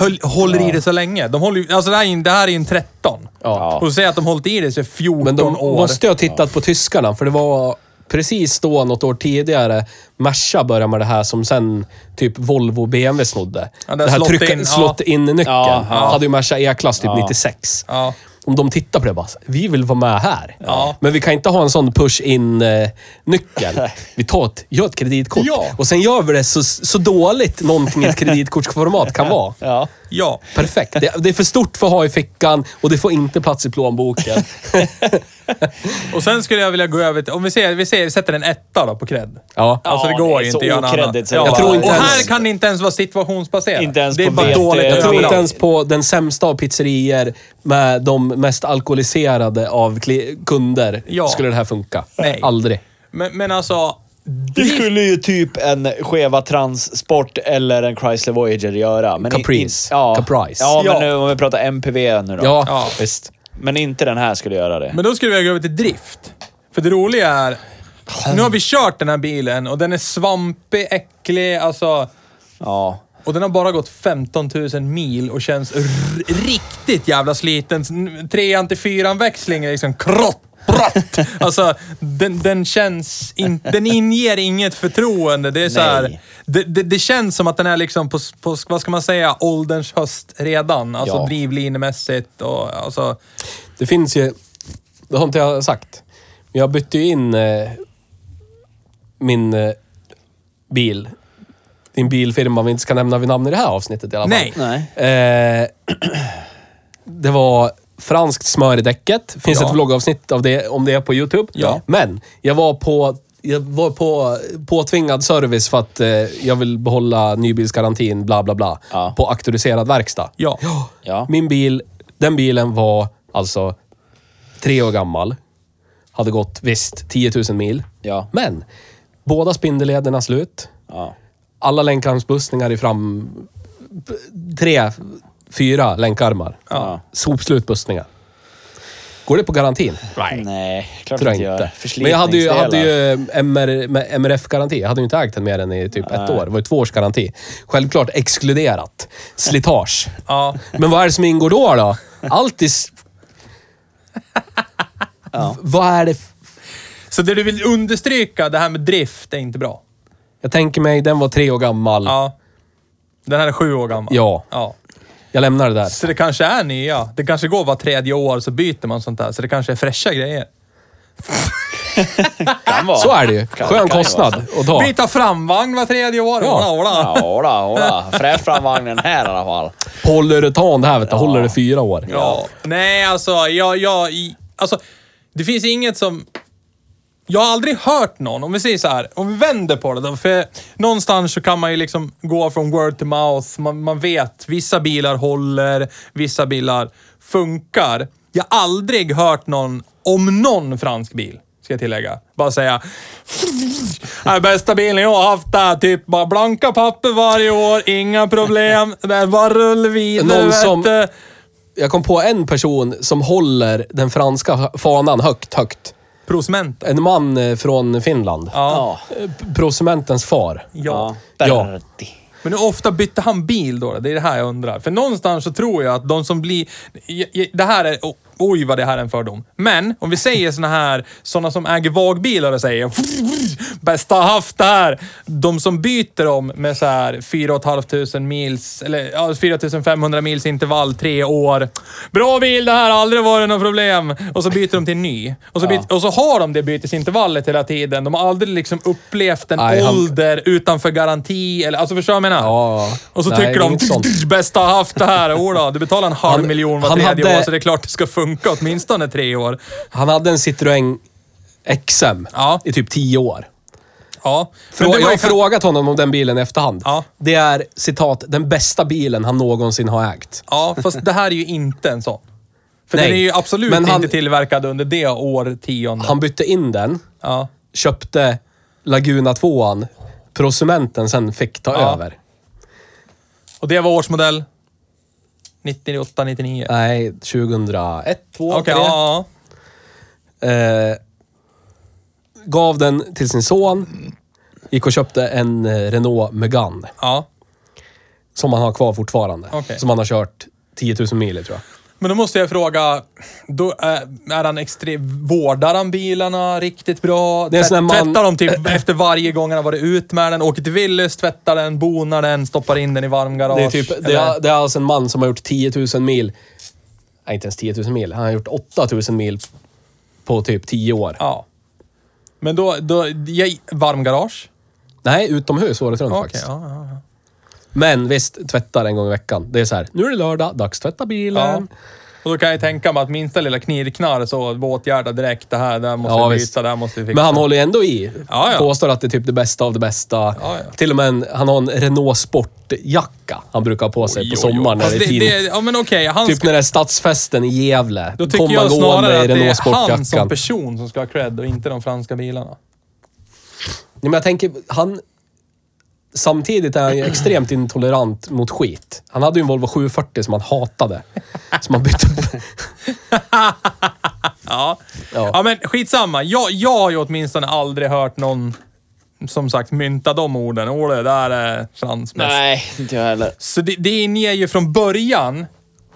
Speaker 3: Höll, håller i det så länge. De håller, ju- alltså det, här är, en- det här är ju en 13.
Speaker 1: Ja.
Speaker 3: Och säg att de hållit i det i 14
Speaker 2: Men de
Speaker 3: år.
Speaker 2: måste ju ha tittat på tyskarna, för det var precis då, något år tidigare, Merca började med det här som sen typ Volvo och BMW snodde.
Speaker 3: Ja, där
Speaker 2: det här
Speaker 3: slått
Speaker 2: trycka,
Speaker 3: in, ja.
Speaker 2: slått in nyckeln.
Speaker 1: Ja, ja.
Speaker 2: Hade ju Merca E-klass typ 96.
Speaker 3: Ja.
Speaker 2: Om de tittar på det bara, vi vill vara med här.
Speaker 3: Ja.
Speaker 2: Men vi kan inte ha en sån push-in-nyckel. Vi tar ett, gör ett kreditkort
Speaker 3: Ja.
Speaker 2: och sen gör vi det så, så dåligt någonting
Speaker 3: [laughs]
Speaker 2: i ett kreditkortsformat kan vara.
Speaker 1: Ja.
Speaker 3: Ja.
Speaker 2: Perfekt. Det, det är för stort för att ha i fickan och det får inte plats i plånboken.
Speaker 3: [laughs] Och sen skulle jag vilja gå över till, om vi, ser, vi, ser, vi sätter en etta då på cred.
Speaker 2: Ja.
Speaker 3: Alltså det
Speaker 1: Ja,
Speaker 3: går
Speaker 1: det är
Speaker 3: ju
Speaker 1: så
Speaker 3: inte att göra något
Speaker 1: okreddigt
Speaker 3: annat.
Speaker 1: så det
Speaker 2: bara-
Speaker 3: och
Speaker 2: inte ens-
Speaker 3: här kan det inte ens vara situationsbaserat.
Speaker 1: Inte ens
Speaker 3: det är
Speaker 1: på
Speaker 3: bara
Speaker 1: VT.
Speaker 3: dåligt
Speaker 1: Jag
Speaker 2: Jag tror
Speaker 3: överallt.
Speaker 2: inte ens på den sämsta av pizzerier med de mest alkoholiserade av kli- kunder
Speaker 3: Ja.
Speaker 2: skulle det här funka.
Speaker 3: Nej.
Speaker 2: Aldrig.
Speaker 3: Men, men alltså,
Speaker 1: Det skulle ju typ en Cheva Transport eller en Chrysler Voyager göra. Men i-
Speaker 2: Caprice.
Speaker 1: in- ja.
Speaker 2: Caprice.
Speaker 1: Ja,
Speaker 3: Ja.
Speaker 1: men nu, om vi pratar MPV nu då.
Speaker 2: Ja,
Speaker 3: Ja.
Speaker 2: visst.
Speaker 1: Men inte den här skulle göra det.
Speaker 3: Men då skulle vi gå över till drift. För det roliga är, nu har vi kört den här bilen och den är svampig, äcklig, alltså.
Speaker 1: Ja.
Speaker 3: Och den har bara gått 15 000 mil och känns r- riktigt jävla sliten. N- Trean till fyran växling är liksom krott.
Speaker 1: [laughs]
Speaker 3: brott. Alltså, den, den känns... In, den inger inget förtroende. Det är så här,
Speaker 1: Nej.
Speaker 3: det, det, det känns som att den är liksom på, på, vad ska man säga, ålderns höst redan. Alltså
Speaker 1: Ja.
Speaker 3: drivlinemässigt och alltså...
Speaker 2: Det finns ju... Det har inte jag sagt. Men jag bytte ju in eh, min eh, bil. Din bilfirma vi inte ska nämna vid namn i det här avsnittet i alla fall.
Speaker 3: Nej.
Speaker 1: Nej.
Speaker 2: Eh, [clears throat] det var franskt smör i däcket. Finns
Speaker 3: Ja.
Speaker 2: ett vloggavsnitt av det, om det på YouTube.
Speaker 3: Ja.
Speaker 2: Men jag var på jag var på påtvingad service för att eh, jag vill behålla nybilsgarantin, bla bla bla.
Speaker 1: Ja.
Speaker 2: På auktoriserad verkstad.
Speaker 3: Ja.
Speaker 1: Ja.
Speaker 2: Min bil, den bilen var alltså tre år gammal. Hade gått, visst, 10 000 mil.
Speaker 1: Ja.
Speaker 2: Men båda spindellederna slut
Speaker 1: Ja.
Speaker 2: alla länkarmsbussningar i fram... p- Tre, fyra länkarmar.
Speaker 1: Ja.
Speaker 2: Sopslut bussningar. Går det på garantin?
Speaker 1: Nej. klart
Speaker 2: Tror jag
Speaker 1: inte.
Speaker 2: inte.
Speaker 1: gör.
Speaker 2: Men jag hade ju, hade
Speaker 1: Förslitningsdelar.
Speaker 2: ju MR, med MRF-garanti. Jag hade ju inte ägt den mer än i typ ett år. Det var ju två års garanti. Självklart exkluderat. Slitage.
Speaker 3: Ja.
Speaker 2: Men vad är det som ingår då? då? Allt i... s- V- Vad är det... f-
Speaker 3: Så det du vill understryka, det här med drift är inte bra.
Speaker 2: Jag tänker mig, den var tre år gammal.
Speaker 1: Mm.
Speaker 3: Ja. Den här är sju år gammal.
Speaker 2: Ja.
Speaker 3: ja.
Speaker 2: Jag lämnar det där.
Speaker 3: Så det kanske är nya. Det kanske går var tredje år så byter man sånt där. Så det kanske är fräscha grejer.
Speaker 1: Kan vara.
Speaker 2: Så är det ju.
Speaker 1: Kan-
Speaker 2: Skön
Speaker 1: kan ju
Speaker 2: kostnad
Speaker 1: vara
Speaker 2: att ta.
Speaker 3: Byta framvagn var tredje år.
Speaker 2: Ja.
Speaker 3: Ola, ola.
Speaker 1: Ja, ola, ola. Fräsch framvagnen här i alla fall.
Speaker 2: Polyuretan det här vet du. Håller det fyra år.
Speaker 3: Ja. Nej, alltså jag, jag... i- Alltså, det finns inget som... Jag har aldrig hört någon, om vi säger så här, om vi vänder på det då, för någonstans så kan man ju liksom gå från word to mouth. Man, man vet, vissa bilar håller, vissa bilar funkar. Jag har aldrig hört någon, om någon fransk bil, ska jag tillägga, bara säga Nej, bästa bilen jag har haft är typ bara blanka papper varje år, inga problem. Det är bara rull vidare.
Speaker 2: Någon
Speaker 3: vet
Speaker 2: som-
Speaker 3: du."
Speaker 2: Jag kom på en person som håller den franska hö- fanan högt, högt.
Speaker 3: Prosmenta.
Speaker 2: En man eh, från Finland.
Speaker 3: Ja.
Speaker 1: Ja.
Speaker 2: Eh, P- Prosumentens far.
Speaker 3: ja.
Speaker 2: Ja.
Speaker 1: Berti.
Speaker 3: Men hur ofta bytte han bil då? Det är det här jag undrar. För någonstans så tror jag att de som blir... j- j- Det här är... o- Oj, vad det här är en fördom. Men om vi säger såna här, såna som äger vagbilar och säger bästa haft det här. De som byter dem med så här 4 500 mils, eller ja, 4 500 mils intervall, tre år. Bra bil det här, aldrig varit något problem. Och så byter de till en ny. Och så, byter, och så har de det bytesintervallet hela tiden. De har aldrig liksom upplevt en
Speaker 2: Nej, han-
Speaker 3: ålder utanför garanti. Eller, alltså förstår du vad jag menar?
Speaker 2: Ja, ja.
Speaker 3: Och så
Speaker 2: Nej,
Speaker 3: tycker
Speaker 2: det är
Speaker 3: de
Speaker 2: inget sånt.
Speaker 3: bästa haft det här. Jodå, du betalar en halv
Speaker 2: Han-
Speaker 3: miljon var
Speaker 2: han
Speaker 3: tredje
Speaker 2: hade-
Speaker 3: år så det är klart det ska funka åtminstone tre år.
Speaker 2: Han hade en Citroën XM
Speaker 3: Ja.
Speaker 2: i typ tio år.
Speaker 3: Ja.
Speaker 2: Frå- jag har
Speaker 3: ju kan-
Speaker 2: frågat honom om den bilen i efterhand.
Speaker 3: Ja.
Speaker 2: Det är, citat, den bästa bilen han någonsin har ägt.
Speaker 3: Ja, fast det här är ju inte en sån. För
Speaker 2: Nej.
Speaker 3: den är ju absolut
Speaker 2: Men han-
Speaker 3: inte tillverkad under det årtiondet.
Speaker 2: Han bytte in den
Speaker 3: Ja.
Speaker 2: köpte Laguna 2an. Prosumenten sen fick ta
Speaker 3: Ja.
Speaker 2: över.
Speaker 3: Och det var årsmodell? 98, 99?
Speaker 2: Nej, 2001, 2,
Speaker 3: Okej,
Speaker 2: okay,
Speaker 3: ja.
Speaker 2: eh, Gav den till sin son. Gick och köpte en eh, Renault Megane.
Speaker 3: ja.
Speaker 2: Som han har kvar fortfarande.
Speaker 3: Okej.
Speaker 2: Som han har kört 10 000 mil i, tror jag.
Speaker 3: Men då måste jag fråga, då är, är han extrem, vårdar han bilarna riktigt bra?
Speaker 2: Det är en sån där man-
Speaker 3: Tvättar de typ efter varje gång han har varit ut med den? Åker till Willys, tvättar den, bonar den, stoppar in den i varmgarage?
Speaker 2: Det är, typ, det,
Speaker 3: eller?
Speaker 2: är, det är alltså en man som har gjort 10 000 mil. Nej, inte ens 10 000 mil. Han har gjort 8 000 mil på typ 10 år.
Speaker 3: Ja. Men då, då jag, varmgarage?
Speaker 2: Nej, utomhus året runt
Speaker 3: Okej,
Speaker 2: faktiskt.
Speaker 3: ja, ja.
Speaker 2: Men visst, tvättar en gång i veckan. Det är så här, nu är det lördag, dags tvätta bilen.
Speaker 3: Ja. Och då kan jag tänka mig att minsta lilla knirknar så åtgärda direkt. Det här, det här måste
Speaker 2: Ja,
Speaker 3: vi
Speaker 2: visst.
Speaker 3: byta, det här måste vi fixa.
Speaker 2: Men han håller ju ändå i.
Speaker 3: Ja, ja.
Speaker 2: Påstår att det är typ det bästa av det bästa.
Speaker 3: Ja, ja.
Speaker 2: Till och med en, han har en Renault Sport-jacka han brukar ha på sig på sommaren när
Speaker 3: Fast
Speaker 2: det är fint.
Speaker 3: det, ja men okej, han
Speaker 2: Typ
Speaker 3: ska,
Speaker 2: när det är stadsfesten i Gävle.
Speaker 3: då tycker
Speaker 2: kommer
Speaker 3: jag
Speaker 2: han gående
Speaker 3: snarare
Speaker 2: i
Speaker 3: att det
Speaker 2: Renault
Speaker 3: är han
Speaker 2: Sport-jackan.
Speaker 3: som person som ska ha cred och inte de franska bilarna.
Speaker 2: Nej, men jag tänker, han... Samtidigt är han ju extremt intolerant mot skit. Han hade ju en Volvo 740 som han hatade. Som han bytte upp.
Speaker 3: Ja.
Speaker 2: Ja.
Speaker 3: ja. men skitsamma. Jag, jag har ju åtminstone aldrig hört någon, som sagt, mynta de orden. Åh, det där är fransmäst.
Speaker 1: Nej, inte jag heller.
Speaker 3: Så det, det inger ju från början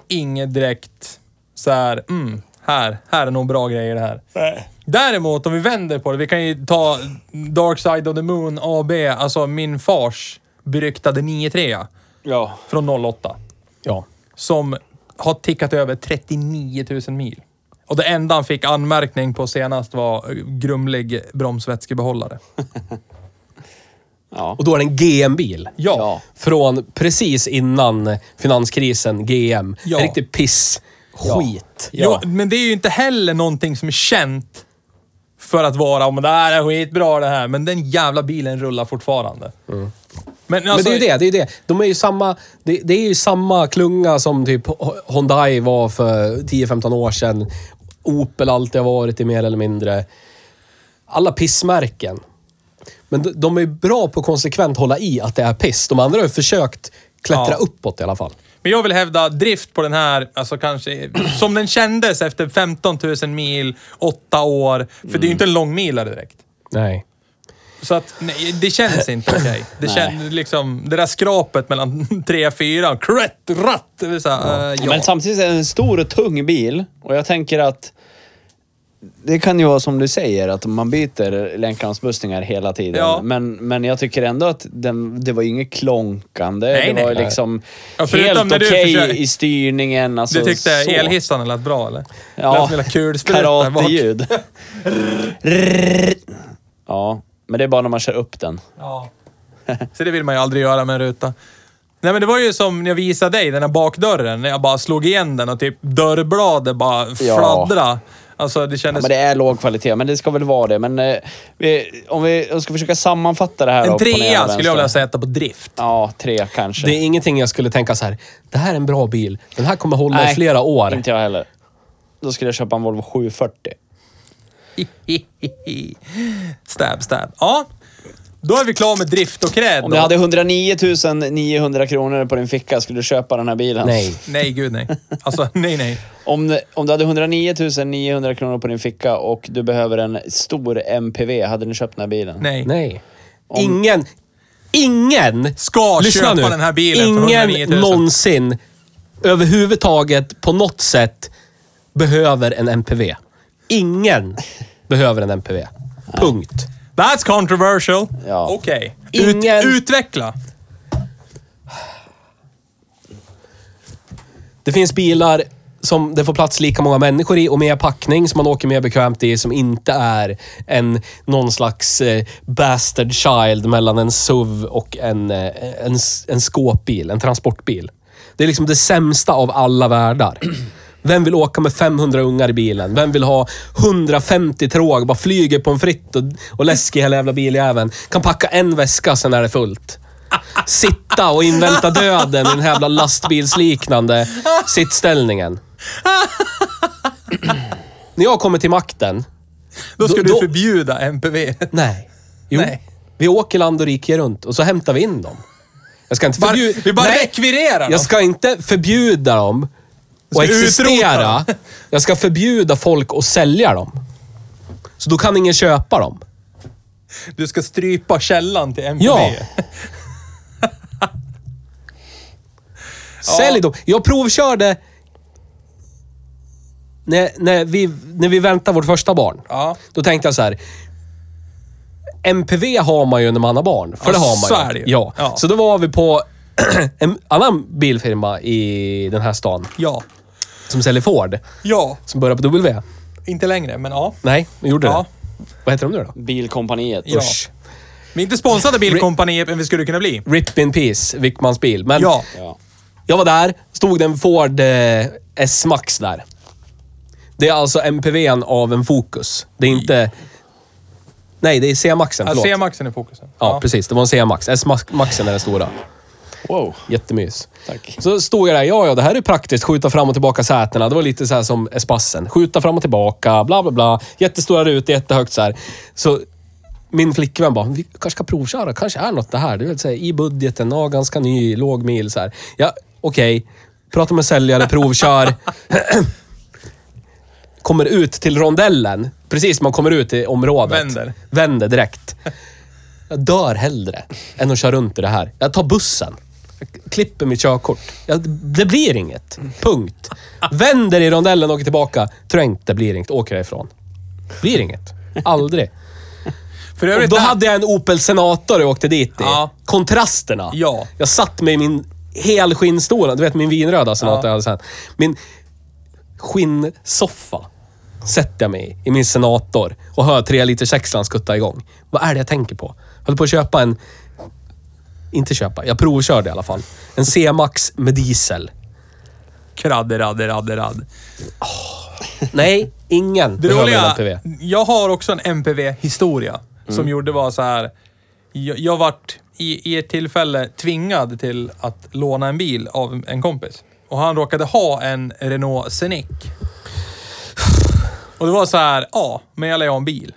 Speaker 3: inget direkt så här, mm, här, här är nog bra grejer det här. Däremot om vi vänder på det, vi kan ju ta Dark Side of the Moon AB, alltså min fars beryktade 93
Speaker 1: Ja.
Speaker 3: från 08.
Speaker 2: Ja.
Speaker 3: Som har tickat över 39 000 mil. Och det enda han fick anmärkning på senast var eh, grumlig bromsvätskebehållare.
Speaker 1: ja.
Speaker 2: Och då är det en GM-bil.
Speaker 3: Ja.
Speaker 1: Ja.
Speaker 2: Från precis innan finanskrisen, GM.
Speaker 3: Ja.
Speaker 2: En riktig piss. Skit.
Speaker 3: Jo, men det är ju inte heller någonting som är känt för att vara om det här är skitbra det här, men den jävla bilen rullar fortfarande. Men, alltså,
Speaker 2: Mm. Men det är ju det, det är ju det. De är ju samma, det, det är ju samma klunga som typ Ho- Hyundai var för 10-15 år sedan. Opel alltid har varit i mer eller mindre. Alla pissmärken. Men de, de är ju bra på att konsekvent hålla i att det är piss. De andra har ju försökt klättra
Speaker 3: Ja.
Speaker 2: uppåt i alla fall.
Speaker 3: men jag vill hävda drift på den här, alltså kanske, som den kändes efter 15 000 mil, åtta år. För det är
Speaker 2: Mm.
Speaker 3: ju inte en lång milare direkt.
Speaker 2: Nej.
Speaker 3: Så att, nej, det känns inte okej. Det känns liksom, det där skrapet mellan [laughs] 3 och 4, krätt, ratt. Det vill säga, eh, ja. ja.
Speaker 1: Men samtidigt är det en stor och tung bil och jag tänker att det kan ju vara som du säger, att man byter länkransbussningar hela tiden.
Speaker 3: Ja.
Speaker 1: Men, men jag tycker ändå att den, det var ju inget klonkande.
Speaker 3: Nej,
Speaker 1: det var
Speaker 3: nej.
Speaker 1: ju liksom
Speaker 3: Ja, förutom
Speaker 1: helt
Speaker 3: när du
Speaker 1: okej
Speaker 3: försöker-
Speaker 1: i styrningen. Alltså,
Speaker 3: du tyckte
Speaker 1: så.
Speaker 3: elhissarna lät bra eller? Lät
Speaker 1: Ja,
Speaker 3: som lilla kulsprutor där bak. [laughs]
Speaker 1: karateljud. Rrrr. ja, men det är bara när man kör upp den.
Speaker 3: Ja. Så det vill man ju aldrig göra med en ruta. Nej men det var ju som när jag visade dig, den här bakdörren, när jag bara slog igen den och typ dörrbladet bara fladdrade. Alltså det
Speaker 1: Ja,
Speaker 3: kändes...
Speaker 1: men det är låg kvalitet, men det ska väl vara det. Men eh, vi, om vi om vi ska försöka sammanfatta det här då,
Speaker 3: en
Speaker 1: på den ena
Speaker 3: trea skulle jag
Speaker 1: vänstern.
Speaker 3: vilja sätta på drift. [laughs]
Speaker 1: Ja, tre kanske.
Speaker 2: Det är ingenting jag skulle tänka så här. det här är en bra bil. Den här kommer hålla i
Speaker 1: Nej,
Speaker 2: flera år.
Speaker 1: Inte jag heller. Då skulle jag köpa en Volvo 740.
Speaker 3: stab, stab. Ja. Då är vi klara med drift och cred
Speaker 1: Om
Speaker 3: då.
Speaker 1: du hade 109 900 kronor på din ficka, skulle du köpa den här bilen?
Speaker 2: Nej.
Speaker 3: Nej, gud nej. Alltså, nej, nej.
Speaker 1: Om, om du hade 109 900 kronor på din ficka och du behöver en stor MPV, hade du köpt den här bilen?
Speaker 3: Nej.
Speaker 2: Nej. Ingen, ingen
Speaker 3: Ska
Speaker 2: Lyssna
Speaker 3: köpa
Speaker 2: nu.
Speaker 3: den här bilen för
Speaker 2: ingen
Speaker 3: 109 000.
Speaker 2: någonsin överhuvudtaget på något sätt behöver en MPV. Ingen behöver en MPV. Punkt.
Speaker 3: That's controversial.
Speaker 1: Ja.
Speaker 3: Okej.
Speaker 2: Ingen-
Speaker 3: Ut, utveckla.
Speaker 2: Det finns bilar som det får plats lika många människor i och mer packning som man åker mer bekvämt i som inte är en, någon slags eh, bastard child mellan en SUV och en, eh, en, s- en skåpbil, en transportbil. Det är liksom det sämsta av alla världar. Vem vill åka med 500 ungar i bilen? Vem vill ha 150 tråg, bara flyger på en fritt och, och läsk i hela jävla biljäveln? Kan packa en väska, sen är det fullt sitta och invänta döden i den här jävla lastbilsliknande sittställningen. När jag kommer till makten
Speaker 3: Då ska
Speaker 2: Då-
Speaker 3: du
Speaker 2: då-
Speaker 3: förbjuda MPV.
Speaker 2: Nej. Jo.
Speaker 3: Nej.
Speaker 2: Vi åker land och rike runt och så hämtar vi in dem. Jag ska inte
Speaker 3: Bara-
Speaker 2: förbjuda...
Speaker 3: vi bara
Speaker 2: Nej,
Speaker 3: rekvirerar dem.
Speaker 2: Jag ska inte förbjuda dem att
Speaker 3: ska
Speaker 2: existera.
Speaker 3: utrota
Speaker 2: Jag ska förbjuda folk att sälja dem. Så då kan ingen köpa dem.
Speaker 3: Du ska strypa källan till MPV.
Speaker 2: Ja. Sälj dem. Jag provkörde när, när, vi, när vi väntade vårt första barn.
Speaker 3: Ja.
Speaker 2: Då tänkte jag så här. MPV har man ju när man har barn. För
Speaker 3: Ja,
Speaker 2: det har man
Speaker 3: så
Speaker 2: ju.
Speaker 3: är det ju.
Speaker 2: Ja.
Speaker 3: Ja.
Speaker 2: Så då var vi på [clears throat] en annan bilfirma i den här stan
Speaker 3: Ja.
Speaker 2: som säljer Ford.
Speaker 3: Ja.
Speaker 2: Som börjar på W.
Speaker 3: Inte längre, men ja.
Speaker 2: Nej, de gjorde
Speaker 3: Ja.
Speaker 2: det. Vad heter de nu då?
Speaker 1: Bilkompaniet.
Speaker 3: Ja.
Speaker 2: Usch.
Speaker 3: Vi är inte sponsrade bilkompaniet, men vi skulle kunna bli.
Speaker 2: Rip in peace, Wickmans bil. Men
Speaker 3: Ja.
Speaker 1: Ja.
Speaker 2: Jag var där, stod en Ford eh, S-Max där. Det är alltså MPVn av en Focus. Det är inte... Nej, det är C-Maxen.
Speaker 3: Ja,
Speaker 2: Förlåt. Ja,
Speaker 3: C-maxen är fokusen.
Speaker 2: precis. Det var en C-Max. S-Maxen är den stora.
Speaker 1: Wow.
Speaker 2: Jättemys.
Speaker 1: Tack.
Speaker 2: Så stod jag där. Ja, ja, det här är praktiskt. Skjuta fram och tillbaka sätena. Det var lite så här som Espassen. Skjuta fram och tillbaka, bla, bla, bla. Jättestora rutor, jättehögt så här. Så min flickvän bara, vi kanske ska provköra. Kanske är något det här. Du vet, så här, i budgeten, ja, ganska ny, låg mil så här. Ja, okej. Prata med säljare, provkör. [clears throat] kommer ut till rondellen. Precis, man kommer ut i området.
Speaker 3: Vänder.
Speaker 2: Vänder direkt. Jag dör hellre än att köra runt i det här. Jag tar bussen. Jag klipper mitt körkort. Jag, det blir inget. Punkt. Vänder i rondellen och åker tillbaka. Tror jag inte blir inget. Åker jag ifrån. Blir inget. Aldrig.
Speaker 3: För
Speaker 2: Och
Speaker 3: övrigt,
Speaker 2: då
Speaker 3: där-
Speaker 2: hade jag en Opel Senator jag åkte dit i.
Speaker 3: Ja.
Speaker 2: Kontrasterna.
Speaker 3: Ja.
Speaker 2: Jag satt med min helskinnstola. Du vet min vinröda Senator
Speaker 3: Ja.
Speaker 2: jag hade sen. Min skinnsoffa sätter jag mig i, i min Senator och hör tre liter sexan skutta igång. Vad är det jag tänker på? Jag höll på att köpa en... Inte köpa, jag provkörde i alla fall. En C-Max med diesel.
Speaker 3: Kradde, radde, radde, radde.
Speaker 2: Nej, ingen
Speaker 3: [laughs] Det
Speaker 2: behöver en
Speaker 3: roliga,
Speaker 2: MPV.
Speaker 3: jag har också en MPV-historia
Speaker 2: Mm.
Speaker 3: som gjorde var så här. Jag, jag vart i, i ett tillfälle tvingad till att låna en bil av en kompis. Och han råkade ha en Renault Scenic. Och det var så här, ja, men jag lär ju ha en bil.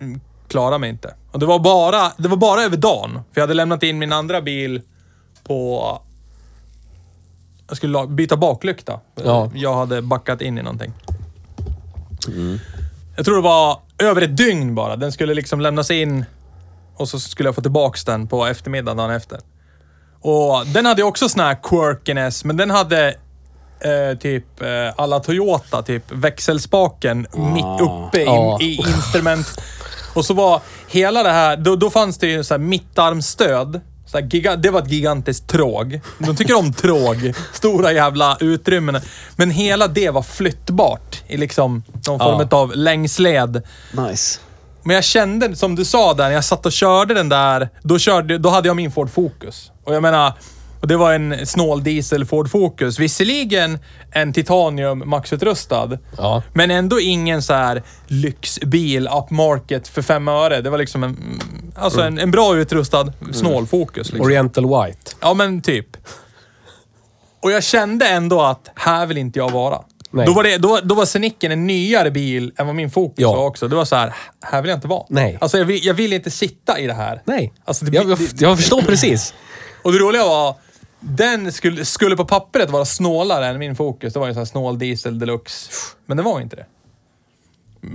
Speaker 3: Mm, Klara mig inte. Och det var, bara, det var bara över dagen. För jag hade lämnat in min andra bil på... Jag skulle la- byta baklykta.
Speaker 2: Ja.
Speaker 3: Jag hade backat in i någonting. Jag tror det var över ett dygn bara. Den skulle liksom lämnas in och så skulle jag få tillbaks den på eftermiddagen dagen efter. Och den hade ju också sån här quirkiness, men den hade eh, typ eh, alla Toyota, typ växelspaken mitt uppe i,
Speaker 2: Ja.
Speaker 3: i instrument. Och så var hela det här, då, då fanns det ju så här mittarmstöd. Så här giga, det var ett gigantiskt tråg. De tycker om tråg. [laughs] Stora jävla utrymmen. Men hela det var flyttbart i liksom någon form av längsled.
Speaker 1: Nice.
Speaker 3: Men jag kände, som du sa där, när jag satt och körde den där, då, körde, då hade jag min Ford Focus. Och jag menar, och det var en snål diesel Ford Focus. Visserligen en titanium maxutrustad,
Speaker 2: Ja.
Speaker 3: men ändå ingen så här lyxbil upmarket för fem öre. Det var liksom en, mm, alltså en, en bra utrustad snål Focus. Liksom.
Speaker 2: Oriental White.
Speaker 3: Ja, men typ. Och jag kände ändå att här vill inte jag vara.
Speaker 2: Nej.
Speaker 3: Då var, det, då, då var Scenicken en nyare bil än vad min Focus
Speaker 2: Ja.
Speaker 3: var också. Det var så här, här vill jag inte vara.
Speaker 2: Nej.
Speaker 3: Alltså jag vill, jag vill inte sitta i det här.
Speaker 2: Nej,
Speaker 3: Alltså, det,
Speaker 2: jag, jag,
Speaker 3: det,
Speaker 2: jag förstår precis.
Speaker 3: och det roliga var, den skulle, skulle på pappret vara snålare än min Focus. Det var ju en sån här snål diesel deluxe. Men det var ju inte det.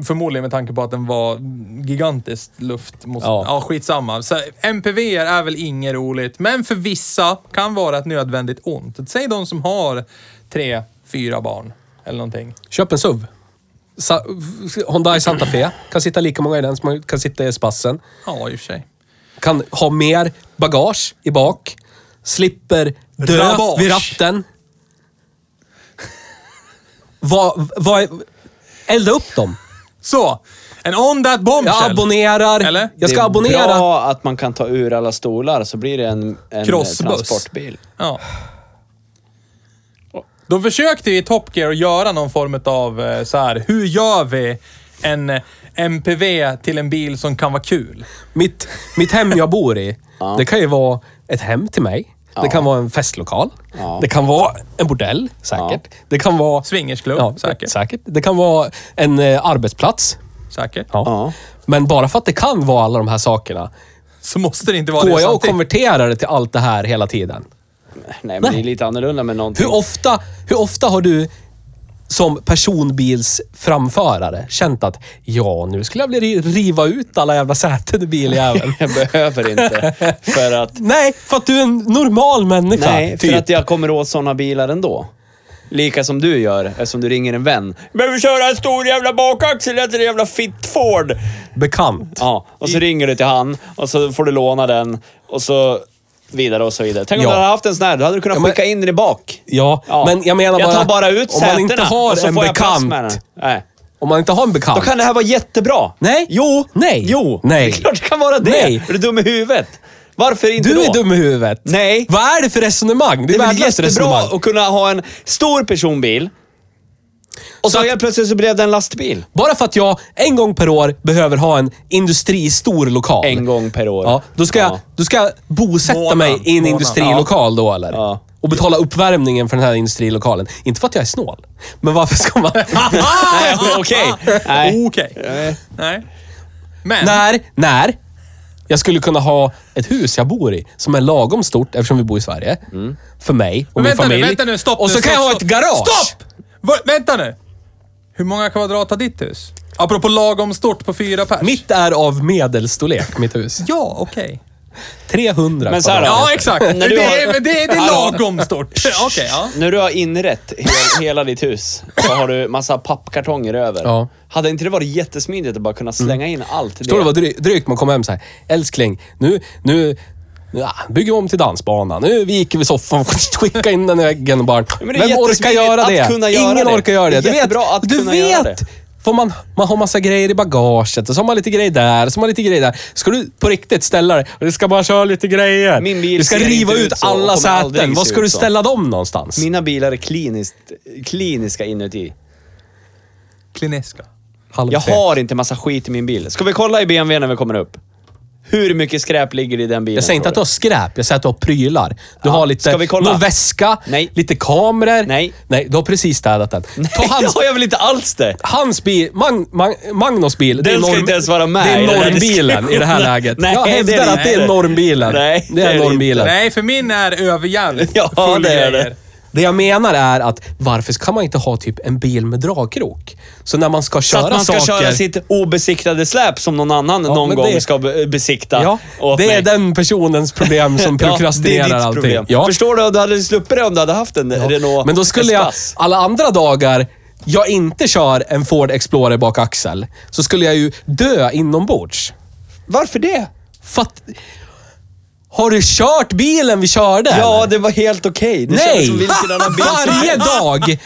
Speaker 3: Förmodligen med tanke på att den var gigantiskt luft mot...
Speaker 2: Ja.
Speaker 3: Ja. skitsamma. Så MPV är väl inget roligt, men för vissa kan vara ett nödvändigt ont. Säg de som har tre, fyra barn eller någonting.
Speaker 2: Köp en SUV. Sa Hyundai Santa Fe. Kan sitta lika många i den som man kan sitta i spassen.
Speaker 3: Ja, i och för sig.
Speaker 2: Kan ha mer bagage i bak. Slipper dö
Speaker 3: Rabage.
Speaker 2: vid ratten. Vad... vad- elda upp dem.
Speaker 3: Så! En on that bombshell!
Speaker 2: Jag abonnerar.
Speaker 3: Eller?
Speaker 2: Jag ska
Speaker 1: det är
Speaker 2: abonnera.
Speaker 1: bra att man kan ta ur alla stolar så blir det en, en
Speaker 3: Crossbuss.
Speaker 1: transportbil.
Speaker 3: Ja. De försökte i Top Gear att göra någon form av eh, så här, hur gör vi en eh, MPV till en bil som kan vara kul?
Speaker 2: Mitt, mitt hem jag bor i, det kan ju vara ett hem till mig. Det kan vara en festlokal.
Speaker 1: Ja.
Speaker 2: Det kan vara en bordell, säkert. Det kan vara...
Speaker 3: Swingersklubb, säkert.
Speaker 2: Det kan vara en eh, arbetsplats.
Speaker 3: Säkert.
Speaker 1: Ja.
Speaker 2: Men bara för att det kan vara alla de här sakerna,
Speaker 3: Så måste det inte vara
Speaker 2: går
Speaker 3: det
Speaker 2: jag och
Speaker 3: samtidigt.
Speaker 2: konverterar det till allt det här hela tiden?
Speaker 1: Nej, men det är lite annorlunda med någonting. [laughs]
Speaker 2: Hur ofta, hur ofta har du som personbilsframförare känt att ja, nu skulle jag vilja riva ut alla jävla säten i biljäveln?
Speaker 5: Jag behöver inte. För
Speaker 2: [laughs]
Speaker 5: att...
Speaker 2: Nej, för att du är en normal människa.
Speaker 1: Nej, för
Speaker 2: typ.
Speaker 1: att jag kommer åt sådana bilar ändå. Lika som du gör, eftersom du ringer en vän. Behöver köra en stor jävla bakaxel efter en jävla fitt Ford.
Speaker 2: Bekant.
Speaker 1: Ja, och så ringer du till han och så får du låna den och så vidare och så vidare. Tänk om
Speaker 2: Ja.
Speaker 1: du hade haft en sån här, då hade du kunnat
Speaker 2: Ja, men-
Speaker 1: skicka in den i bak.
Speaker 2: Ja, men jag menar
Speaker 1: Jag
Speaker 2: bara...
Speaker 1: tar bara ut
Speaker 2: om man inte
Speaker 1: sätena
Speaker 2: har
Speaker 1: och så
Speaker 2: en
Speaker 1: får jag plats med
Speaker 2: bekant.
Speaker 1: den. Nej.
Speaker 2: Om man inte har en
Speaker 1: Då
Speaker 2: bekant.
Speaker 1: kan det här vara jättebra.
Speaker 2: Nej.
Speaker 1: Jo.
Speaker 2: Nej.
Speaker 1: Jo.
Speaker 2: Nej.
Speaker 1: Det är klart det kan vara det.
Speaker 2: Nej.
Speaker 1: Är du dum i huvudet? Varför inte då?
Speaker 2: Du är dum i huvudet.
Speaker 1: Nej.
Speaker 2: Vad är det för resonemang? Det
Speaker 1: Det
Speaker 2: är
Speaker 1: är väl
Speaker 2: värdelöst
Speaker 1: jättebra
Speaker 2: resonemang.
Speaker 1: att kunna ha en stor personbil. Och så,
Speaker 2: Så att-
Speaker 1: helt plötsligt så blev det en lastbil.
Speaker 2: Bara för att jag en gång per år behöver ha en industristor lokal.
Speaker 1: En gång per år.
Speaker 2: Ja, då ska, jag,
Speaker 1: Ja.
Speaker 2: då ska jag bosätta
Speaker 3: Månad,
Speaker 2: mig i en
Speaker 3: månad,
Speaker 2: industrilokal då eller?
Speaker 1: Ja.
Speaker 2: Och betala uppvärmningen för den här industrilokalen. Inte för att jag är snål, men varför ska man...
Speaker 3: [laughs]
Speaker 1: [laughs] Nej, men okej. Nej.
Speaker 3: Okej. Nej. Men,
Speaker 2: när, när jag skulle kunna ha ett hus jag bor i som är lagom stort eftersom vi bor i Sverige. För mig och
Speaker 3: Mm. men
Speaker 2: min
Speaker 3: vänta
Speaker 2: familj.
Speaker 3: nu, vänta nu, stopp
Speaker 2: Och så
Speaker 3: nu,
Speaker 2: kan
Speaker 3: stopp,
Speaker 2: jag ha ett
Speaker 3: stopp.
Speaker 2: garage.
Speaker 3: Stopp! Va- vänta nu. Hur många kvadrat har ditt hus? Apropå lagom stort på fyra pers.
Speaker 2: Mitt är av medelstorlek,
Speaker 3: [laughs]
Speaker 2: mitt hus.
Speaker 3: Ja, okej.
Speaker 2: 300
Speaker 1: Men så här då.
Speaker 2: kvadrat.
Speaker 3: Ja, exakt.
Speaker 1: När du
Speaker 3: det,
Speaker 1: har-
Speaker 3: är, men det, är- det är
Speaker 1: Hallå.
Speaker 3: lagom stort.
Speaker 1: [laughs]
Speaker 3: Okej, ja.
Speaker 1: När du har inrett he- hela ditt hus så har du massa pappkartonger över.
Speaker 2: Ja.
Speaker 1: Hade inte det varit jättesmidigt att bara kunna slänga in allt
Speaker 2: Förstår du vad dry- drygt man kommer hem så här. Älskling, nu, nu ja, bygger vi om till dansbana. Nu viker vi soffan, [laughs] skicka in den i väggen och bara...
Speaker 1: men det är
Speaker 2: Vem orkar
Speaker 1: jättesmidigt
Speaker 2: göra
Speaker 1: att
Speaker 2: det?
Speaker 1: kunna göra
Speaker 2: Ingen
Speaker 1: det.
Speaker 2: orkar göra det.
Speaker 1: Det är
Speaker 2: Du vet,
Speaker 1: jättebra att
Speaker 2: du
Speaker 1: kunna göra
Speaker 2: vet.
Speaker 1: det.
Speaker 2: Får man, man har massa grejer i bagaget och så har man lite grejer där, så har man lite grejer där. Ska du på riktigt ställa dig och du ska bara köra lite grejer.
Speaker 1: Min bil
Speaker 2: du ska
Speaker 1: ser
Speaker 2: riva
Speaker 1: inte
Speaker 2: ut
Speaker 1: ut så och
Speaker 2: alla
Speaker 1: kommer aldrig
Speaker 2: säten.
Speaker 1: se
Speaker 2: Var ska
Speaker 1: ut
Speaker 2: du
Speaker 1: så.
Speaker 2: ställa dem någonstans?
Speaker 1: Mina bilar är kliniskt, kliniska inuti.
Speaker 3: Kliniska.
Speaker 2: Halv
Speaker 1: Jag
Speaker 2: tre.
Speaker 1: har inte massa skit i min bil. Ska vi kolla i BMW när vi kommer upp? Hur mycket skräp ligger i den bilen?
Speaker 2: Jag säger inte
Speaker 1: tror
Speaker 2: att du har skräp, jag säger att du har prylar. Du
Speaker 1: Ja,
Speaker 2: har lite,
Speaker 1: ska vi kolla?
Speaker 2: någon väska,
Speaker 1: Nej.
Speaker 2: lite kameror.
Speaker 1: Nej.
Speaker 2: Nej, du har precis städat den. Ta
Speaker 1: Nej,
Speaker 2: hans,
Speaker 1: det har jag väl inte alls det!
Speaker 2: hans bil, Mag, Mag, Magnos bil. det är
Speaker 1: Den ska
Speaker 2: norm-
Speaker 1: inte ens vara med
Speaker 2: Det
Speaker 1: i
Speaker 2: är
Speaker 1: den här
Speaker 2: normbilen i det här
Speaker 1: diskussionen.
Speaker 2: läget.
Speaker 1: Nej,
Speaker 2: jag
Speaker 1: det är
Speaker 2: hävdar
Speaker 1: det
Speaker 2: att det är
Speaker 1: inte.
Speaker 2: normbilen.
Speaker 1: Nej,
Speaker 2: det
Speaker 1: det är
Speaker 2: är
Speaker 1: det
Speaker 2: normbilen.
Speaker 3: Nej, för min är överjävligt
Speaker 1: Ja,
Speaker 3: full
Speaker 1: det
Speaker 3: grejer.
Speaker 1: är det.
Speaker 2: Det jag menar är att varför kan man inte ha typ en bil med dragkrok? Så när man
Speaker 1: Så
Speaker 2: ska köra
Speaker 1: att man ska
Speaker 2: saker...
Speaker 1: köra sitt obesiktade släp som någon annan någon
Speaker 2: men
Speaker 1: gång
Speaker 2: det-
Speaker 1: ska be- eh, besikta.
Speaker 2: Ja,
Speaker 1: åt
Speaker 2: det är
Speaker 1: mig.
Speaker 2: den
Speaker 1: [laughs]
Speaker 2: personens problem som prokrastinerar
Speaker 1: det är ditt
Speaker 2: allting.
Speaker 1: problem.
Speaker 2: Ja.
Speaker 1: Förstår du? Du hade sluppit det om du hade haft en Renault
Speaker 2: Men då skulle jag,
Speaker 1: Espace.
Speaker 2: alla andra dagar jag inte kör en Ford Explorer bak axel, så skulle jag ju dö inombords.
Speaker 1: Varför det?
Speaker 2: För att, Har du kört bilen vi körde?
Speaker 1: Ja,
Speaker 2: eller?
Speaker 1: det var helt okej. Det kändes
Speaker 2: Nej!
Speaker 1: som vilken annan
Speaker 2: [laughs]
Speaker 1: bil som
Speaker 2: Varje dag!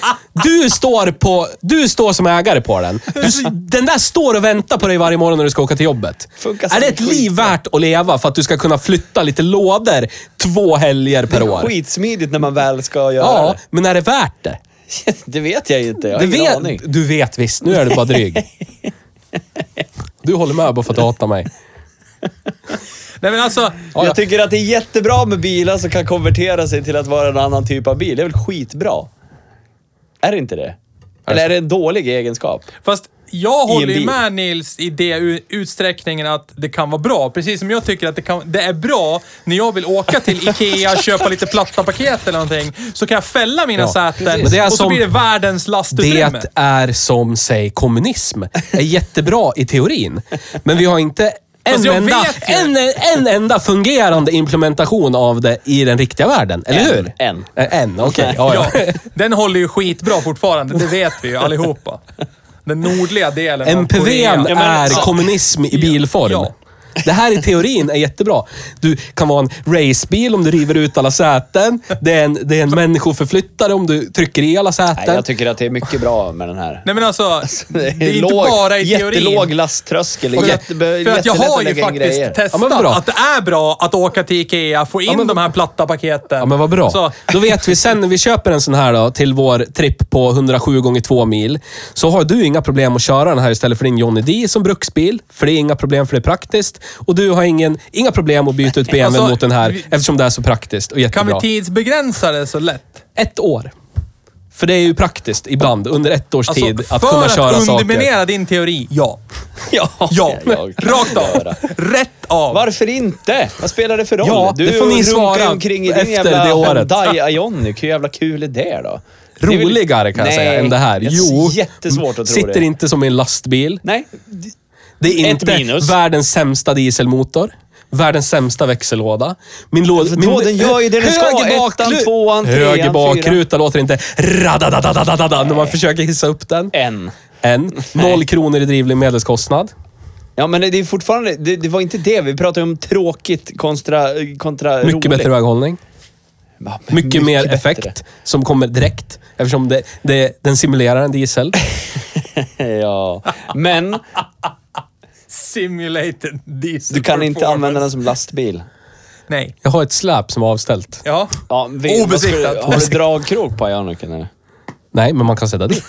Speaker 2: Du står, på, du står som ägare på den. Du, s- den där står och väntar på dig varje morgon när du ska åka till jobbet.
Speaker 1: Funkar
Speaker 2: Är
Speaker 1: som
Speaker 2: det ett
Speaker 1: skit,
Speaker 2: liv
Speaker 1: va?
Speaker 2: värt att leva för att du ska kunna flytta lite lådor två helger per
Speaker 1: helst.
Speaker 2: år?
Speaker 1: Skitsmidigt när man väl ska göra
Speaker 2: Ja, men är det värt det?
Speaker 1: det. [laughs] Det vet jag ju inte. Jag har
Speaker 2: Du
Speaker 1: ingen aning.
Speaker 2: vet, du vet visst, nu är du
Speaker 1: [laughs]
Speaker 2: bara dryg. Du håller med bara för att du hatar mig.
Speaker 3: Nej, men alltså.
Speaker 2: Ja, ja.
Speaker 1: Jag tycker att det är jättebra med bilar som kan konvertera sig till att vara en annan typ av bil. Det är väl skitbra? Är det inte det? Eller är det en dålig egenskap?
Speaker 3: Fast jag
Speaker 1: I en
Speaker 3: håller ju
Speaker 1: bil.
Speaker 3: med Nils i det u- utsträckningen att det kan vara bra. Precis som jag tycker att det, kan, det är bra när jag vill åka till
Speaker 1: [laughs]
Speaker 3: Ikea och köpa lite platta paket eller någonting. Så kan jag fälla mina
Speaker 2: Ja,
Speaker 3: säten
Speaker 2: Men det är
Speaker 3: och så
Speaker 2: som-
Speaker 3: blir det världens
Speaker 2: Det
Speaker 3: lastutrymme.
Speaker 2: är som, säg, kommunism. är jättebra i teorin. Men vi har inte en
Speaker 3: Fast jag
Speaker 2: enda,
Speaker 3: vet ju.
Speaker 2: en, en enda fungerande implementation av det i den riktiga världen. Eller
Speaker 1: En,
Speaker 2: hur?
Speaker 1: en.
Speaker 2: Eh,
Speaker 1: [laughs]
Speaker 2: En, okej. Ja, ja.
Speaker 3: Ja, den håller ju skitbra fortfarande, det vet
Speaker 1: [laughs]
Speaker 3: vi ju allihopa. Den nordliga delen av Korea.
Speaker 2: MPVn
Speaker 1: men-
Speaker 2: är
Speaker 1: ja.
Speaker 2: kommunism i bilform.
Speaker 3: Ja.
Speaker 2: Det här i teorin är jättebra. Du kan vara en racebil om du river ut alla säten. Det är en, det är en människoförflyttare om du trycker i alla säten.
Speaker 1: Nej, jag tycker att det är mycket bra med den här. [laughs]
Speaker 3: Nej men alltså, det är inte
Speaker 1: låg-
Speaker 3: bara i teorin.
Speaker 1: Jättelåg lasttröskel.
Speaker 3: För, att-
Speaker 1: jätte,
Speaker 3: för att jag
Speaker 1: jättelätt
Speaker 3: har
Speaker 1: att
Speaker 3: ju
Speaker 1: lägga in
Speaker 3: faktiskt
Speaker 1: grejer.
Speaker 3: testat
Speaker 2: Ja, men bra.
Speaker 3: att det är bra att åka till Ikea, få in
Speaker 2: men-
Speaker 3: de här platta paketen.
Speaker 2: Ja, men vad bra.
Speaker 3: Så,
Speaker 2: Då vet vi sen när vi köper en sån här då, till vår tripp på 107 gånger 2 mil, så har du inga problem att köra den här istället för din Johnny D som bruksbil. För det är inga problem, för det är praktiskt. Och du har ingen, inga problem att byta ut BMW
Speaker 3: [laughs] Alltså,
Speaker 2: mot den här,
Speaker 3: vi-
Speaker 2: eftersom det är så praktiskt
Speaker 3: kan
Speaker 2: och
Speaker 3: vi
Speaker 2: jättebra.
Speaker 3: tidsbegränsa det så lätt?
Speaker 2: Ett år. För det är ju praktiskt ibland under ett års
Speaker 3: Alltså,
Speaker 2: tid att
Speaker 3: för
Speaker 2: kunna köra
Speaker 3: att underminera
Speaker 2: saker.
Speaker 3: din teori, ja.
Speaker 1: [laughs]
Speaker 2: [laughs]
Speaker 1: Ja,
Speaker 3: Ja,
Speaker 1: jag kan
Speaker 3: rakt av.
Speaker 1: göra.
Speaker 3: Rätt av.
Speaker 1: Varför inte? Vad spelar det för roll?
Speaker 2: Ja,
Speaker 1: du
Speaker 2: det får ni
Speaker 1: runkar
Speaker 2: svara
Speaker 1: omkring i din
Speaker 2: efter
Speaker 1: jävla
Speaker 2: det året.
Speaker 1: Hyundai Ioniq. Hur jävla kul är det då? Det är väl-
Speaker 2: Roligare kan jag
Speaker 1: Nej,
Speaker 2: säga än det här.
Speaker 1: det är
Speaker 2: Jo,
Speaker 1: jättesvårt att tro
Speaker 2: sitter
Speaker 1: det.
Speaker 2: inte som i en lastbil.
Speaker 1: Nej,
Speaker 2: Det är
Speaker 1: Ett
Speaker 2: inte
Speaker 1: minus.
Speaker 2: världens sämsta dieselmotor. Världens sämsta växellåda. Min
Speaker 1: då,
Speaker 2: låda...
Speaker 1: den Alltså, gör ju det den ska.
Speaker 2: Höger bakru-
Speaker 1: Ettan, tvåan, trean,
Speaker 2: Höger
Speaker 1: fyran.
Speaker 2: bakruta låter inte radadadadadadada när man försöker hissa upp den.
Speaker 1: en.
Speaker 2: En. Noll kronor i drivmedelskostnad.
Speaker 1: Ja, men det är fortfarande... Det, det var inte det. Vi pratade om tråkigt kontra, kontra
Speaker 2: Mycket
Speaker 1: roligt.
Speaker 2: bättre väghållning.
Speaker 1: Ja, men
Speaker 2: Mycket, mer
Speaker 1: bättre.
Speaker 2: effekt som kommer direkt. Eftersom det, det, den simulerar en diesel.
Speaker 1: [laughs] Ja. Men
Speaker 3: Simulated diesel
Speaker 1: du kan inte
Speaker 3: performance.
Speaker 1: använda den som lastbil.
Speaker 3: Nej.
Speaker 2: Jag har ett släp som är avställt.
Speaker 3: Ja.
Speaker 1: Ja, vi, vad ska du-
Speaker 3: Obesiktat. [laughs]
Speaker 1: Har du dragkrok på Ioniqen eller?
Speaker 2: Nej, men man kan sätta dit.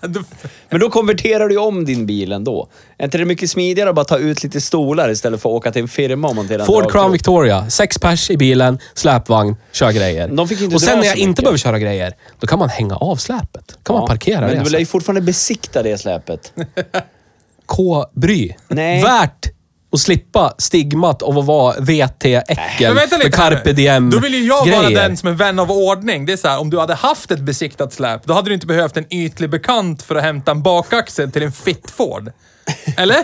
Speaker 3: Du-
Speaker 1: Men då konverterar du ju om din bil ändå. Är inte det mycket smidigare att bara ta ut lite stolar istället för att åka till en firma och montera en
Speaker 2: Ford
Speaker 1: dragkrok?
Speaker 2: Crown Victoria. Sex pers i bilen, släpvagn, kör grejer.
Speaker 1: De fick inte
Speaker 2: och sen
Speaker 1: dra
Speaker 2: när
Speaker 1: så
Speaker 2: jag inte
Speaker 1: mycket.
Speaker 2: behöver köra grejer, då kan man hänga av släpet. Då kan man parkera
Speaker 1: Men
Speaker 2: det.
Speaker 1: du
Speaker 2: alltså.
Speaker 1: lär ju fortfarande besikta det släpet.
Speaker 2: K-bry.
Speaker 1: Nej.
Speaker 2: Värt att slippa stigmat av att vara VT-äckel
Speaker 3: Men vänta
Speaker 2: med
Speaker 3: lite
Speaker 2: carpe
Speaker 3: här nu.
Speaker 2: diem
Speaker 3: Då vill ju jag vara
Speaker 2: grejer.
Speaker 3: den som är vän av ordning. Det är så här, om du hade haft ett besiktat släp, då hade du inte behövt en ytlig bekant för att hämta en bakaxel till en fit Ford.
Speaker 2: [laughs]
Speaker 3: Eller?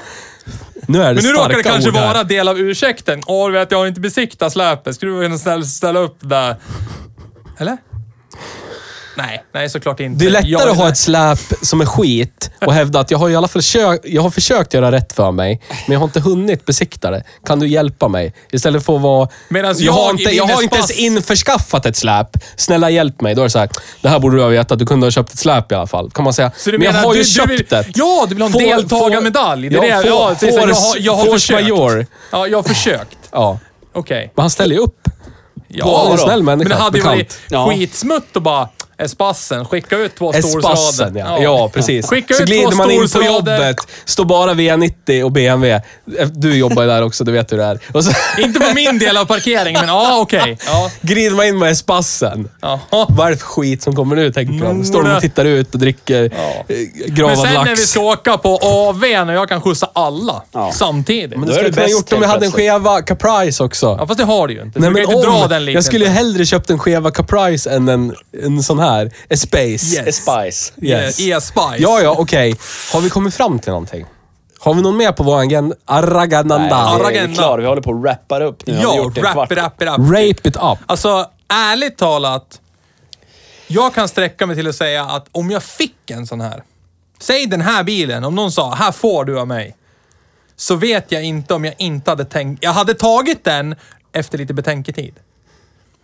Speaker 2: Nu är det
Speaker 3: Men nu råkar det
Speaker 2: starka
Speaker 3: kanske
Speaker 2: ord här.
Speaker 3: vara del av ursäkten. Åh, du vet, jag har inte besiktat släpet. Skulle du kunna ställa, ställa upp där? Eller? Nej, nej såklart inte.
Speaker 2: Det är lättare
Speaker 3: Jag-
Speaker 2: att ha ett släp som är skit och hävda att jag har i alla fall försökt, jag har försökt göra rätt för mig, men jag har inte hunnit besikta det. Kan du hjälpa mig? Istället för att vara...
Speaker 3: Medans
Speaker 2: har
Speaker 3: jag
Speaker 2: inte,
Speaker 3: i
Speaker 2: jag har
Speaker 3: Linnes
Speaker 2: inte ens
Speaker 3: pass-
Speaker 2: införskaffat ett släp. Snälla hjälp mig. Då är det så här, det här borde du ha vetat. Du kunde ha köpt ett släp i alla fall. Kan man säga.
Speaker 3: Så du
Speaker 2: men jag
Speaker 3: menar
Speaker 2: har
Speaker 3: du-
Speaker 2: ju
Speaker 3: du
Speaker 2: köpt
Speaker 3: vill-
Speaker 2: det.
Speaker 3: Ja, du vill ha en
Speaker 2: Får-
Speaker 3: deltagarmedalj. Det är
Speaker 2: får-
Speaker 3: det- ja,
Speaker 2: får-
Speaker 3: precis. Jag har- jag har
Speaker 2: force
Speaker 3: försökt.
Speaker 2: majeure.
Speaker 3: Ja, jag har försökt.
Speaker 2: Ja.
Speaker 3: Okej.
Speaker 2: Men han ställer ju upp.
Speaker 3: Ja,
Speaker 2: en
Speaker 3: då.
Speaker 2: snäll människa,
Speaker 3: Men det hade ju varit
Speaker 2: bekant.
Speaker 3: skitsmutt att bara Espassen, skicka ut två
Speaker 2: Espassen,
Speaker 3: storsrader.
Speaker 2: ja. ja. precis.
Speaker 3: Skicka
Speaker 2: så
Speaker 3: ut
Speaker 2: glider
Speaker 3: två
Speaker 2: man in på
Speaker 3: storsrader.
Speaker 2: jobbet, står bara V90 och BMW. Eh, Du jobbar ju där också, du vet hur det är. Och så
Speaker 3: [laughs] Inte på
Speaker 2: [laughs]
Speaker 3: min del av parkeringen, men ja, okej. Ja.
Speaker 2: glider man in med Espassen.
Speaker 3: Ja. Mm.
Speaker 2: Vad är det för skit som kommer nu, tänker man. Står de och tittar ut och dricker eh,
Speaker 3: Men
Speaker 2: gravad
Speaker 3: sen när vi
Speaker 2: lax.
Speaker 3: ska åka på AVn och jag kan skjutsa alla
Speaker 1: Ja.
Speaker 3: samtidigt.
Speaker 1: Men
Speaker 2: Det
Speaker 1: då är det
Speaker 2: skulle jag kunna
Speaker 1: bäst
Speaker 2: gjort om jag
Speaker 1: helt
Speaker 2: hade en
Speaker 1: plötsligt.
Speaker 2: skeva Caprice också.
Speaker 3: Ja, fast det har du ju inte.
Speaker 2: Nej,
Speaker 3: du
Speaker 2: men
Speaker 3: kan ju inte dra den
Speaker 2: jag skulle ju
Speaker 3: liknelsen.
Speaker 2: hellre köpt en skeva Caprice än en, en sån här. En Space.
Speaker 3: Yes.
Speaker 2: [laughs]
Speaker 1: Spice.
Speaker 2: Yes.
Speaker 3: Eh, E-Spice.
Speaker 2: Ja, ja, okej. Har vi kommit fram till någonting? Har vi någon mer på vår agenda? Aragananda.
Speaker 1: Nej, det är
Speaker 3: Aragenda.
Speaker 1: klar. Vi håller på att rappa upp nu. Har vi
Speaker 3: Ja,
Speaker 1: gjort en
Speaker 3: rap,
Speaker 1: kvart?
Speaker 3: rap, rap.
Speaker 2: Rape it up.
Speaker 3: Alltså, ärligt talat. Jag kan sträcka mig till att säga att om jag fick en sån här. Säg den här bilen, om någon sa här får du av mig. Så vet jag inte om jag inte hade tänkt. Jag hade tagit den efter lite betänketid.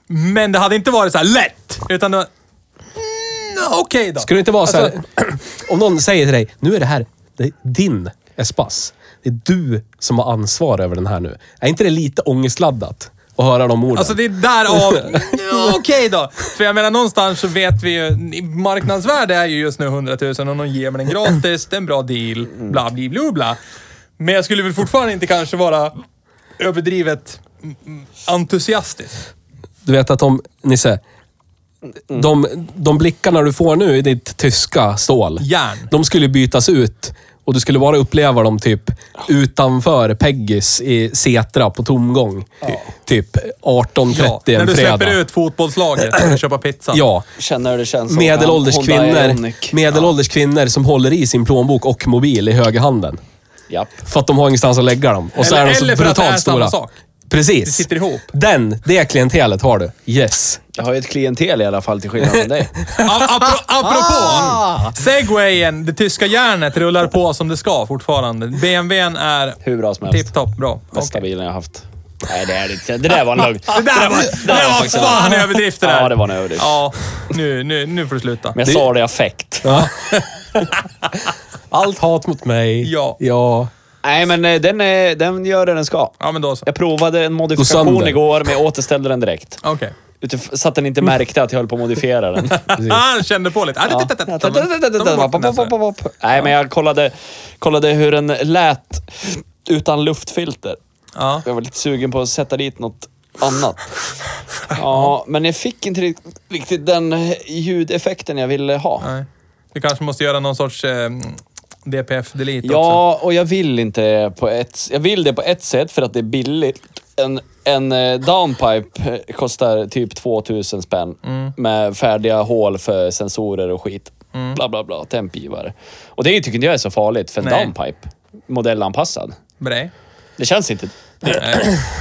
Speaker 3: Men det hade inte varit så här lätt. Utan det var... Mm, Okej då. Alltså-
Speaker 2: Skulle det inte vara så här, Alltså, [clears throat] om någon säger till dig, nu är det här det är din Espace. Det är du som har ansvar över den här nu. Är inte det lite ångestladdat att höra de orden?
Speaker 3: Alltså det är därav... Ja, Okej då. För jag menar någonstans så vet vi ju... Marknadsvärde är ju just nu 100 000 och någon ger mig den gratis, det är en bra deal, bla bli bla, bla. Men jag skulle väl fortfarande inte kanske vara överdrivet mm, mm, entusiastisk.
Speaker 2: Du vet att de, Nisse,
Speaker 3: Mm.
Speaker 2: de, de blickarna du får nu i ditt tyska stål,
Speaker 3: Järn.
Speaker 2: de skulle bytas ut och du skulle bara uppleva dem typ utanför Peggys i Setra på tomgång. Typ 18.30
Speaker 3: Ja, när
Speaker 2: en
Speaker 3: du
Speaker 2: fredag.
Speaker 3: släpper ut fotbollslaget och köpa pizza.
Speaker 2: Ja,
Speaker 1: Känner hur det känns. att
Speaker 2: medelålders
Speaker 1: Honda
Speaker 2: kvinnor,
Speaker 1: Ioniq.
Speaker 2: medelålders kvinnor som håller i sin plånbok och mobil i högerhanden.
Speaker 1: Japp.
Speaker 2: För att de har ingenstans att lägga dem. Och så
Speaker 3: Eller-
Speaker 2: är de så
Speaker 3: eller för att det är
Speaker 2: brutalt
Speaker 3: samma
Speaker 2: stora.
Speaker 3: sak.
Speaker 2: Precis.
Speaker 3: Det sitter ihop.
Speaker 2: Den, det klientelet har du. Yes.
Speaker 1: Jag har ju ett klientel i alla fall till skillnad
Speaker 3: [laughs]
Speaker 1: från dig.
Speaker 3: A- apro- apropå! Segwayen, det tyska järnet, rullar på som det ska fortfarande. BMWn är
Speaker 1: Hur bra som helst.
Speaker 3: tipptopp bra.
Speaker 1: Bästa
Speaker 3: Okej.
Speaker 1: bilen jag har haft. Nej, det är det inte. Det där var en lögn.
Speaker 3: Det där var, det där var
Speaker 1: faktiskt
Speaker 3: fan en överdrift [laughs] det där.
Speaker 1: Ja, det var en överdrift.
Speaker 3: Ja, nu, nu, nu får du sluta.
Speaker 1: Men jag sa det i affekt.
Speaker 2: Allt hat mot mig.
Speaker 3: Ja.
Speaker 2: ja.
Speaker 1: Nej, men eh, den, är, den gör det den ska.
Speaker 3: Ja, men då så.
Speaker 1: Jag provade en
Speaker 2: Gå
Speaker 1: modifikation
Speaker 2: sönder.
Speaker 1: igår, men jag återställde den direkt.
Speaker 3: Okej.
Speaker 1: Utif- Så att den inte märkte att jag höll på att
Speaker 3: [laughs]
Speaker 1: modifiera den.
Speaker 3: Ah, kände på lite. Ah, titta, titta, titta. De är borta nästa.
Speaker 1: Nej, men jag kollade, kollade hur den lät utan luftfilter.
Speaker 3: Ja.
Speaker 1: Jag var lite sugen på att sätta dit något annat. Ja, men jag fick inte rikt- riktigt den ljudeffekten jag ville ha.
Speaker 3: Nej. Du kanske måste göra någon sorts eh, DPF-delete också.
Speaker 1: Ja, och jag vill inte det på ett... Jag vill det på ett sätt för att det är billigt. En, en eh, downpipe eh, kostar typ 2000 spänn
Speaker 3: Mm.
Speaker 1: med färdiga hål för sensorer och skit.
Speaker 3: Mm.
Speaker 1: Bla, bla, bla. Tempgivare. Och det tycker inte jag är så farligt för en
Speaker 3: Nej.
Speaker 1: downpipe. Modellanpassad.
Speaker 3: Brej.
Speaker 1: Det känns inte...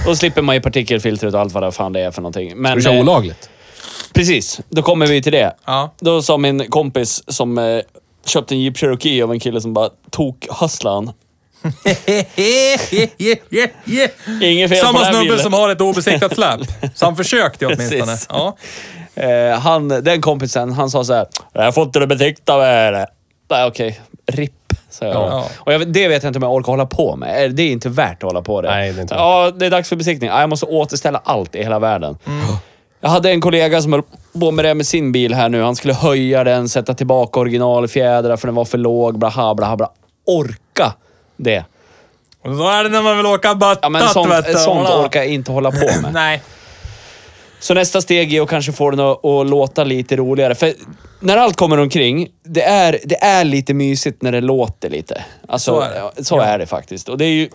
Speaker 1: Då slipper man ju partikelfiltret och allt vad det fan det är för någonting. Men,
Speaker 2: Du kör
Speaker 1: eh,
Speaker 2: olagligt.
Speaker 1: Precis, då kommer vi till det.
Speaker 3: Ja.
Speaker 1: Då sa min kompis som eh, köpte en Jeep Cherokee av en kille som bara tok han. Inget fel på
Speaker 3: Samma
Speaker 1: den här
Speaker 3: snubbe
Speaker 1: bilen.
Speaker 3: som har ett obesiktat släp. Så han försökte åtminstone.
Speaker 1: Precis.
Speaker 3: Ja.
Speaker 1: Eh, han, den kompisen, han sa så här. Jag får inte det besiktat med det. Nej, okej. RIP. sa jag.
Speaker 3: Ja.
Speaker 1: Och jag, vet- det vet jag inte om jag orkar hålla på med. Eh, Det är inte värt att hålla på det.
Speaker 6: Nej, det är inte
Speaker 1: ja, det är dags för besiktning. Ja, Jag måste återställa allt i hela världen. Jag hade en kollega som höll på med det med sin bil här nu. Han skulle höja den, sätta tillbaka originalfjädrar för den var för låg. Blaha, blaha, blaha. Orka det.
Speaker 3: Och så är det när man vill åka battat,
Speaker 1: Ja, men sånt,
Speaker 3: vet du.
Speaker 1: sånt
Speaker 3: Ja.
Speaker 1: orkar jag inte hålla på med.
Speaker 3: Nej.
Speaker 1: Så nästa steg är att kanske få den att, att låta lite roligare. För när allt kommer omkring, det är, det är lite mysigt när det låter lite. Alltså,
Speaker 3: Så
Speaker 1: så
Speaker 3: är det.
Speaker 1: är det, så är det faktiskt. Och det är ju...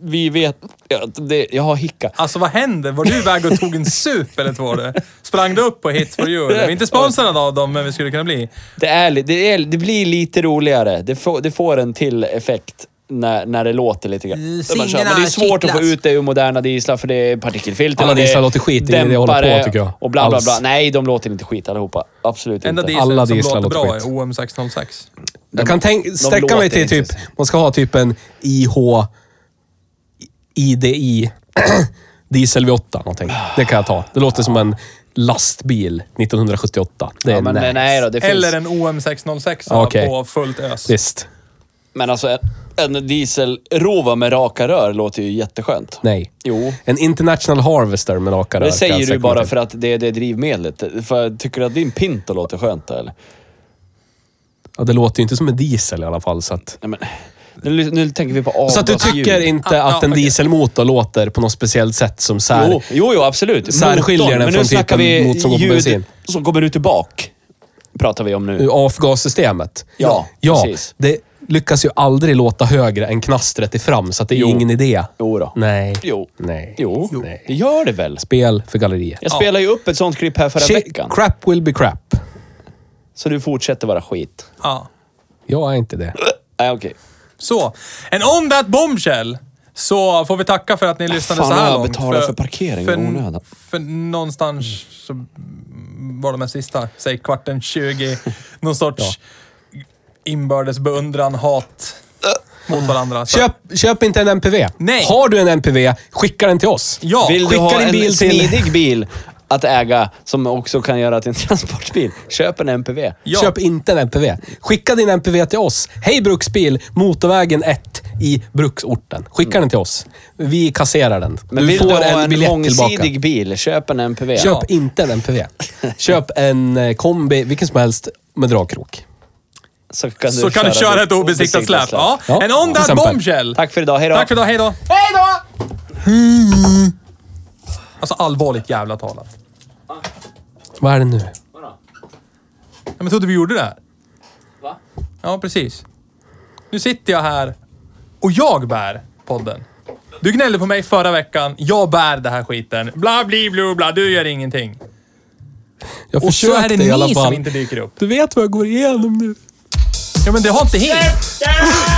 Speaker 1: Vi vet... ja, Det, jag har hicka.
Speaker 3: Alltså vad hände? Var du iväg och tog en sup eller två? Eller? Sprang du upp på Hits for you? Eller? Vi är inte sponsrade av dem, men vi skulle kunna bli.
Speaker 1: Det, är, li- det, är, det blir lite roligare. Det får, det får en till effekt när, när det låter lite grann.
Speaker 3: Mm,
Speaker 1: När man kör.
Speaker 3: singlarna
Speaker 1: Men det är svårt att få
Speaker 3: kittlas.
Speaker 1: ut det ur moderna dieslar för det är partikelfilter.
Speaker 2: Alla
Speaker 1: och det är
Speaker 2: dieslar låter skit, det är det jag håller på,
Speaker 1: dämpare
Speaker 2: tycker jag.
Speaker 1: Och bla, bla, bla.
Speaker 2: Alls.
Speaker 1: Nej, de låter inte skit allihopa. Absolut
Speaker 3: Enda
Speaker 1: inte.
Speaker 3: dieseln
Speaker 2: Alla
Speaker 3: som
Speaker 2: dieslar
Speaker 3: låter
Speaker 2: låter
Speaker 3: bra är
Speaker 2: skit.
Speaker 3: OM606.
Speaker 2: Jag kan tänk, sträcka
Speaker 1: låter
Speaker 2: mig till
Speaker 1: inte
Speaker 2: typ,
Speaker 1: så.
Speaker 2: man ska ha typ en IH IDI [clears throat] diesel V8 någonting. Det kan jag ta. Det låter som en lastbil 1978. Det är
Speaker 1: Ja, men,
Speaker 2: nice.
Speaker 1: nej. nej då, det finns...
Speaker 3: Eller en OM606
Speaker 2: Okej.
Speaker 3: på fullt ös.
Speaker 2: Visst.
Speaker 1: Men alltså en, en dieselrova med raka rör låter ju jätteskönt.
Speaker 2: Nej.
Speaker 1: Jo.
Speaker 2: En International Harvester med raka rör
Speaker 1: Det
Speaker 2: kan jag
Speaker 1: säger du
Speaker 2: sträcka
Speaker 1: bara
Speaker 2: mig
Speaker 1: för
Speaker 2: till.
Speaker 1: att det är det drivmedlet. För, tycker du att din Pinto låter skönt då, eller?
Speaker 2: Ja, det låter ju inte som en diesel i alla fall. Så, att...
Speaker 1: Nej, men, nu, nu tänker vi på avgasljud.
Speaker 2: så att du tycker inte
Speaker 3: Ah,
Speaker 2: att
Speaker 3: ja,
Speaker 2: en
Speaker 3: okej.
Speaker 2: dieselmotor låter på något speciellt sätt som så här...
Speaker 1: Jo, jo, jo absolut.
Speaker 2: Särskiljer
Speaker 1: Motorn. Men
Speaker 2: den
Speaker 1: nu
Speaker 2: från typ
Speaker 1: snackar
Speaker 2: en
Speaker 1: vi
Speaker 2: motor som går på
Speaker 1: ljud
Speaker 2: bensin.
Speaker 1: som kommer ut ur bak. Pratar vi om nu.
Speaker 2: ur avgassystemet.
Speaker 1: Ja,
Speaker 2: ja
Speaker 1: precis.
Speaker 2: det lyckas ju aldrig låta högre än knastret i fram, så att det är
Speaker 1: Jo.
Speaker 2: ingen idé.
Speaker 1: Jo då.
Speaker 2: Nej.
Speaker 1: Jo.
Speaker 2: Nej.
Speaker 1: Jo, det
Speaker 2: Nej.
Speaker 1: gör det väl?
Speaker 2: Spel för galleriet.
Speaker 1: Jag spelade ju upp ett sånt klipp här förra
Speaker 2: Shit,
Speaker 1: veckan.
Speaker 2: crap will be crap.
Speaker 1: Så du fortsätter vara skit.
Speaker 3: Ja.
Speaker 2: Jag är inte det.
Speaker 1: Nej, okej.
Speaker 3: Så. And on that bombshell så får vi tacka för att ni lyssnade
Speaker 1: fan,
Speaker 3: så här
Speaker 1: jag
Speaker 3: långt.
Speaker 1: betalar för parkering i onödan.
Speaker 3: För någonstans så var de här sista, säg kvarten 20, någon sorts inbördes beundran, hat mot varandra. Så.
Speaker 2: Köp, köp inte en MPV.
Speaker 3: Nej.
Speaker 2: Har du en MPV, skicka den till oss.
Speaker 3: Ja.
Speaker 1: Vill du
Speaker 2: skicka
Speaker 1: ha
Speaker 2: din
Speaker 1: en
Speaker 2: bil till-
Speaker 1: smidig bil att äga som också kan göra till en [laughs] transportbil, köp en MPV.
Speaker 3: Ja.
Speaker 2: Köp inte en MPV. Skicka din MPV till oss. Hej Bruksbil, Motorvägen 1 i bruksorten. Skicka den till oss. Vi kasserar den.
Speaker 1: Mm. Men
Speaker 2: du
Speaker 1: vill
Speaker 2: får
Speaker 1: du ha en,
Speaker 2: en biljett
Speaker 1: mångsidig
Speaker 2: tillbaka.
Speaker 1: bil, köp en MPV.
Speaker 2: Köp inte
Speaker 3: [laughs]
Speaker 2: en MPV. Köp en eh, kombi, vilken som helst, med dragkrok.
Speaker 1: Så kan du
Speaker 3: Så kan du köra ett obesiktat släp. Ja.
Speaker 2: Ja,
Speaker 3: And on
Speaker 2: till
Speaker 3: that
Speaker 2: exempel.
Speaker 3: bombshell.
Speaker 1: Tack för idag, hejdå.
Speaker 3: Tack för idag, hej då! Hej då! Alltså allvarligt jävla talat.
Speaker 2: Vad är det nu?
Speaker 3: Ja, men trodde vi gjorde det här?
Speaker 1: Va?
Speaker 3: Ja, precis. Nu sitter jag här och jag bär podden. Du gnällde på mig förra veckan. Jag bär det här skiten. Bla, bli, blu, bla. Du gör ingenting.
Speaker 2: Jag
Speaker 3: Och så är
Speaker 2: försökte
Speaker 3: det
Speaker 2: i alla
Speaker 3: ni
Speaker 2: fall.
Speaker 3: som inte dyker upp.
Speaker 2: Du vet vad jag går igenom nu.
Speaker 3: Ja, men det har inte helt.